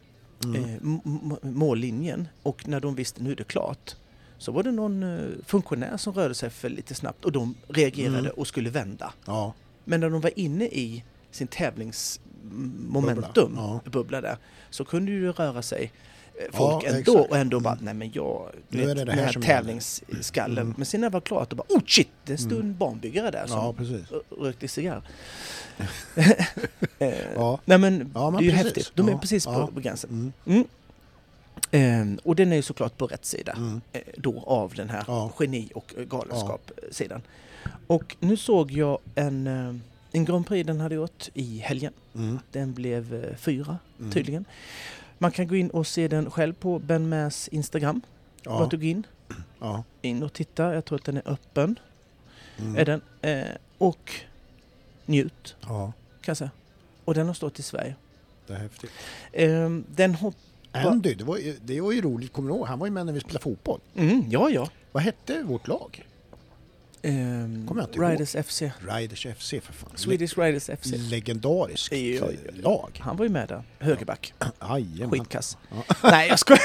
Speaker 2: Mm.
Speaker 1: eh, m- m- mållinjen och när de visste nu är det klart så var det någon eh, funktionär som rörde sig för lite snabbt och de reagerade
Speaker 2: Mm.
Speaker 1: och skulle vända.
Speaker 2: Ja.
Speaker 1: Men när de var inne i sin tävlingsmomentum,
Speaker 2: Bubbla,
Speaker 1: bubbla där, så kunde ju det röra sig eh, folk
Speaker 2: Ja,
Speaker 1: ändå
Speaker 2: exakt.
Speaker 1: och ändå
Speaker 2: Mm.
Speaker 1: bara, nej men jag, du
Speaker 2: Nu är
Speaker 1: vet,
Speaker 2: det det
Speaker 1: den
Speaker 2: här
Speaker 1: här
Speaker 2: som gäller.
Speaker 1: tävlingsskallen.
Speaker 2: Mm.
Speaker 1: Men sen när jag var klart och bara, oh shit, det stod en barnbyggare där som
Speaker 2: Ja, precis.
Speaker 1: r- rökte
Speaker 2: [laughs]
Speaker 1: cigarr. Eh,
Speaker 2: Ja.
Speaker 1: Nej men,
Speaker 2: Ja, men
Speaker 1: det är ju
Speaker 2: precis.
Speaker 1: häftigt. De är
Speaker 2: Ja,
Speaker 1: precis på,
Speaker 2: ja.
Speaker 1: på gränsen. Mm.
Speaker 2: Mm.
Speaker 1: Eh, och den är ju såklart på rätt sida
Speaker 2: Mm.
Speaker 1: eh, då av den här
Speaker 2: Ja.
Speaker 1: geni och eh, galenskap-sidan. Och nu såg jag en, eh, en Grand Prix den hade gjort i helgen.
Speaker 2: Mm.
Speaker 1: Den blev eh, fyra
Speaker 2: Mm.
Speaker 1: tydligen. Man kan gå in och se den själv på Ben Maes Instagram. Bara
Speaker 2: Ja.
Speaker 1: du går in,
Speaker 2: ja.
Speaker 1: in och titta. Jag tror att den är öppen.
Speaker 2: Mm.
Speaker 1: Är den. Eh, och njut kan
Speaker 2: Ja,
Speaker 1: jag säga. Och den har stått i Sverige.
Speaker 2: det är häftigt.
Speaker 1: Eh, den hopp...
Speaker 2: Andy, det var, ju, det var ju roligt, kommer du ihåg? Han var ju med när vi spelade fotboll.
Speaker 1: Mm, ja, ja.
Speaker 2: Vad hette vårt lag?
Speaker 1: Ehm,
Speaker 2: Kommer jag inte ihåg.
Speaker 1: Riders FC.
Speaker 2: Riders FC för fan.
Speaker 1: Swedish Riders FC.
Speaker 2: Le- legendariskt
Speaker 1: Oj, oj,
Speaker 2: eh,
Speaker 1: oj.
Speaker 2: lag.
Speaker 1: Han var ju med där. Högerback.
Speaker 2: Jajamän.
Speaker 1: Skitkass.
Speaker 2: Ja.
Speaker 1: [laughs] Nej, jag skojar.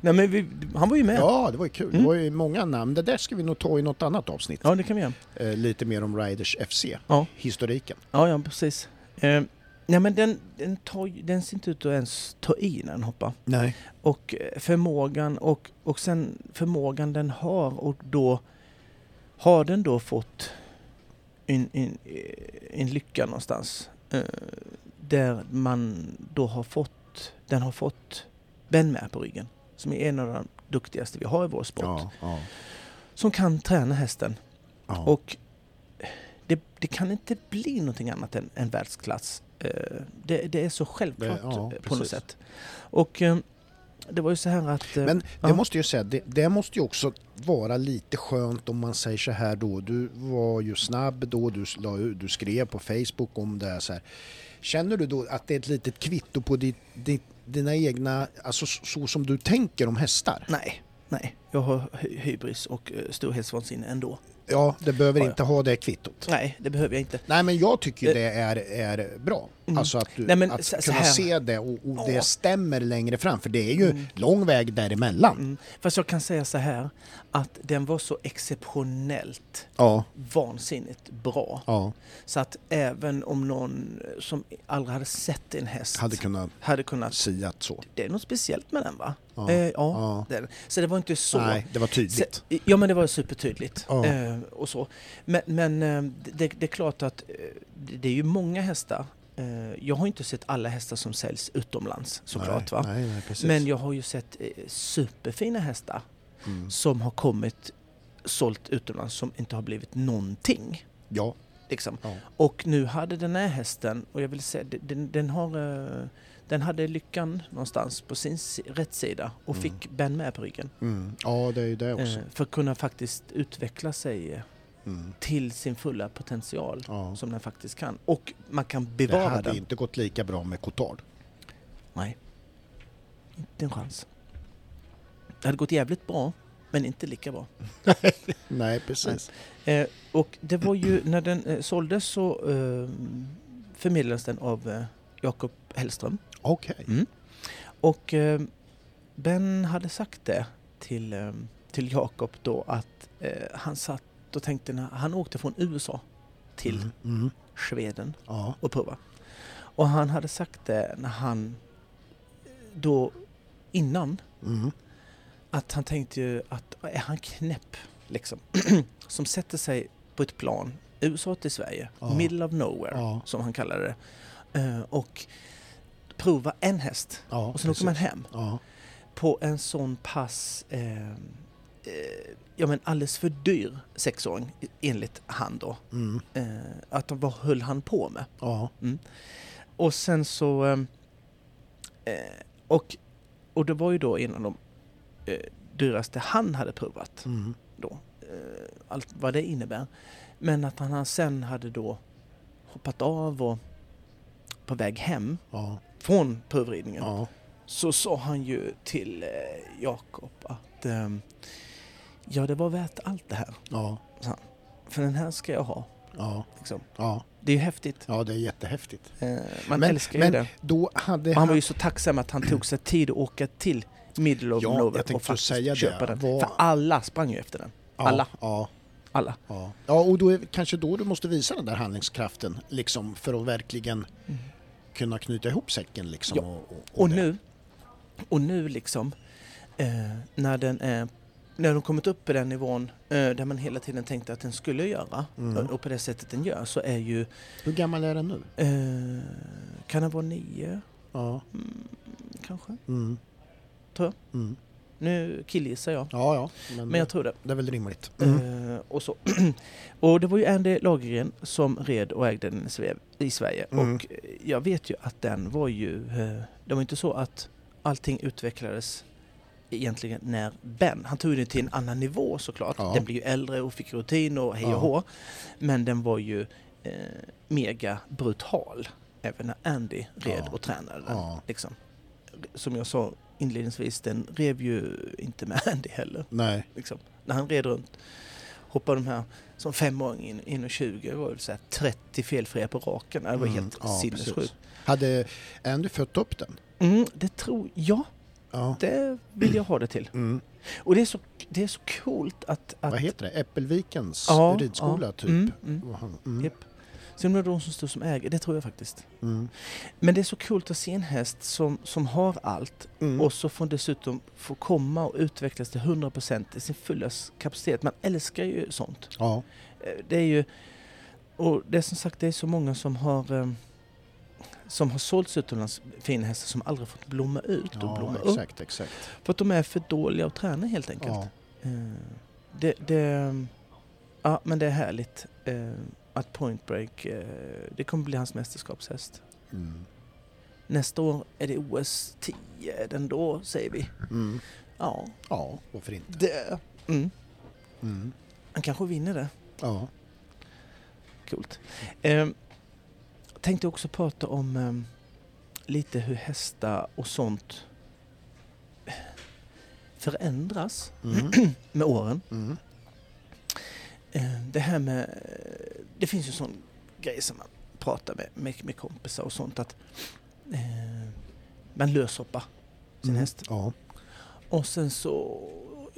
Speaker 1: Nej, men vi, han var ju med. Ja.
Speaker 2: Ja, det var ju kul.
Speaker 1: Mm.
Speaker 2: Det var ju många namn. Det där ska vi nog ta i något annat avsnitt.
Speaker 1: det kan vi göra.
Speaker 2: Eh, lite mer om Riders FC.
Speaker 1: Ja.
Speaker 2: Historiken.
Speaker 1: Ja, ja precis. Ehm, nej, men den, den, tar, ju- den ser inte ut att ens ta i när den hoppar.
Speaker 2: Nej.
Speaker 1: Och eh, förmågan och, och sen förmågan den har och då har den då fått en, en, eh, en lycka någonstans. Eh, där man då har fått, den har fått Ben med på ryggen. Som är en av de duktigaste vi har i vår sport.
Speaker 2: Ja, ja,
Speaker 1: Som kan träna hästen.
Speaker 2: ja.
Speaker 1: Och det, det kan inte bli någonting annat än, än världsklass. Eh, Det, det är så självklart
Speaker 2: Det- ja,
Speaker 1: eh, på något
Speaker 2: precis.
Speaker 1: sätt. Och eh, det var ju så här att... eh,
Speaker 2: Men det
Speaker 1: ja.
Speaker 2: måste ju säga, det, det måste ju också vara lite skönt om man säger så här då. Du var ju snabb då, du, la, ut- du skrev på Facebook om det här så här. Känner du då att det är ett litet kvitto på ditt, ditt, dina egna, alltså så, så som du tänker om hästar?
Speaker 1: Nej, nej. Jag har hy- hybris och eh, storhetsvansinne ändå.
Speaker 2: Ja, det behöver
Speaker 1: Ja, ja.
Speaker 2: inte ha det kvittot.
Speaker 1: Nej, det behöver jag inte.
Speaker 2: Nej men jag tycker ju det är, är bra.
Speaker 1: Eh. Mm.
Speaker 2: Alltså att, du,
Speaker 1: Nej, men
Speaker 2: att
Speaker 1: så- så
Speaker 2: kunna
Speaker 1: här.
Speaker 2: se det och, och
Speaker 1: Ja.
Speaker 2: det stämmer längre fram. För det är ju
Speaker 1: Mm.
Speaker 2: lång väg däremellan.
Speaker 1: Mm. Fast jag kan säga så här att den var så exceptionellt
Speaker 2: Ja,
Speaker 1: vansinnigt bra.
Speaker 2: ja.
Speaker 1: Så att även om någon som aldrig hade sett en häst
Speaker 2: Hade kunnat
Speaker 1: hade kunnat...
Speaker 2: säga att så.
Speaker 1: Det är något speciellt med den va?
Speaker 2: Ja.
Speaker 1: Eh, ja.
Speaker 2: Ja.
Speaker 1: Den. Så det var inte så.
Speaker 2: Nej, det var
Speaker 1: Så-
Speaker 2: tydligt.
Speaker 1: ja men det var supertydligt.
Speaker 2: Ja.
Speaker 1: Eh, och så. Men, men eh, det, det är klart att eh, det det är ju många hästar. Eh, jag har inte sett alla hästar som säljs utomlands såklart.
Speaker 2: nej,
Speaker 1: Va?
Speaker 2: Nej, nej, precis.
Speaker 1: Men jag har ju sett eh, superfina hästar
Speaker 2: Mm.
Speaker 1: som har kommit sålt utomlands som inte har blivit någonting.
Speaker 2: Ja,
Speaker 1: Liksom.
Speaker 2: ja.
Speaker 1: Och nu hade den här hästen, och jag vill säga, den- den, den, har, eh, den hade lyckan någonstans på sin si- rätt sida och
Speaker 2: Mm.
Speaker 1: fick Ben med på ryggen.
Speaker 2: Mm. ja, det är ju det också.
Speaker 1: Eh, för att kunna faktiskt utveckla sig eh,
Speaker 2: Mm.
Speaker 1: till sin fulla potential
Speaker 2: Ja.
Speaker 1: som den faktiskt kan. Och man kan
Speaker 2: Det
Speaker 1: bevara
Speaker 2: hade
Speaker 1: den.
Speaker 2: inte gått lika bra med Cotard.
Speaker 1: Nej, inte en chans. Det hade gått jävligt bra, men inte lika bra.
Speaker 2: Nej, precis.
Speaker 1: Eh, och det var ju, när den eh, såldes så eh, förmedlades den av eh, Jakob Hellström.
Speaker 2: Okej.
Speaker 1: Mm. Och eh, Ben hade sagt det till, eh, till Jakob då att eh, han satt och tänkte när han åkte från USA till
Speaker 2: Mm. Mm.
Speaker 1: Sweden
Speaker 2: Ja.
Speaker 1: och prova. Och han hade sagt det när han eh, då innan
Speaker 2: Mm.
Speaker 1: att han tänkte ju att är han knäpp liksom [clears throat] som sätter sig på ett plan USA till Sverige,
Speaker 2: Ja.
Speaker 1: middle of nowhere
Speaker 2: Ja.
Speaker 1: som han kallade det eh, och prova en häst
Speaker 2: ja.
Speaker 1: och sen åker man
Speaker 2: precis.
Speaker 1: hem
Speaker 2: Ja.
Speaker 1: på en sån pass eh, eh, ja men alldeles för dyr sexåring enligt han då
Speaker 2: Mm.
Speaker 1: eh, att vad höll han på med?
Speaker 2: Ja.
Speaker 1: Och sen så... ehm, Eh, och, och det var ju då en av de eh, dyraste han hade provat
Speaker 2: Mm.
Speaker 1: då. Eh, allt vad det innebär. Men att han sen hade då hoppat av och på väg hem
Speaker 2: Ja.
Speaker 1: från provridningen
Speaker 2: Ja.
Speaker 1: så sa han ju till eh, Jakob att ehm, ja, det var värt allt det här.
Speaker 2: Ja.
Speaker 1: För den här ska jag ha.
Speaker 2: Ja.
Speaker 1: Liksom.
Speaker 2: Ja.
Speaker 1: Det är ju häftigt.
Speaker 2: Ja, det är jättehäftigt.
Speaker 1: Eh, man
Speaker 2: Men-
Speaker 1: älskar ju
Speaker 2: men
Speaker 1: det.
Speaker 2: Då hade
Speaker 1: Och han var ju så tacksam att han tog sig tid att åka till Middle of
Speaker 2: Ja, jag
Speaker 1: Nowhere
Speaker 2: tänkte
Speaker 1: och faktiskt
Speaker 2: säga det.
Speaker 1: köpa den.
Speaker 2: Vad-
Speaker 1: För alla sprang ju efter den.
Speaker 2: ja,
Speaker 1: alla.
Speaker 2: Ja.
Speaker 1: Alla.
Speaker 2: Ja. ja, och då är, kanske då du måste visa den där handlingskraften liksom för att verkligen kunna knyta ihop säcken liksom.
Speaker 1: Ja.
Speaker 2: Och, och, och
Speaker 1: Och
Speaker 2: det.
Speaker 1: nu Och nu liksom, eh, när, den är, när de kommit upp i den nivån eh, där man hela tiden tänkte att den skulle göra
Speaker 2: Mm.
Speaker 1: eh, och på det sättet den gör så är ju,
Speaker 2: Hur gammal är den nu?
Speaker 1: eh, kan den vara nio
Speaker 2: Ja.
Speaker 1: mm, kanske?
Speaker 2: Mm.
Speaker 1: Tror
Speaker 2: Mm.
Speaker 1: Nu killgissar jag,
Speaker 2: Ja, ja. Men,
Speaker 1: men jag tror det.
Speaker 2: det är väl rimligt. Mm.
Speaker 1: Eh, och, så. [clears throat] och det var ju Andy Lagergren som red och ägde den i Sve- i Sverige.
Speaker 2: Mm.
Speaker 1: Och eh, jag vet ju att den var ju... eh, Det var inte så att allting utvecklades egentligen när Ben. Han tog den till en annan nivå såklart.
Speaker 2: Ja.
Speaker 1: Den blev ju äldre och fick rutin och hej och
Speaker 2: Ja.
Speaker 1: hå. Men den var ju eh, mega brutal även när Andy red
Speaker 2: Ja.
Speaker 1: och tränade den.
Speaker 2: Ja.
Speaker 1: Liksom. Som jag sa inledningsvis, den rev ju inte med [laughs] Andy heller
Speaker 2: Nej.
Speaker 1: liksom, när han red runt. Hoppade de här som femåring in, in och 20, det var väl så här 30 felfria på raken. Det var
Speaker 2: Mm,
Speaker 1: helt
Speaker 2: ja,
Speaker 1: sinnessjukt.
Speaker 2: precis. Hade Andy fött upp den?
Speaker 1: Mm, det tror jag,
Speaker 2: Ja.
Speaker 1: det vill jag ha det till.
Speaker 2: Mm.
Speaker 1: Och det är så, det är så coolt att... att
Speaker 2: Vad heter det? Äppelvikens
Speaker 1: Ja,
Speaker 2: ridskola
Speaker 1: ja.
Speaker 2: typ?
Speaker 1: Mm, mm.
Speaker 2: Vad han- Mm.
Speaker 1: Japp. Sen är det de som står som äger, det tror jag faktiskt.
Speaker 2: Mm.
Speaker 1: Men det är så coolt att se en häst som, som har allt
Speaker 2: Mm.
Speaker 1: och så får den dessutom få komma och utvecklas till 100% i sin fulla s- kapacitet. Man älskar ju sånt.
Speaker 2: Ja.
Speaker 1: Eh, det är ju... Och det är som sagt, det är så många som har eh, som har sålts utomlands, fina hästar, som aldrig fått blomma ut och blomma
Speaker 2: ja,
Speaker 1: upp.
Speaker 2: exakt, exakt.
Speaker 1: För att de är för dåliga att träna helt enkelt.
Speaker 2: Ja.
Speaker 1: Eh, Det, det, ja, men det är härligt eh, att Point Break, eh, det kommer bli hans mästerskapshäst.
Speaker 2: Mm.
Speaker 1: Nästa år är det OS 10, är den då säger vi.
Speaker 2: Mm.
Speaker 1: Ja,
Speaker 2: Ja, varför inte?
Speaker 1: det. Mm.
Speaker 2: Mm.
Speaker 1: Han kanske vinner det.
Speaker 2: Ja.
Speaker 1: Coolt. Eh, tänkte också prata om ehm, lite hur hästar och sånt eh, förändras
Speaker 2: Mm.
Speaker 1: [clears throat] med åren.
Speaker 2: Mm.
Speaker 1: Eh, det här med... eh, Det finns ju sån grej som man pratar med, med, med kompisar och sånt att eh, man löshoppar sin
Speaker 2: Mm.
Speaker 1: häst
Speaker 2: Ja.
Speaker 1: och sen så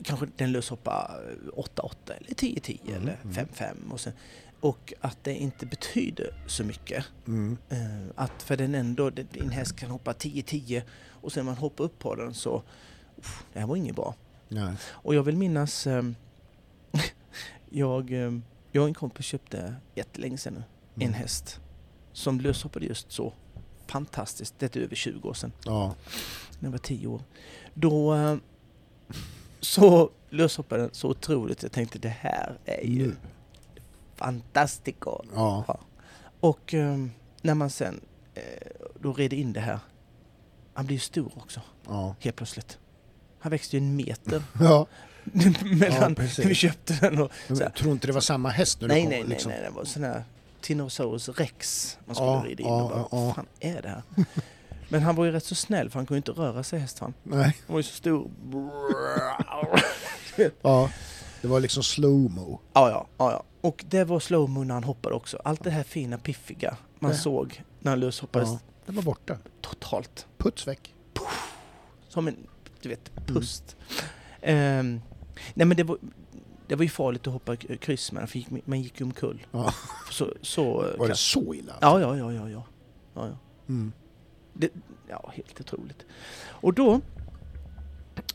Speaker 1: kanske den löshoppa 8-8 eller 10-10
Speaker 2: Mm,
Speaker 1: eller
Speaker 2: mm.
Speaker 1: 5-5 och, sen, och att det inte betyder så mycket.
Speaker 2: Mm.
Speaker 1: Eh, att för den ändå, det- din häst kan hoppa 10-10 och sen när man hoppar upp på den så, uff, det här var inget bra.
Speaker 2: Nej.
Speaker 1: Och jag vill minnas, ehm, [laughs] jag, ehm, jag och en kompis köpte jättelänge sedan nu, en
Speaker 2: Mm.
Speaker 1: häst som löshoppade just så fantastiskt, det är över 20 år sedan,
Speaker 2: Ja.
Speaker 1: när jag var 10 år. Då ehm, så löshoppade den så otroligt, jag tänkte det här är ju
Speaker 2: Nu.
Speaker 1: fantastico.
Speaker 2: Ja.
Speaker 1: Och ehm, när man sen eh, då red in det här. Han blir ju stor också,
Speaker 2: Ja.
Speaker 1: helt plötsligt. Han växte ju en meter
Speaker 2: [laughs] ja.
Speaker 1: mellan
Speaker 2: precis.
Speaker 1: när vi köpte den och...
Speaker 2: Men
Speaker 1: Så här.
Speaker 2: jag tror inte det var samma häst när
Speaker 1: Nej,
Speaker 2: du kom?
Speaker 1: nej, nej,
Speaker 2: liksom.
Speaker 1: nej, det var sån här Tyrannosaurus rex man skulle
Speaker 2: Ja,
Speaker 1: rida in
Speaker 2: ja,
Speaker 1: och bara,
Speaker 2: ja, ja.
Speaker 1: vad fan är det här? Men han var ju rätt så snäll för han kunde ju inte röra sig häst han.
Speaker 2: nej.
Speaker 1: Han var ju så stor.
Speaker 2: Ja. Det var liksom slow-mo.
Speaker 1: Ja, ja, ja, ja. Och det var slowmo när han hoppade också. Allt det här fina piffiga man
Speaker 2: Ja.
Speaker 1: såg när han löshoppades
Speaker 2: Ja. Den var borta.
Speaker 1: totalt.
Speaker 2: Puts väck.
Speaker 1: Som en, du
Speaker 2: Mm.
Speaker 1: vet, pust. Ehm, nej men det var, det var ju farligt att hoppa k- kryss med den, för gick- man gick ju omkull.
Speaker 2: Ja.
Speaker 1: Så, så, eh,
Speaker 2: Var det så illa?
Speaker 1: Ja, ja, ja, ja, ja. Ja, ja.
Speaker 2: Mm.
Speaker 1: Det, ja, helt otroligt. Och då...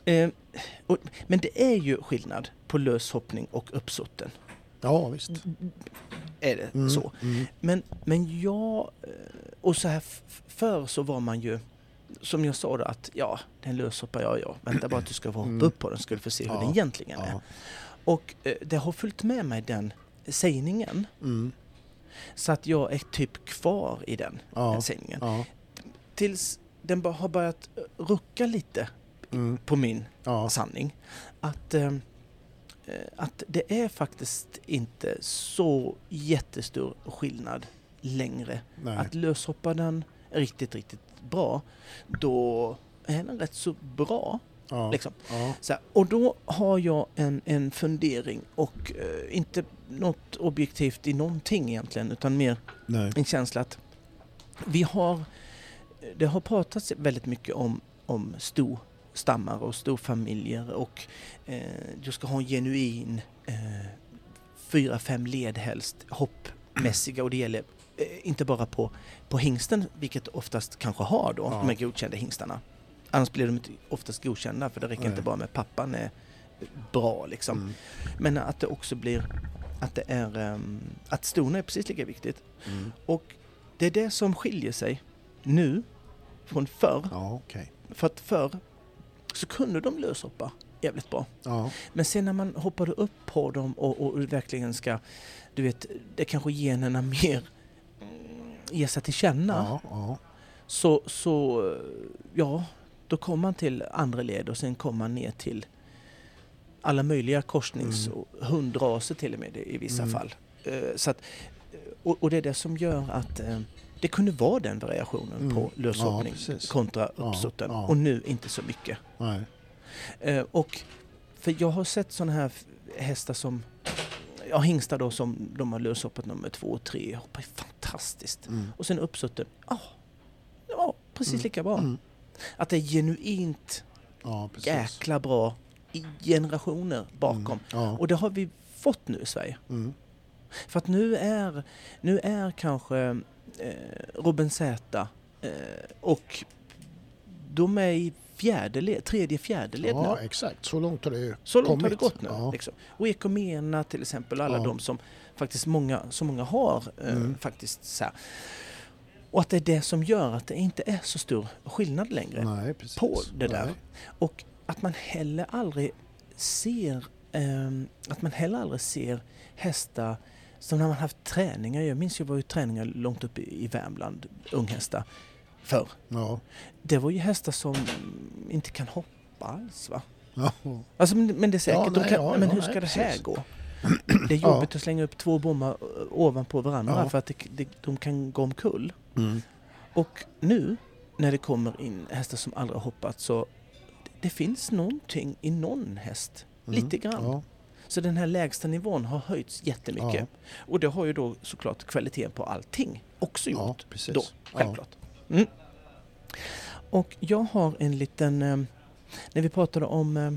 Speaker 1: Eh, och, men det är ju skillnad på löshoppning och uppsotten.
Speaker 2: ja visst.
Speaker 1: Är det
Speaker 2: Mm.
Speaker 1: Mm. så?
Speaker 2: Mm.
Speaker 1: Men, men jag... eh, Och så här f- förr så var man ju... Som jag sa då att ja, den löshoppar jag, ja. Vänta bara att du ska få
Speaker 2: Mm.
Speaker 1: hoppa upp på den så du får se hur
Speaker 2: Ja,
Speaker 1: den egentligen är.
Speaker 2: Ja.
Speaker 1: Och eh, det har följt med mig den sägningen.
Speaker 2: Mm.
Speaker 1: Så att jag är typ kvar i den
Speaker 2: Ja.
Speaker 1: sägningen.
Speaker 2: Ja.
Speaker 1: Tills den bara har börjat eh, rucka lite
Speaker 2: Mm.
Speaker 1: på min
Speaker 2: Ja.
Speaker 1: sanning. Att, eh, eh, att det är faktiskt inte så jättestor skillnad längre.
Speaker 2: Nej.
Speaker 1: Att löshoppa den är riktigt, riktigt bra, då är den rätt så bra.
Speaker 2: Ja.
Speaker 1: Liksom.
Speaker 2: Ja.
Speaker 1: Så här, och då har jag en, en fundering och eh, inte något objektivt i någonting egentligen utan mer
Speaker 2: Nej.
Speaker 1: en känsla att vi har, det har pratats väldigt mycket om, om storstammar och storfamiljer och eh, du ska ha en genuin eh, fyra, fem led helst hoppmässiga och det gäller eh, inte bara på, på hingsten, vilket oftast kanske har då,
Speaker 2: Ja.
Speaker 1: de här godkända hingstarna. Annars blir de inte oftast godkända för det räcker
Speaker 2: Nej.
Speaker 1: inte bara med att pappan är bra liksom.
Speaker 2: Mm.
Speaker 1: Men att det också blir att det är ehm, att stona är precis lika viktigt.
Speaker 2: Mm.
Speaker 1: Och det är det som skiljer sig nu från förr.
Speaker 2: Ja, okej.
Speaker 1: För att förr så kunde de löshoppa jävligt bra.
Speaker 2: Ja.
Speaker 1: Men sen när man hoppade upp på dem och, och verkligen ska, du vet, det kanske generna [laughs] mer mm, ger sig till känna.
Speaker 2: Ja, ja.
Speaker 1: Så, så, eh, ja, då kom man till andra led och sen kom man ner till alla möjliga korsnings
Speaker 2: Mm.
Speaker 1: och hundraser till och med i vissa
Speaker 2: Mm.
Speaker 1: fall. Eh, Så att, eh, och, och det är det som gör att eh, det kunde vara den variationen
Speaker 2: Mm.
Speaker 1: på
Speaker 2: Ja,
Speaker 1: löshoppning
Speaker 2: precis.
Speaker 1: kontra
Speaker 2: Ja,
Speaker 1: uppsutten
Speaker 2: ja.
Speaker 1: och nu inte så mycket.
Speaker 2: Nej.
Speaker 1: Eh, Och för jag har sett sådana här f- hästar som, ja hingstar då som de har löshoppat nummer två och tre, hoppar ju fantastiskt.
Speaker 2: Mm.
Speaker 1: Och sen uppsutten, ja, ja precis
Speaker 2: Mm.
Speaker 1: lika bra.
Speaker 2: Mm.
Speaker 1: Att det är genuint
Speaker 2: Ja, precis.
Speaker 1: jäkla bra i generationer bakom.
Speaker 2: Mm. Ja.
Speaker 1: Och det har vi fått nu i Sverige.
Speaker 2: Mm.
Speaker 1: För att nu är, nu är kanske eh, Robin Zäta eh, och de är i fjärde led, tredje fjärde led
Speaker 2: ja,
Speaker 1: nu.
Speaker 2: exakt. Så långt har det ju
Speaker 1: Så långt
Speaker 2: kommit.
Speaker 1: har det gått nu.
Speaker 2: Ja.
Speaker 1: Liksom. Och Ekomena till exempel, alla
Speaker 2: Ja.
Speaker 1: de som faktiskt många, så många har eh,
Speaker 2: Mm.
Speaker 1: faktiskt så här. Och att det är det som gör att det inte är så stor skillnad längre.
Speaker 2: Nej, precis.
Speaker 1: Eh, på det där.
Speaker 2: Nej.
Speaker 1: Och att man heller aldrig ser ehm, att man heller aldrig ser hästar som när man haft träningar. Jag minns ju var ju träningar långt upp i i Värmland, unghästar, förr.
Speaker 2: Ja.
Speaker 1: Det var ju hästar som inte kan hoppa alls va?
Speaker 2: Ja.
Speaker 1: Alltså, men, men det är säkert,
Speaker 2: Ja,
Speaker 1: de
Speaker 2: nej,
Speaker 1: kan,
Speaker 2: ja,
Speaker 1: men
Speaker 2: ja,
Speaker 1: hur ska
Speaker 2: nej,
Speaker 1: det här
Speaker 2: precis.
Speaker 1: gå? Det är
Speaker 2: Ja.
Speaker 1: jobbigt att slänga upp två bommar eh, ovanpå varandra
Speaker 2: Ja.
Speaker 1: för att det, det, de kan gå omkull.
Speaker 2: Mm.
Speaker 1: Och nu när det kommer in hästar som aldrig har hoppat så det finns någonting i någon häst.
Speaker 2: Mm.
Speaker 1: Lite grann.
Speaker 2: Ja.
Speaker 1: Så den här lägsta nivån har höjts jättemycket.
Speaker 2: Ja.
Speaker 1: Och det har ju då såklart kvaliteten på allting också
Speaker 2: Ja,
Speaker 1: gjort.
Speaker 2: precis.
Speaker 1: Då, självklart. Mm. Och jag har en liten... Eh, när vi pratade om eh,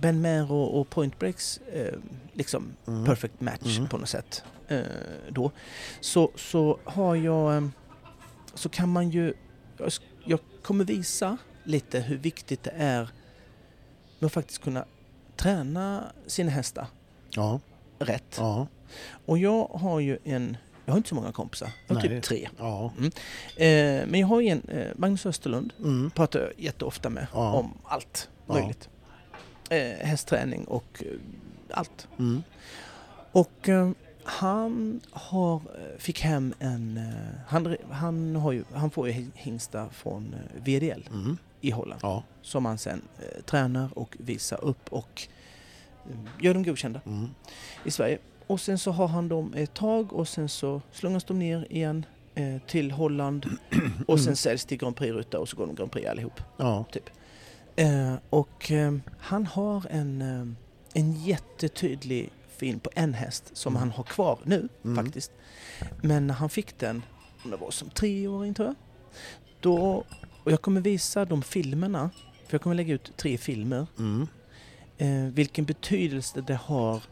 Speaker 1: Ben Mero och Point Breaks eh, liksom
Speaker 2: Ja. Mm.
Speaker 1: perfect match
Speaker 2: Mm.
Speaker 1: på något sätt eh, då. Så, så har jag... eh, Så kan man ju... jag sk- Jag kommer visa lite hur viktigt det är med att faktiskt kunna träna sina hästar
Speaker 2: Ja.
Speaker 1: rätt.
Speaker 2: Ja.
Speaker 1: Och jag har ju en... Jag har inte så många kompisar. Jag har
Speaker 2: Nej.
Speaker 1: typ tre.
Speaker 2: Ja.
Speaker 1: Eh, men jag har ju en... Eh, Magnus Österlund
Speaker 2: Mm.
Speaker 1: pratar jag jätteofta med
Speaker 2: Ja.
Speaker 1: om allt
Speaker 2: Ja.
Speaker 1: möjligt. Eh, hästträning och eh, allt.
Speaker 2: Mm.
Speaker 1: Och eh, han har, eh, fick hem en... eh, Han, han, har ju, han får ju hingstar från eh, VDL
Speaker 2: Mm.
Speaker 1: i Holland
Speaker 2: Ja.
Speaker 1: som han sen eh, tränar och visar upp och eh, gör dem godkända
Speaker 2: Mm.
Speaker 1: i Sverige. Och sen så har han dem ett tag och sen så slungas de ner igen eh, till
Speaker 2: [clears throat]
Speaker 1: Holland och sen säljs till Grand Prix-ruta och så går de Grand Prix allihop.
Speaker 2: Ja.
Speaker 1: Eh, och eh, han har en, eh, en jättetydlig film på en häst som
Speaker 2: Mm.
Speaker 1: han har kvar nu
Speaker 2: Mm.
Speaker 1: faktiskt. Men när han fick den, om det var som treåring tror jag, då, och jag kommer visa de filmerna, för jag kommer lägga ut tre filmer,
Speaker 2: Mm.
Speaker 1: eh, vilken betydelse det har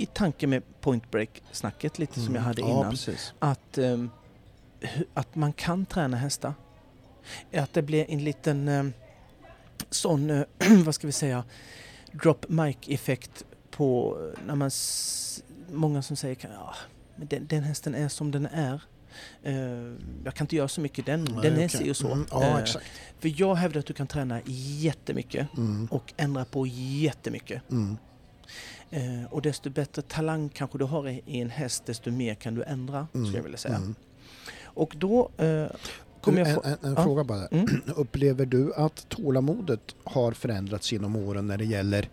Speaker 1: i tanke med point break-snacket lite som jag hade
Speaker 2: Mm. ja,
Speaker 1: innan
Speaker 2: precis.
Speaker 1: att, ehm, hu- att man kan träna hästar. Att det blir en liten ehm, sån, eh, [clears throat] vad ska vi säga, drop mic-effekt på eh, när man... s- Många som säger kan, ja, men den, den hästen är som den är. Eh, jag kan inte göra så mycket, den,
Speaker 2: Nej,
Speaker 1: den är
Speaker 2: okej.
Speaker 1: si och så.
Speaker 2: Mm. Ja,
Speaker 1: Eh,
Speaker 2: exakt.
Speaker 1: För jag hävdar att du kan träna jättemycket
Speaker 2: Mm.
Speaker 1: och ändra på jättemycket.
Speaker 2: Mm.
Speaker 1: Eh, och desto bättre talang kanske du har i i en häst, desto mer kan du ändra, skulle jag vilja säga.
Speaker 2: Mm.
Speaker 1: Och då eh, kommer jag få...
Speaker 2: En, en, en
Speaker 1: Ja.
Speaker 2: fråga bara.
Speaker 1: Mm.
Speaker 2: [clears throat] Upplever du att tålamodet har förändrats genom åren när det gäller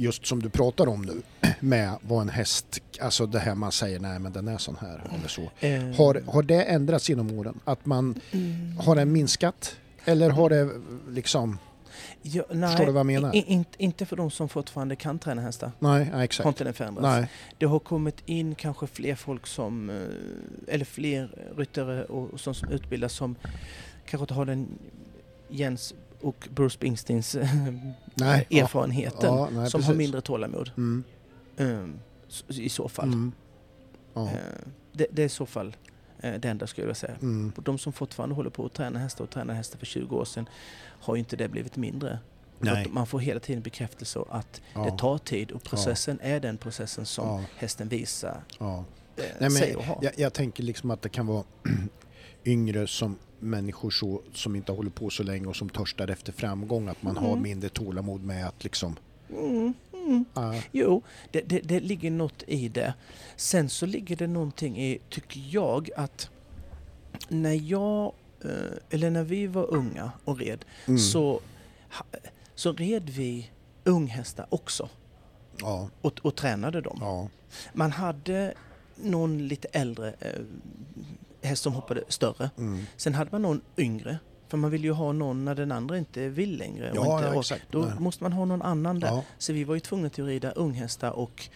Speaker 2: just som du pratar om nu [clears throat] med vad en häst, alltså det här man säger nej men den är sån här eller så.
Speaker 1: eh,
Speaker 2: Har, har det ändrats genom åren? Att man,
Speaker 1: mm,
Speaker 2: har den minskat? Eller har det liksom,
Speaker 1: ja, nej,
Speaker 2: förstår du vad jag menar?
Speaker 1: i- in, inte för de som fortfarande kan träna hästar.
Speaker 2: nej, nej
Speaker 1: Har
Speaker 2: exakt.
Speaker 1: inte den förändrats.
Speaker 2: Nej,
Speaker 1: Det har kommit in kanske fler folk som, eh, eller fler ryttare och, och sånt som utbildas som kanske inte har den Jens och Bruce Springsteens eh,
Speaker 2: nej. ja,
Speaker 1: erfarenheten.
Speaker 2: ja, nej,
Speaker 1: som har
Speaker 2: precis.
Speaker 1: mindre tålamod
Speaker 2: Mm,
Speaker 1: eh, s- i så fall.
Speaker 2: mm. Ja,
Speaker 1: Eh, det, det är i så fall Eh, Det enda skulle jag vilja säga.
Speaker 2: Mm.
Speaker 1: Och de som fortfarande håller på att träna hästar och träna hästar för 20 år sedan har ju inte det blivit mindre. För
Speaker 2: Nej.
Speaker 1: att Man får hela tiden bekräftelse att
Speaker 2: Ja.
Speaker 1: det tar tid och processen är den processen som
Speaker 2: Ja.
Speaker 1: hästen visar
Speaker 2: Ja.
Speaker 1: eh,
Speaker 2: Nej,
Speaker 1: sig
Speaker 2: men
Speaker 1: att ha.
Speaker 2: jag, jag tänker liksom att det kan vara [clears throat] yngre som människor så, som inte håller på så länge och som törstar efter framgång. Att man har
Speaker 1: Mm.
Speaker 2: mindre tålamod med att liksom...
Speaker 1: Mm, mm.
Speaker 2: ah,
Speaker 1: Jo, det, det, det ligger något i det. Sen så ligger det någonting i, tycker jag, att när jag, eh, eller när vi var unga och red,
Speaker 2: mm,
Speaker 1: så, ha- så red vi unghästar också
Speaker 2: Ja,
Speaker 1: och, och tränade dem.
Speaker 2: ja,
Speaker 1: Man hade någon lite äldre eh, häst som hoppade större.
Speaker 2: mm.
Speaker 1: Sen hade man någon yngre. För man vill ju ha någon när den andra inte vill längre. och
Speaker 2: ja,
Speaker 1: inte
Speaker 2: ja
Speaker 1: orkar.
Speaker 2: exakt.
Speaker 1: Då
Speaker 2: Nej.
Speaker 1: måste man ha någon annan där.
Speaker 2: ja.
Speaker 1: Så vi var ju tvungna till att rida unghästar och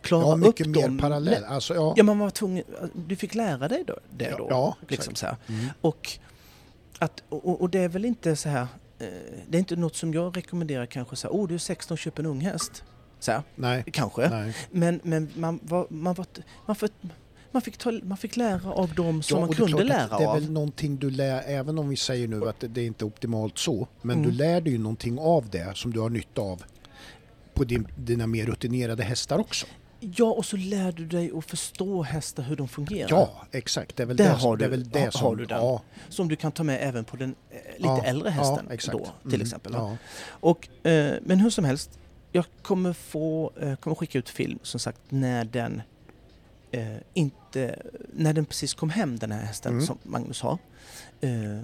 Speaker 1: klara
Speaker 2: ja, mycket
Speaker 1: upp
Speaker 2: mer
Speaker 1: dem.
Speaker 2: parallell. Alltså, ja,
Speaker 1: Ja, man var tvungen. Du fick lära dig då, det då.
Speaker 2: ja, exakt.
Speaker 1: liksom så här.
Speaker 2: Mm.
Speaker 1: Och, att, och, och det är väl inte så här... eh, Det är inte något som jag rekommenderar kanske så här, åh du är 16 köp en unghäst. Så här,
Speaker 2: Nej,
Speaker 1: kanske.
Speaker 2: nej.
Speaker 1: Men, men man, var, man, var, man, fick, man, fick ta, man fick lära av dem som
Speaker 2: Ja,
Speaker 1: man
Speaker 2: och det är
Speaker 1: kunde
Speaker 2: klart att
Speaker 1: lära
Speaker 2: Det är
Speaker 1: av.
Speaker 2: väl någonting du lär, även om vi säger nu att det- det är inte optimalt så, men
Speaker 1: Mm.
Speaker 2: du lär dig ju någonting av det som du har nytta av på din, dina mer rutinerade hästar också.
Speaker 1: Ja, och så lär du dig att förstå hästar, hur de fungerar.
Speaker 2: Ja, exakt. Det är väl
Speaker 1: Där
Speaker 2: det,
Speaker 1: har
Speaker 2: det, är
Speaker 1: du-
Speaker 2: väl det
Speaker 1: har-
Speaker 2: som...
Speaker 1: har du den.
Speaker 2: Ja,
Speaker 1: Som du kan ta med även på den eh, lite
Speaker 2: ja,
Speaker 1: äldre hästen
Speaker 2: ja, exakt.
Speaker 1: då, till
Speaker 2: Mm,
Speaker 1: exempel. va?
Speaker 2: Ja,
Speaker 1: Och, eh, men hur som helst, jag kommer, få, eh, kommer skicka ut film som sagt när den eh, inte, när den precis kom hem den här hästen
Speaker 2: Mm.
Speaker 1: som Magnus har. Eh,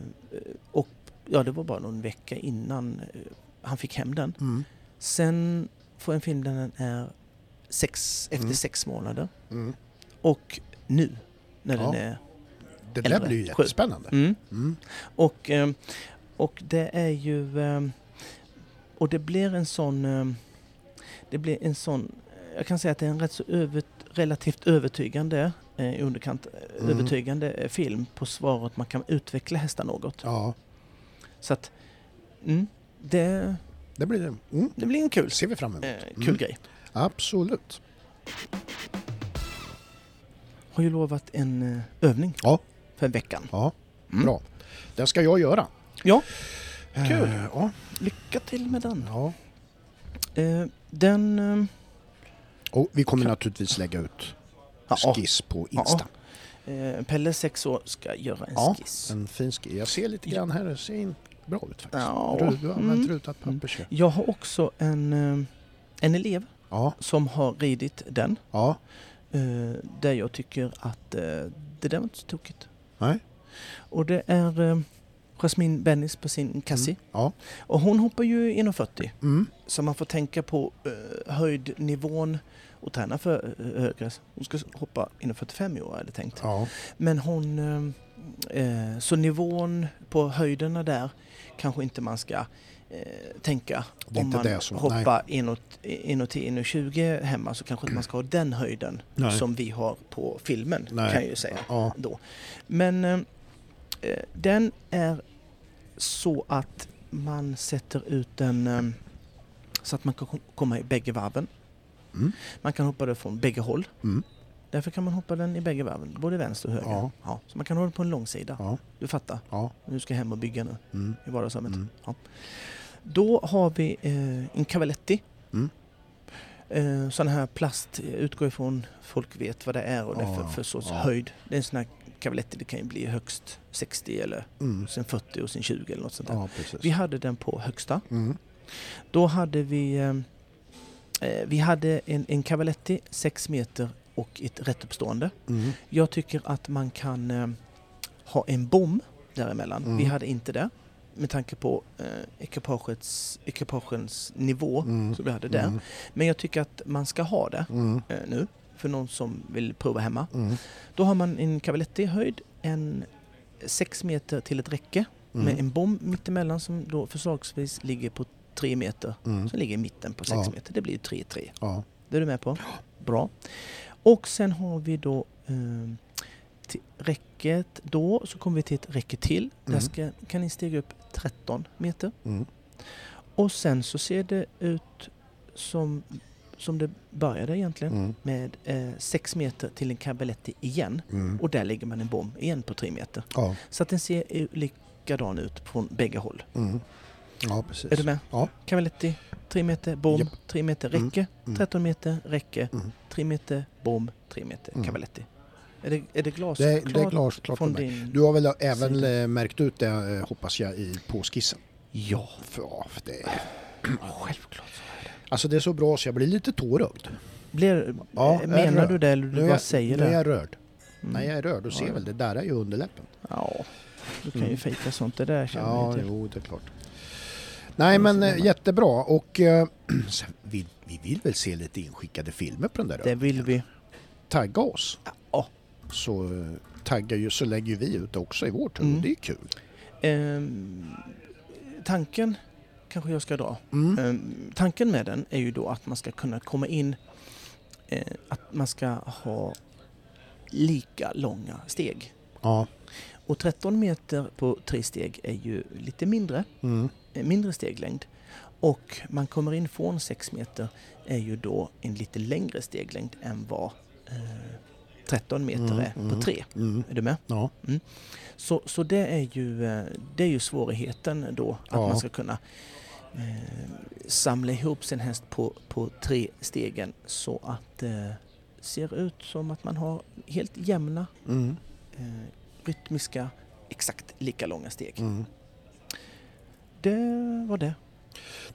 Speaker 1: och ja, det var bara någon vecka innan eh, han fick hem den.
Speaker 2: mm,
Speaker 1: Sen får jag en film där den är sex, efter
Speaker 2: Mm.
Speaker 1: sex månader
Speaker 2: mm.
Speaker 1: och nu när den
Speaker 2: Ja.
Speaker 1: är...
Speaker 2: Det där
Speaker 1: Äldre.
Speaker 2: blir ju
Speaker 1: Sju.
Speaker 2: jättespännande.
Speaker 1: Mm.
Speaker 2: Mm.
Speaker 1: Och, eh, och det är ju... eh, Och det blir en sån... eh, Det blir en sån... Jag kan säga att det är en rätt så över, relativt övertygande, eh, i underkant, eh,
Speaker 2: Mm.
Speaker 1: övertygande eh, film på svaret man kan utveckla hästar något.
Speaker 2: Ja,
Speaker 1: Så att... Mm, det,
Speaker 2: det blir det. Mm.
Speaker 1: det blir en kul,
Speaker 2: ser vi fram emot.
Speaker 1: eh, kul
Speaker 2: Mm.
Speaker 1: grej.
Speaker 2: Absolut.
Speaker 1: Har ju lovat en eh, övning
Speaker 2: Ja.
Speaker 1: för veckan.
Speaker 2: Ja,
Speaker 1: Mm.
Speaker 2: bra. Det ska jag göra.
Speaker 1: Ja,
Speaker 2: Eh,
Speaker 1: Kul.
Speaker 2: Ja,
Speaker 1: lycka till med den.
Speaker 2: ja.
Speaker 1: Eh, Den... eh,
Speaker 2: Och vi kommer naturligtvis lägga ut
Speaker 1: ja,
Speaker 2: skiss på
Speaker 1: Ja.
Speaker 2: Insta.
Speaker 1: eh, Pelle, sex år, ska göra en
Speaker 2: Ja,
Speaker 1: skiss.
Speaker 2: En fin skiss. Jag ser lite grann här, det ser in bra ut faktiskt.
Speaker 1: Ja.
Speaker 2: Du, du har använt
Speaker 1: Mm.
Speaker 2: rutat papper. ser jag.
Speaker 1: Jag har också en, eh, en elev
Speaker 2: Ja,
Speaker 1: som har ridit den.
Speaker 2: ja,
Speaker 1: eh, Där jag tycker att eh, det där var inte så tokigt.
Speaker 2: Nej.
Speaker 1: Och det är eh, Jasmine Bennis på sin Cassie.
Speaker 2: Mm. ja.
Speaker 1: Och hon hoppar ju 1,40.
Speaker 2: Mm.
Speaker 1: Så man får tänka på eh, höjdnivån och träna för eh, högre. Hon ska hoppa 1,45 i år hade jag tänkt.
Speaker 2: ja.
Speaker 1: Men hon... eh, eh, Så nivån på höjderna där kanske inte man ska eh, tänka.
Speaker 2: Det är
Speaker 1: Om
Speaker 2: inte
Speaker 1: man
Speaker 2: det som... nej.
Speaker 1: hoppar inåt, inåt 1,20 hemma så kanske inte man ska ha den höjden
Speaker 2: Nej.
Speaker 1: som vi har på filmen
Speaker 2: Nej.
Speaker 1: kan jag ju säga.
Speaker 2: Ja,
Speaker 1: Då. Men eh, eh, den är så att man sätter ut den eh, så att man kan kom- komma i bägge varven.
Speaker 2: Mm.
Speaker 1: Man kan hoppa det från bägge håll.
Speaker 2: Mm.
Speaker 1: Därför kan man hoppa den i bägge varven, både vänster och höger.
Speaker 2: Ja.
Speaker 1: så man kan hålla den på en långsida.
Speaker 2: ja,
Speaker 1: Du fattar,
Speaker 2: ja.
Speaker 1: nu ska jag hem och bygga nu
Speaker 2: Mm.
Speaker 1: i vardagsrummet.
Speaker 2: Mm.
Speaker 1: Ja. Då har vi eh, en Cavaletti.
Speaker 2: Mm.
Speaker 1: Eh, sån här plast, eh, utgår ifrån, folk vet vad det är och det är
Speaker 2: Ja,
Speaker 1: för,
Speaker 2: ja.
Speaker 1: för sorts
Speaker 2: Ja.
Speaker 1: höjd. Det är en sån här Cavaletti, det kan ju bli högst 60 eller
Speaker 2: Mm.
Speaker 1: sen 40 och sen 20 eller något sånt där.
Speaker 2: Ja, precis.
Speaker 1: Vi hade den på högsta.
Speaker 2: Mm.
Speaker 1: Då hade vi, eh, eh, vi hade en, en Cavaletti 6 meter och ett rättuppstående.
Speaker 2: Mm.
Speaker 1: Jag tycker att man kan eh, ha en bom däremellan.
Speaker 2: Mm.
Speaker 1: Vi hade inte det med tanke på eh, ekipagets, ekipagens nivå
Speaker 2: Mm.
Speaker 1: som vi hade där.
Speaker 2: Mm.
Speaker 1: Men jag tycker att man ska ha det
Speaker 2: Mm.
Speaker 1: eh, nu för någon som vill prova hemma.
Speaker 2: Mm.
Speaker 1: Då har man en cavaletti i höjd, en 6 meter till ett räcke
Speaker 2: Mm.
Speaker 1: med en bom mittemellan som då förslagsvis ligger på 3 meter.
Speaker 2: Mm.
Speaker 1: Som ligger i mitten på 6
Speaker 2: Ja.
Speaker 1: meter. Det blir 3-3.
Speaker 2: Ja.
Speaker 1: Det är du med på? Bra. Och sen har vi då eh, till räcket. Då så kommer vi till ett räcke till. Där
Speaker 2: Mm.
Speaker 1: ska, kan ni stiga upp 13 meter.
Speaker 2: Mm.
Speaker 1: Och sen så ser det ut som som det började egentligen.
Speaker 2: Mm.
Speaker 1: Med eh, sex meter till en Cabaletti igen.
Speaker 2: Mm.
Speaker 1: Och där lägger man en bom igen på tre meter.
Speaker 2: Ja.
Speaker 1: Så att den ser ju likadan ut från bägge håll.
Speaker 2: Mm. ja, precis.
Speaker 1: Är du med?
Speaker 2: Ja.
Speaker 1: Cavaletti, 3 meter, bom,
Speaker 2: Japp.
Speaker 1: 3 meter, räcke.
Speaker 2: Mm.
Speaker 1: 13 meter, räcke.
Speaker 2: Mm.
Speaker 1: 3 meter, bom, 3 meter,
Speaker 2: Mm.
Speaker 1: Cavaletti. Är det, är det
Speaker 2: Det, är- det är
Speaker 1: glasklart
Speaker 2: glasklart för
Speaker 1: från
Speaker 2: mig.
Speaker 1: din...
Speaker 2: Du har väl även
Speaker 1: sida.
Speaker 2: eh, märkt ut det, eh, hoppas jag, i påskissen?
Speaker 1: Ja,
Speaker 2: För, ja, för det, är-
Speaker 1: självklart. så.
Speaker 2: alltså det är så bra så jag blir lite tårögd.
Speaker 1: Blir,
Speaker 2: Ja,
Speaker 1: eh,
Speaker 2: jag är
Speaker 1: menar
Speaker 2: rörd.
Speaker 1: du det eller du
Speaker 2: är
Speaker 1: bara
Speaker 2: jag,
Speaker 1: säger
Speaker 2: nu är
Speaker 1: det?
Speaker 2: jag rörd.
Speaker 1: Mm.
Speaker 2: Nej, jag är rörd. Du
Speaker 1: Ja,
Speaker 2: ser
Speaker 1: ja.
Speaker 2: väl, det där är ju underläppen.
Speaker 1: Ja, du kan
Speaker 2: Mm.
Speaker 1: ju fejka sånt. Det där känner jag
Speaker 2: Ja,
Speaker 1: till.
Speaker 2: jo, det är klart. Nej,
Speaker 1: Mm,
Speaker 2: men
Speaker 1: så
Speaker 2: eh,
Speaker 1: är det.
Speaker 2: jättebra. Och [clears throat] eh, sen, vi, vi vill väl se lite inskickade filmer på den där
Speaker 1: Det
Speaker 2: ön.
Speaker 1: vill vi.
Speaker 2: Tagga oss.
Speaker 1: Ja.
Speaker 2: Så eh, taggar ju, så lägger ju vi ut också i vår tur.
Speaker 1: Mm.
Speaker 2: Det är kul.
Speaker 1: Ehm, tanken kanske jag ska dra.
Speaker 2: Mm.
Speaker 1: Ehm, tanken med den är ju då att man ska kunna komma in, eh, att man ska ha lika långa steg.
Speaker 2: Ja.
Speaker 1: Och 13 meter på tre steg är ju lite mindre,
Speaker 2: Mm.
Speaker 1: eh, mindre steglängd. Och man kommer in från 6 meter är ju då en lite längre steglängd än vad eh, 13 meter
Speaker 2: Mm,
Speaker 1: är
Speaker 2: mm.
Speaker 1: på tre.
Speaker 2: Mm.
Speaker 1: Är du med?
Speaker 2: Ja.
Speaker 1: Så, så det, är ju, eh, det är ju svårigheten då, att
Speaker 2: Ja.
Speaker 1: man ska kunna eh, samla ihop sin häst på, på tre stegen så att det eh, ser ut som att man har helt jämna,
Speaker 2: Mm.
Speaker 1: eh, rytmiska, exakt lika långa steg.
Speaker 2: Mm.
Speaker 1: Det var det.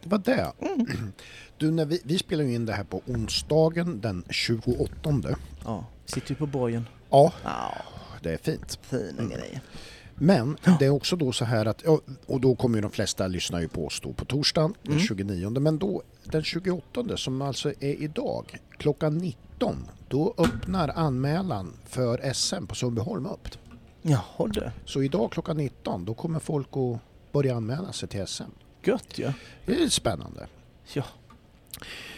Speaker 2: Det var det.
Speaker 1: Mm.
Speaker 2: Du, när vi, vi spelar ju in det här på onsdagen den 28.
Speaker 1: Ja, sitter ju på borgen.
Speaker 2: Ja,
Speaker 1: Ja,
Speaker 2: det är fint.
Speaker 1: fina
Speaker 2: Mm.
Speaker 1: grejer.
Speaker 2: Men det är också då så här att, ja, och då kommer ju de flesta lyssna ju på oss då på torsdagen den
Speaker 1: Mm.
Speaker 2: 29. Men då den 28 som alltså är idag klockan 19. Då öppnar anmälan för SM på Sundbyholm upp.
Speaker 1: Jaha du,
Speaker 2: Så idag klockan 19 då kommer folk att börja anmäla sig till SM.
Speaker 1: gött ju.
Speaker 2: Det är spännande.
Speaker 1: Ja.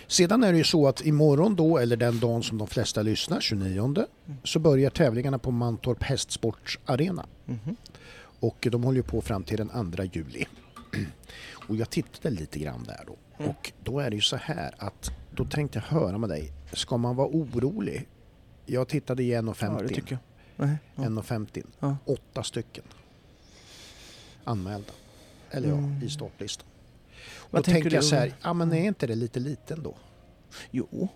Speaker 2: Sedan är det ju så att imorgon då, eller den dagen som de flesta lyssnar, 29, så börjar tävlingarna på Mantorp Hästsportsarena.
Speaker 1: Mhm.
Speaker 2: Och de håller ju på fram till den 2 juli. [clears throat] Och jag tittade lite grann där då.
Speaker 1: Mm.
Speaker 2: Och då är det ju så här att, då tänkte jag höra med dig, ska man vara orolig? Jag tittade i 1,50.
Speaker 1: Ja, det tycker jag. Nej, ja.
Speaker 2: 1,50.
Speaker 1: Ja.
Speaker 2: Åtta stycken anmälda. Eller
Speaker 1: Mm.
Speaker 2: ja, i startlistan. Då
Speaker 1: Vad
Speaker 2: tänker
Speaker 1: tänker
Speaker 2: jag
Speaker 1: du?
Speaker 2: så här, ja men är inte det lite liten då?
Speaker 1: Jo,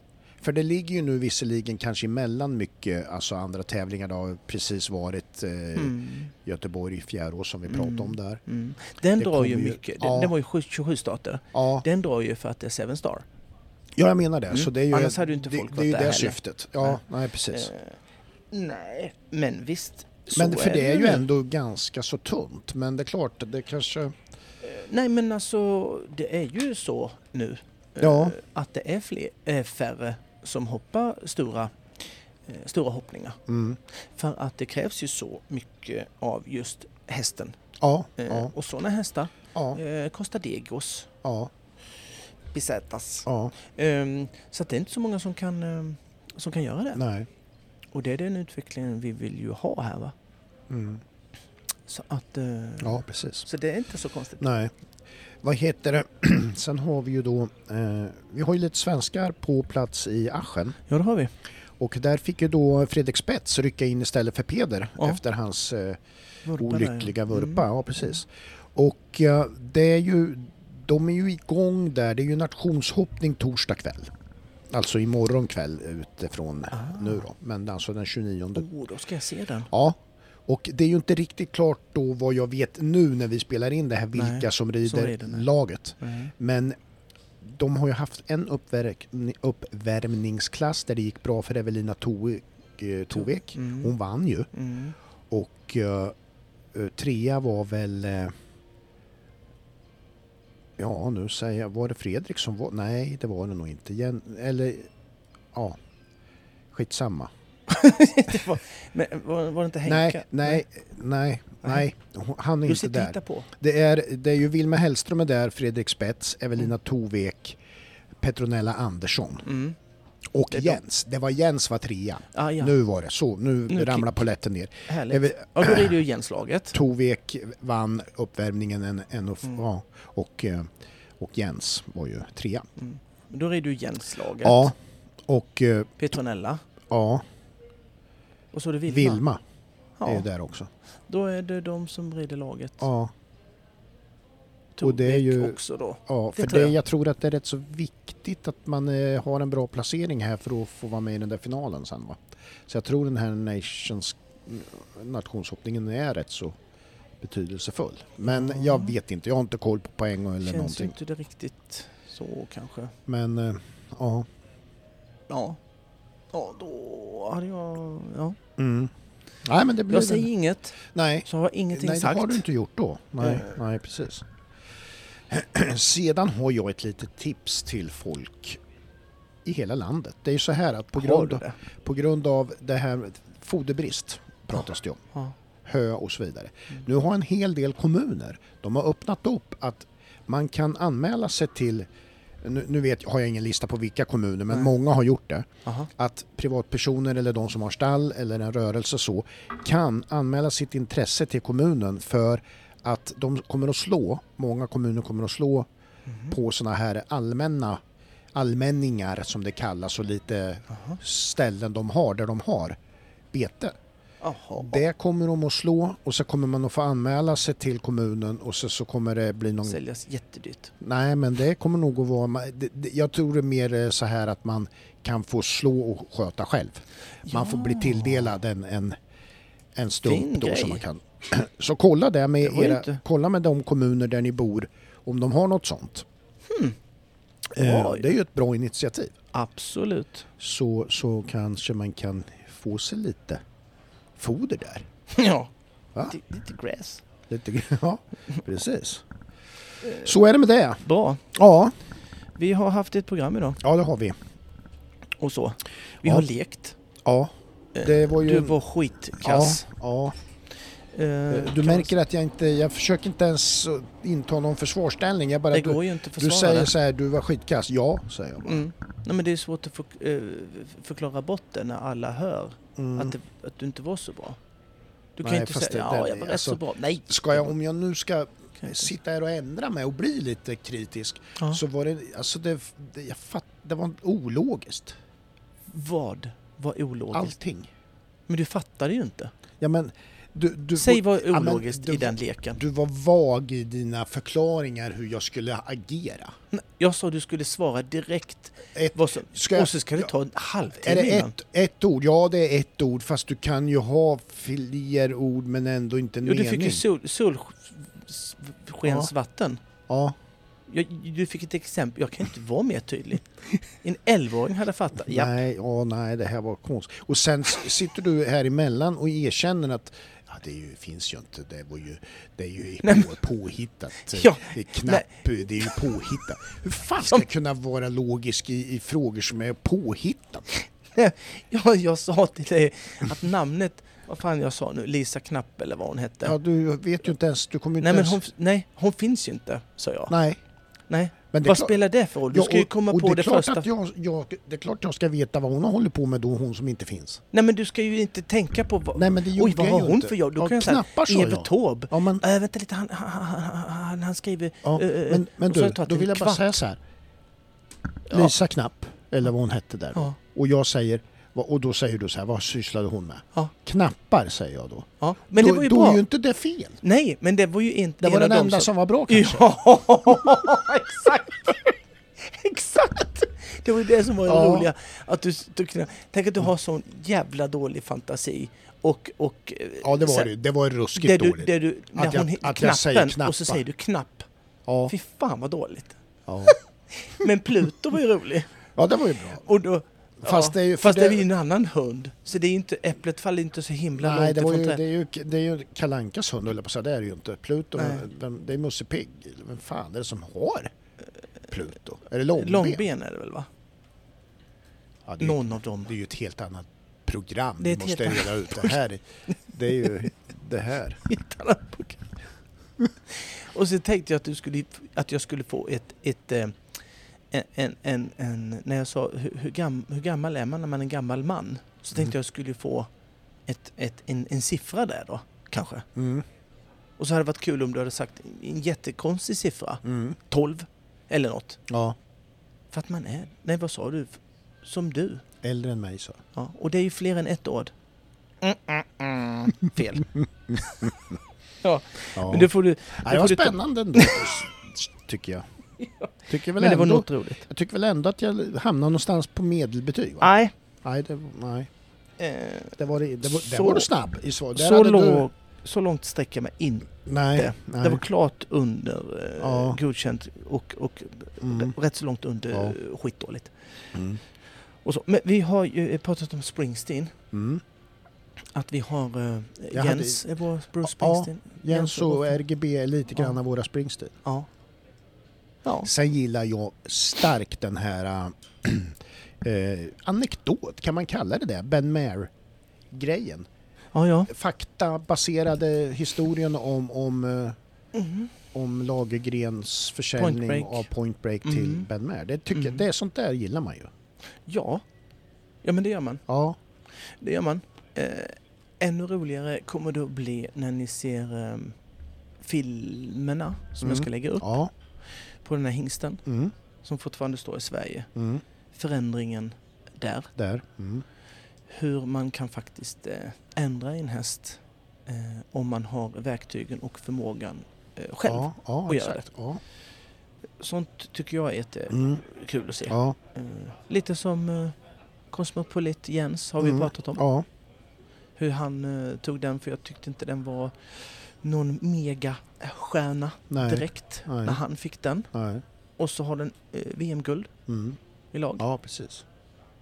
Speaker 2: För det ligger ju nu visserligen kanske emellan mycket, alltså andra tävlingar det har precis varit eh,
Speaker 1: mm.
Speaker 2: Göteborg, Fjärås som vi pratade om där.
Speaker 1: Mm. Den
Speaker 2: Det
Speaker 1: drar ju
Speaker 2: kommer ju-
Speaker 1: mycket.
Speaker 2: ja.
Speaker 1: Den, den var ju 7- 27 starter.
Speaker 2: Ja,
Speaker 1: Den drar ju för att det är Seven Star.
Speaker 2: ja jag menar det.
Speaker 1: Mm.
Speaker 2: Så det är ju,
Speaker 1: Annars hade ju inte
Speaker 2: det,
Speaker 1: folk
Speaker 2: det, är ju
Speaker 1: varit
Speaker 2: det
Speaker 1: där heller.
Speaker 2: syftet. Ja,
Speaker 1: Nej.
Speaker 2: nej precis.
Speaker 1: Eh, nej, men visst. så
Speaker 2: men för det är ju
Speaker 1: nu.
Speaker 2: ändå ganska så tunt. Men det är klart, det kanske...
Speaker 1: Nej, men alltså det är ju så nu. eh,
Speaker 2: Ja.
Speaker 1: Att det är fler, eh, färre som hoppar stora, eh, stora hoppningar.
Speaker 2: Mm.
Speaker 1: För att det krävs ju så mycket av just hästen.
Speaker 2: Ja,
Speaker 1: Eh,
Speaker 2: ja,
Speaker 1: Och sådana hästar
Speaker 2: ja,
Speaker 1: eh, kostar degos,
Speaker 2: ja,
Speaker 1: besättas.
Speaker 2: ja,
Speaker 1: Ehm, så att det är inte så många som kan, eh, som kan göra det.
Speaker 2: nej.
Speaker 1: Och det är den utvecklingen vi vill ju ha här va?
Speaker 2: Mm.
Speaker 1: Så att... eh,
Speaker 2: Ja, precis.
Speaker 1: Så det är inte så konstigt.
Speaker 2: Nej. Vad heter det? [clears throat] Sen har vi ju då, eh, vi har ju lite svenskar på plats i Aschen
Speaker 1: Ja, det har vi.
Speaker 2: och där fick ju då Fredrik Spets rycka in istället för Peder
Speaker 1: Ja.
Speaker 2: efter hans eh,
Speaker 1: Vurpa
Speaker 2: olyckliga
Speaker 1: där, ja. Mm.
Speaker 2: vurpa. Ja, precis. Och eh, det är ju, de är ju igång där, det är ju nationshoppning torsdag kväll. Alltså imorgon kväll utifrån
Speaker 1: Ah.
Speaker 2: nu då, men alltså den 29.
Speaker 1: Oh, då ska jag se den.
Speaker 2: Ja. Och det är ju inte riktigt klart då vad jag vet nu när vi spelar in det här vilka
Speaker 1: Nej,
Speaker 2: som rider
Speaker 1: är det, nej.
Speaker 2: laget.
Speaker 1: Mm.
Speaker 2: Men de har ju haft en uppvärk- uppvärmningsklass där det gick bra för Evelina Tovek. eh, Tovek.
Speaker 1: Mm.
Speaker 2: Hon vann ju
Speaker 1: Mm. [laughs]
Speaker 2: och eh, eh, trea var väl eh, Ja, nu säger jag, var det Fredrik som var? Nej, det var det nog inte. Jen, eller, ja, skitsamma.
Speaker 1: det var, men var, var det inte
Speaker 2: Nej,
Speaker 1: Henka?
Speaker 2: nej, nej, nej,
Speaker 1: Nej.
Speaker 2: hon- han är
Speaker 1: Du
Speaker 2: inte
Speaker 1: sitter och
Speaker 2: där.
Speaker 1: hittar på.
Speaker 2: Det är, det är ju Vilma Hellström är där, Fredrik Spets, Evelina Tovek, Petronella Andersson
Speaker 1: Mm.
Speaker 2: och
Speaker 1: Det är de.
Speaker 2: Jens. Det var Jens var trea.
Speaker 1: Ah, ja,
Speaker 2: Nu var det så, nu,
Speaker 1: Nu
Speaker 2: ramlar polletten ner.
Speaker 1: härligt.
Speaker 2: Ev-
Speaker 1: Ja, då rider ju Jens-laget.
Speaker 2: Tovek vann uppvärmningen en, en och,
Speaker 1: Mm.
Speaker 2: ja, och, eh, och Jens var ju trea.
Speaker 1: Mm. Men då är det ju Jänslaget,
Speaker 2: Ja. Och eh,
Speaker 1: Petronella
Speaker 2: ja,
Speaker 1: och så är det Vilma.
Speaker 2: Vilma är ju
Speaker 1: ja,
Speaker 2: där också.
Speaker 1: då är det de som rider laget.
Speaker 2: Ja,
Speaker 1: Torbeck
Speaker 2: det är ju-
Speaker 1: också då.
Speaker 2: ja för
Speaker 1: tror
Speaker 2: det,
Speaker 1: jag.
Speaker 2: jag tror att det är rätt så viktigt att man eh, har en bra placering här för att få vara med i den där finalen sen va. Så jag tror den här nations, nationshoppningen är rätt så betydelsefull. Men jag vet inte, jag har inte koll på poäng eller
Speaker 1: Känns ju
Speaker 2: någonting.
Speaker 1: inte det riktigt så kanske.
Speaker 2: Men eh, ja.
Speaker 1: Ja. Ja, då hade jag... Ja.
Speaker 2: Mm. Nej men det blir
Speaker 1: Jag säger inget,
Speaker 2: Nej.
Speaker 1: så har jag ingenting
Speaker 2: Nej,
Speaker 1: sagt. Eh.
Speaker 2: det har du inte gjort då. Nej, nej precis. [clears throat] Sedan har jag ett litet tips till folk i hela landet. Det är ju så här att på
Speaker 1: Har
Speaker 2: grund,
Speaker 1: du
Speaker 2: av,
Speaker 1: det?
Speaker 2: på grund av det här med foderbrist pratas det om,
Speaker 1: Ja.
Speaker 2: hö och så vidare.
Speaker 1: Mm.
Speaker 2: Nu har en hel del kommuner, de har öppnat upp att man kan anmäla sig till, nu, nu vet, har jag ingen lista på vilka kommuner, men
Speaker 1: Nej.
Speaker 2: många har gjort det
Speaker 1: Aha.
Speaker 2: att privatpersoner eller de som har stall eller en rörelse så kan anmäla sitt intresse till kommunen för att de kommer att slå, många kommuner kommer att slå
Speaker 1: Mhm.
Speaker 2: på sådana här allmänna allmänningar som det kallas och lite
Speaker 1: Aha.
Speaker 2: ställen de har där de har bete.
Speaker 1: Aha.
Speaker 2: Det kommer de att slå och så kommer man att få anmäla sig till kommunen och så, så kommer det bli någon
Speaker 1: Säljas jättedyrt.
Speaker 2: Nej, men det kommer nog att vara... ma- det- det- Jag tror det är mer eh, så här att man kan få slå och sköta själv. Man får bli
Speaker 1: Ja.
Speaker 2: tilldelad en, en, en
Speaker 1: Fin
Speaker 2: stump då
Speaker 1: grej.
Speaker 2: som man kan... [clears throat] Så kolla det med,
Speaker 1: Det var ju
Speaker 2: era,
Speaker 1: inte-
Speaker 2: kolla med de kommuner där ni bor om de har något sånt. Eh,
Speaker 1: Hmm. Oj.
Speaker 2: det är ju ett bra initiativ.
Speaker 1: Absolut.
Speaker 2: Så, så kanske man kan få sig lite foder där.
Speaker 1: [laughs] Ja.
Speaker 2: Va?
Speaker 1: Lite, lite gräs.
Speaker 2: Lite, [laughs] ja, precis. Så är det med det.
Speaker 1: Bra.
Speaker 2: Ja,
Speaker 1: Vi har haft ett program idag
Speaker 2: ja det har vi.
Speaker 1: och så. Vi
Speaker 2: Ja.
Speaker 1: har lekt.
Speaker 2: Ja, det var ju...
Speaker 1: Eh, Du var skitkass.
Speaker 2: Ja, ja.
Speaker 1: Eh,
Speaker 2: Du
Speaker 1: kan-
Speaker 2: märker att jag inte, jag försöker inte ens eh, inta någon försvarsställning. Jag bara,
Speaker 1: Det
Speaker 2: du,
Speaker 1: går ju inte att
Speaker 2: du
Speaker 1: försvara.
Speaker 2: säger
Speaker 1: det.
Speaker 2: så här, du var skitkass. Ja, säger jag bara.
Speaker 1: Mm. Nej, men det är svårt att förk- eh, förklara bort det när alla hör
Speaker 2: Mm.
Speaker 1: att, det, att du inte var så bra. Du kan
Speaker 2: Nej,
Speaker 1: ju inte
Speaker 2: fast
Speaker 1: säga
Speaker 2: det-
Speaker 1: ja,
Speaker 2: det-
Speaker 1: jag var rätt
Speaker 2: alltså,
Speaker 1: så bra. Nej!
Speaker 2: Ska jag, om jag nu ska
Speaker 1: Kan jag inte.
Speaker 2: sitta här och ändra mig och bli lite kritisk
Speaker 1: Ja.
Speaker 2: så var det, alltså det, det, jag fatt, det var ologiskt.
Speaker 1: Vad var ologiskt?
Speaker 2: Allting.
Speaker 1: Men du fattade ju inte.
Speaker 2: Ja men, du, du,
Speaker 1: Säg vad
Speaker 2: men
Speaker 1: ologiskt
Speaker 2: du-
Speaker 1: i den leken.
Speaker 2: du var vag i dina förklaringar hur jag skulle agera.
Speaker 1: Nej, Jag sa du skulle svara direkt.
Speaker 2: Ett,
Speaker 1: Vad som,
Speaker 2: Ska jag-
Speaker 1: och så ska det ta en
Speaker 2: Är
Speaker 1: halvtimme
Speaker 2: det
Speaker 1: innan.
Speaker 2: ett, ett ord? Ja, det är ett ord fast du kan ju ha fler ord men ändå inte en
Speaker 1: Jo, du
Speaker 2: mening.
Speaker 1: fick ju sol, solskensvatten.
Speaker 2: Ja,
Speaker 1: Jag, du fick ett exempel. Jag kan inte vara mer tydlig. En 11-åring hade fattat. Ja,
Speaker 2: nej, ja, nej, det här var konstigt. Och sen s- sitter du här emellan och erkänner att ja, det är ju, finns ju inte, det, var ju, det är
Speaker 1: [laughs]
Speaker 2: ju
Speaker 1: Nej, men-
Speaker 2: på, påhittat.
Speaker 1: [laughs] Ja,
Speaker 2: det är knapp, det är ju påhittat. Hur fan ska jag kunna vara logisk i, i frågor som är påhittat?
Speaker 1: [laughs] jag, jag sa till dig att namnet, vad fan jag sa nu, Lisa Knapp eller vad hon hette.
Speaker 2: Ja, du vet ju inte ens, du kommer ju
Speaker 1: nej,
Speaker 2: inte
Speaker 1: men
Speaker 2: ens...
Speaker 1: hon, nej, hon finns ju inte, sa jag.
Speaker 2: Nej,
Speaker 1: Nej.
Speaker 2: men det är
Speaker 1: Vad
Speaker 2: klart-
Speaker 1: spelar det för roll? Du
Speaker 2: Ja,
Speaker 1: ska ju
Speaker 2: och-
Speaker 1: komma
Speaker 2: och
Speaker 1: på
Speaker 2: är
Speaker 1: det,
Speaker 2: klart
Speaker 1: första.
Speaker 2: Att jag, jag, det är klart jag ska veta vad hon håller på med då, hon som inte finns.
Speaker 1: Nej, men du ska ju inte tänka på vad...
Speaker 2: Nej men det
Speaker 1: Oj,
Speaker 2: gjorde
Speaker 1: vad
Speaker 2: jag
Speaker 1: har
Speaker 2: ju
Speaker 1: hon
Speaker 2: inte.
Speaker 1: för jobb? Då
Speaker 2: Ja,
Speaker 1: kan jag säga
Speaker 2: knappar sa
Speaker 1: Evert
Speaker 2: jag.
Speaker 1: Taube.
Speaker 2: Ja, men,
Speaker 1: Äh, vänta lite, han, han, han, han, han skriver...
Speaker 2: ja,
Speaker 1: eh, eh,
Speaker 2: men, men
Speaker 1: och så har
Speaker 2: du,
Speaker 1: jag tagit
Speaker 2: då
Speaker 1: en
Speaker 2: vill jag bara
Speaker 1: kvart.
Speaker 2: säga så här.
Speaker 1: Ja.
Speaker 2: Lisa Knapp, eller vad hon hette där.
Speaker 1: Ja.
Speaker 2: Och jag säger, vad- och då säger du så här, vad sysslade hon med?
Speaker 1: Ja.
Speaker 2: Knappar säger jag då.
Speaker 1: Ja, men
Speaker 2: då,
Speaker 1: det var ju
Speaker 2: då
Speaker 1: bra.
Speaker 2: är ju inte det fel.
Speaker 1: Nej, men det var ju inte
Speaker 2: Det var
Speaker 1: en av
Speaker 2: den
Speaker 1: dem
Speaker 2: enda som var bra kanske.
Speaker 1: Ja, [laughs] exakt! exakt! Det var ju det som var det
Speaker 2: Ja.
Speaker 1: roliga. Att du, du, kunde- tänk att du har sån jävla dålig fantasi och... och eh,
Speaker 2: Ja det var
Speaker 1: sen-
Speaker 2: det ju. Det var ju ruskigt
Speaker 1: det du,
Speaker 2: dåligt.
Speaker 1: det du, när
Speaker 2: Att jag-
Speaker 1: hon, jag,
Speaker 2: att
Speaker 1: knappen,
Speaker 2: jag säger
Speaker 1: och så
Speaker 2: knappar.
Speaker 1: säger du knapp.
Speaker 2: Ja,
Speaker 1: Fy fan vad dåligt.
Speaker 2: ja.
Speaker 1: Men Pluto var ju rolig.
Speaker 2: ja, det var ju bra.
Speaker 1: Och då,
Speaker 2: Fast det är ju- för
Speaker 1: fast det
Speaker 2: det-
Speaker 1: är ju en annan hund. Så det är ju inte, äpplet faller inte så himla
Speaker 2: Nej,
Speaker 1: långt
Speaker 2: det, var ju,
Speaker 1: ifrån
Speaker 2: det,
Speaker 1: trädet.
Speaker 2: är ju, det är ju Kalankas hund, höll jag på att säga. Det är det ju inte. Pluto,
Speaker 1: Nej.
Speaker 2: vem, det är Musse Pigg. Vem fan är det som har Pluto? Är det Långben?
Speaker 1: Långben är det väl va?
Speaker 2: Ja, det, är, ju-
Speaker 1: Någon av dem.
Speaker 2: det är ju ett helt annat program.
Speaker 1: Det är
Speaker 2: Det
Speaker 1: ett
Speaker 2: måste
Speaker 1: helt
Speaker 2: reda ut. Det här, är- det är ju det här.
Speaker 1: Ett annat program. Och så tänkte jag att, du skulle, att jag skulle få ett... ett eh, en, en, en, en, när jag sa hur, hur, gam, hur gammal är man när man är en gammal man? Så tänkte
Speaker 2: Mm.
Speaker 1: jag skulle få ett, ett, en, en siffra där då, kanske.
Speaker 2: Mm,
Speaker 1: Och så hade det varit kul om du hade sagt en jättekonstig siffra,
Speaker 2: mm,
Speaker 1: 12 eller något.
Speaker 2: ja.
Speaker 1: För att man är, nej vad sa du? Som du.
Speaker 2: Äldre än mig så.
Speaker 1: Ja, och det är ju fler än ett ord. Mm, mm, mm. [laughs] Fel.
Speaker 2: Ja.
Speaker 1: Men det får du...
Speaker 2: Nej, det var
Speaker 1: får du ta-
Speaker 2: spännande ändå, [laughs] tycker jag. Tycker väl
Speaker 1: Men det var
Speaker 2: ändå,
Speaker 1: något roligt.
Speaker 2: Jag tycker väl ändå att jag hamnade någonstans på medelbetyg. Va?
Speaker 1: Nej.
Speaker 2: Nej, det, nej.
Speaker 1: Eh,
Speaker 2: Det var, det, det var, där
Speaker 1: Så-
Speaker 2: var du snabb i svar. Där
Speaker 1: så,
Speaker 2: hade du-
Speaker 1: lång, så långt sträcker jag mig inte.
Speaker 2: Nej, nej.
Speaker 1: Det var klart under eh,
Speaker 2: Ja.
Speaker 1: godkänt och, och
Speaker 2: Mm,
Speaker 1: rätt så långt under
Speaker 2: Ja.
Speaker 1: eh, skitdåligt.
Speaker 2: mm,
Speaker 1: Och så. Men vi har ju eh, pratat om Springsteen.
Speaker 2: mm.
Speaker 1: Att vi har eh,
Speaker 2: Jag hade-
Speaker 1: Jens, är vår
Speaker 2: Ja,
Speaker 1: Bruce Springsteen.
Speaker 2: Jens och
Speaker 1: Rolf.
Speaker 2: RGB är lite grann
Speaker 1: Ja.
Speaker 2: av våra Springsteen.
Speaker 1: Ja. Ja.
Speaker 2: Sen gillar jag starkt den här äh, [clears throat] eh, anekdot, kan man kalla det det? Ben Maher-grejen.
Speaker 1: Ja, ja.
Speaker 2: Faktabaserade historien om, om eh,
Speaker 1: Mm.
Speaker 2: om Lagergrens
Speaker 1: Point
Speaker 2: försäljning
Speaker 1: Break.
Speaker 2: av Point Break till
Speaker 1: Mhm.
Speaker 2: Ben Maher. Det, tycker,
Speaker 1: Mhm.
Speaker 2: det är sånt där gillar man ju.
Speaker 1: Ja. Ja, men det gör man.
Speaker 2: Ja,
Speaker 1: Det gör man. Eh, ännu roligare kommer det att bli när ni ser eh, filmerna som jag
Speaker 2: Mm.
Speaker 1: ska lägga upp
Speaker 2: ja.
Speaker 1: på den här hingsten
Speaker 2: Mm.
Speaker 1: som fortfarande står i Sverige.
Speaker 2: Mm.
Speaker 1: Förändringen där.
Speaker 2: Där. Mm.
Speaker 1: Hur man kan faktiskt eh, ändra i en häst eh, om man har verktygen och förmågan eh, själv.
Speaker 2: Ja, ja
Speaker 1: och göra
Speaker 2: exakt. Ja.
Speaker 1: Sånt tycker jag är jättekul
Speaker 2: Mm.
Speaker 1: att se.
Speaker 2: Ja.
Speaker 1: Eh, lite som eh, Kosmopolit Jens har vi
Speaker 2: Mm.
Speaker 1: pratat om.
Speaker 2: Ja.
Speaker 1: hur han eh, tog den för jag tyckte inte den var någon mega eh, stjärna
Speaker 2: Nej.
Speaker 1: direkt
Speaker 2: Nej.
Speaker 1: när han fick den.
Speaker 2: Nej.
Speaker 1: Och så har den eh, VM-guld
Speaker 2: Mm.
Speaker 1: i lag.
Speaker 2: Ja, precis.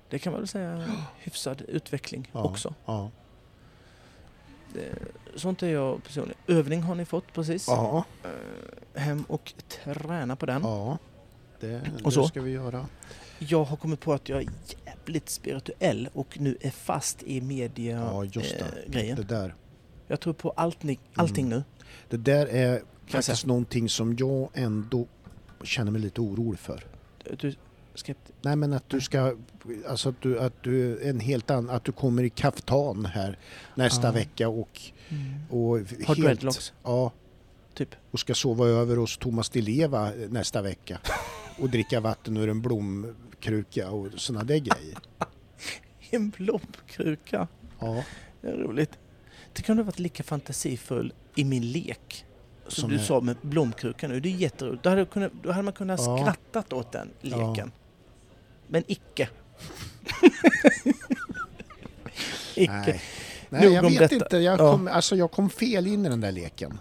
Speaker 1: Det kan man väl säga hyfsad utveckling
Speaker 2: Ja.
Speaker 1: också.
Speaker 2: Ja.
Speaker 1: Eh, Sånt är jag personlig. Övning har ni fått precis.
Speaker 2: Ja.
Speaker 1: Eh, hem och träna på den.
Speaker 2: ja. Det,
Speaker 1: Mm. Och
Speaker 2: det
Speaker 1: så?
Speaker 2: ska vi göra.
Speaker 1: Jag har kommit på att jag är jävligt spirituell och nu är fast i
Speaker 2: Ja,
Speaker 1: media
Speaker 2: just det.
Speaker 1: eh, grejen.
Speaker 2: Det Mm. där.
Speaker 1: Jag tror på allt ni, allting nu.
Speaker 2: Det där är
Speaker 1: jag
Speaker 2: faktiskt
Speaker 1: säga.
Speaker 2: någonting som jag ändå känner mig lite orolig för.
Speaker 1: Du, skept-
Speaker 2: Nej men att du ska, alltså att du, att du en helt annan, att du kommer i kaftan här nästa
Speaker 1: Ja.
Speaker 2: vecka och, och
Speaker 1: Har
Speaker 2: Mm. helt, [laughs]
Speaker 1: dreadlocks,
Speaker 2: Ja,
Speaker 1: typ.
Speaker 2: och ska sova över hos Thomas Di Leva eh,
Speaker 1: [laughs]
Speaker 2: nästa vecka och dricka vatten ur en blomkruka och sådana där grejer.
Speaker 1: En blomkruka.
Speaker 2: Ja,
Speaker 1: Det är roligt. Det kunde ha varit lika fantasifull i min lek som,
Speaker 2: Som
Speaker 1: du
Speaker 2: är-
Speaker 1: sa med blomkrukan nu. Det är jätteroligt. Då hade, jag kunnat, då hade man kunnat
Speaker 2: Ja.
Speaker 1: skrattat åt den leken.
Speaker 2: Ja.
Speaker 1: Men
Speaker 2: [laughs]
Speaker 1: icke. icke.
Speaker 2: nej.
Speaker 1: Nog
Speaker 2: Nej, jag
Speaker 1: om
Speaker 2: vet
Speaker 1: detta.
Speaker 2: inte. Jag
Speaker 1: Ja.
Speaker 2: kom, alltså, jag kom fel in i den där leken.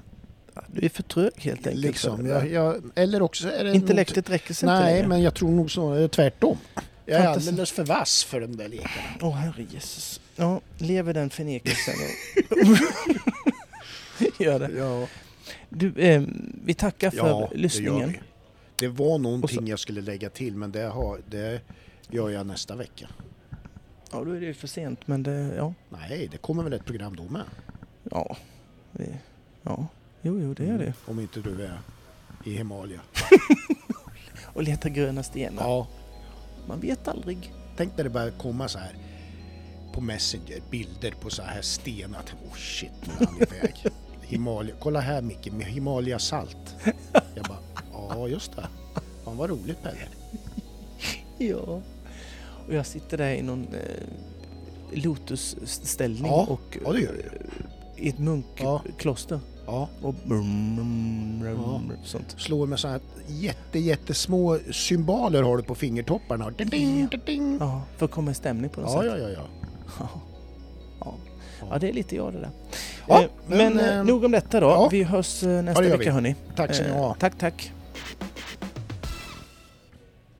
Speaker 1: Du är för trög helt enkelt.
Speaker 2: Liksom. Jag, jag, eller också är det något-
Speaker 1: Intellektet räcker sig inte
Speaker 2: Nej,
Speaker 1: längre.
Speaker 2: men jag tror nog snarare tvärtom. Jag är
Speaker 1: Fantasi-
Speaker 2: alldeles för vass för den där leken.
Speaker 1: Åh herre Jesus. Ja, lever den förnekelsen.
Speaker 2: [laughs]
Speaker 1: Gör det.
Speaker 2: Ja.
Speaker 1: Du, eh, vi tackar för lyssningen.
Speaker 2: Det, gör vi. det var någonting
Speaker 1: Och
Speaker 2: jag skulle lägga till men det, har, det gör jag nästa vecka.
Speaker 1: Ja, då är det ju för sent. Men det, ja.
Speaker 2: Nej, det kommer väl ett program då med?
Speaker 1: Ja. Det, ja. Jo, jo, det är det.
Speaker 2: Om inte du är i Himalaya.
Speaker 1: Och leta gröna stenar.
Speaker 2: Ja,
Speaker 1: Man vet aldrig.
Speaker 2: tänk när det börjar komma så här på Messenger, bilder på så här stenar. Tänk, Oh shit, nu är han
Speaker 1: [laughs]
Speaker 2: iväg. Himalaya. Kolla här Micke, med Himalaya-salt. Jag bara, ja just det. Fan vad roligt Pelle.
Speaker 1: Ja. Och jag sitter där i någon eh, lotusställning
Speaker 2: Ja,
Speaker 1: och
Speaker 2: ja, det gör du.
Speaker 1: eh, i ett munkkloster.
Speaker 2: Ja,
Speaker 1: Och brum, brum, brum,
Speaker 2: Ja.
Speaker 1: brum, sånt.
Speaker 2: slår med så här jätte, jättesmå symboler har du på fingertopparna. Ding, ding, ding.
Speaker 1: Ja, för att komma i stämning på något
Speaker 2: Ja,
Speaker 1: sätt.
Speaker 2: ja, ja, ja.
Speaker 1: Ja. Ja. ja, det är lite jag det där.
Speaker 2: Ja,
Speaker 1: eh,
Speaker 2: men,
Speaker 1: men eh,
Speaker 2: ehm,
Speaker 1: nog eh, om detta då.
Speaker 2: ja.
Speaker 1: Vi hörs eh,
Speaker 2: Ja,
Speaker 1: nästa
Speaker 2: det gör
Speaker 1: vecka
Speaker 2: vi.
Speaker 1: hörni.
Speaker 2: Tack ska ni ha.
Speaker 1: tack, tack.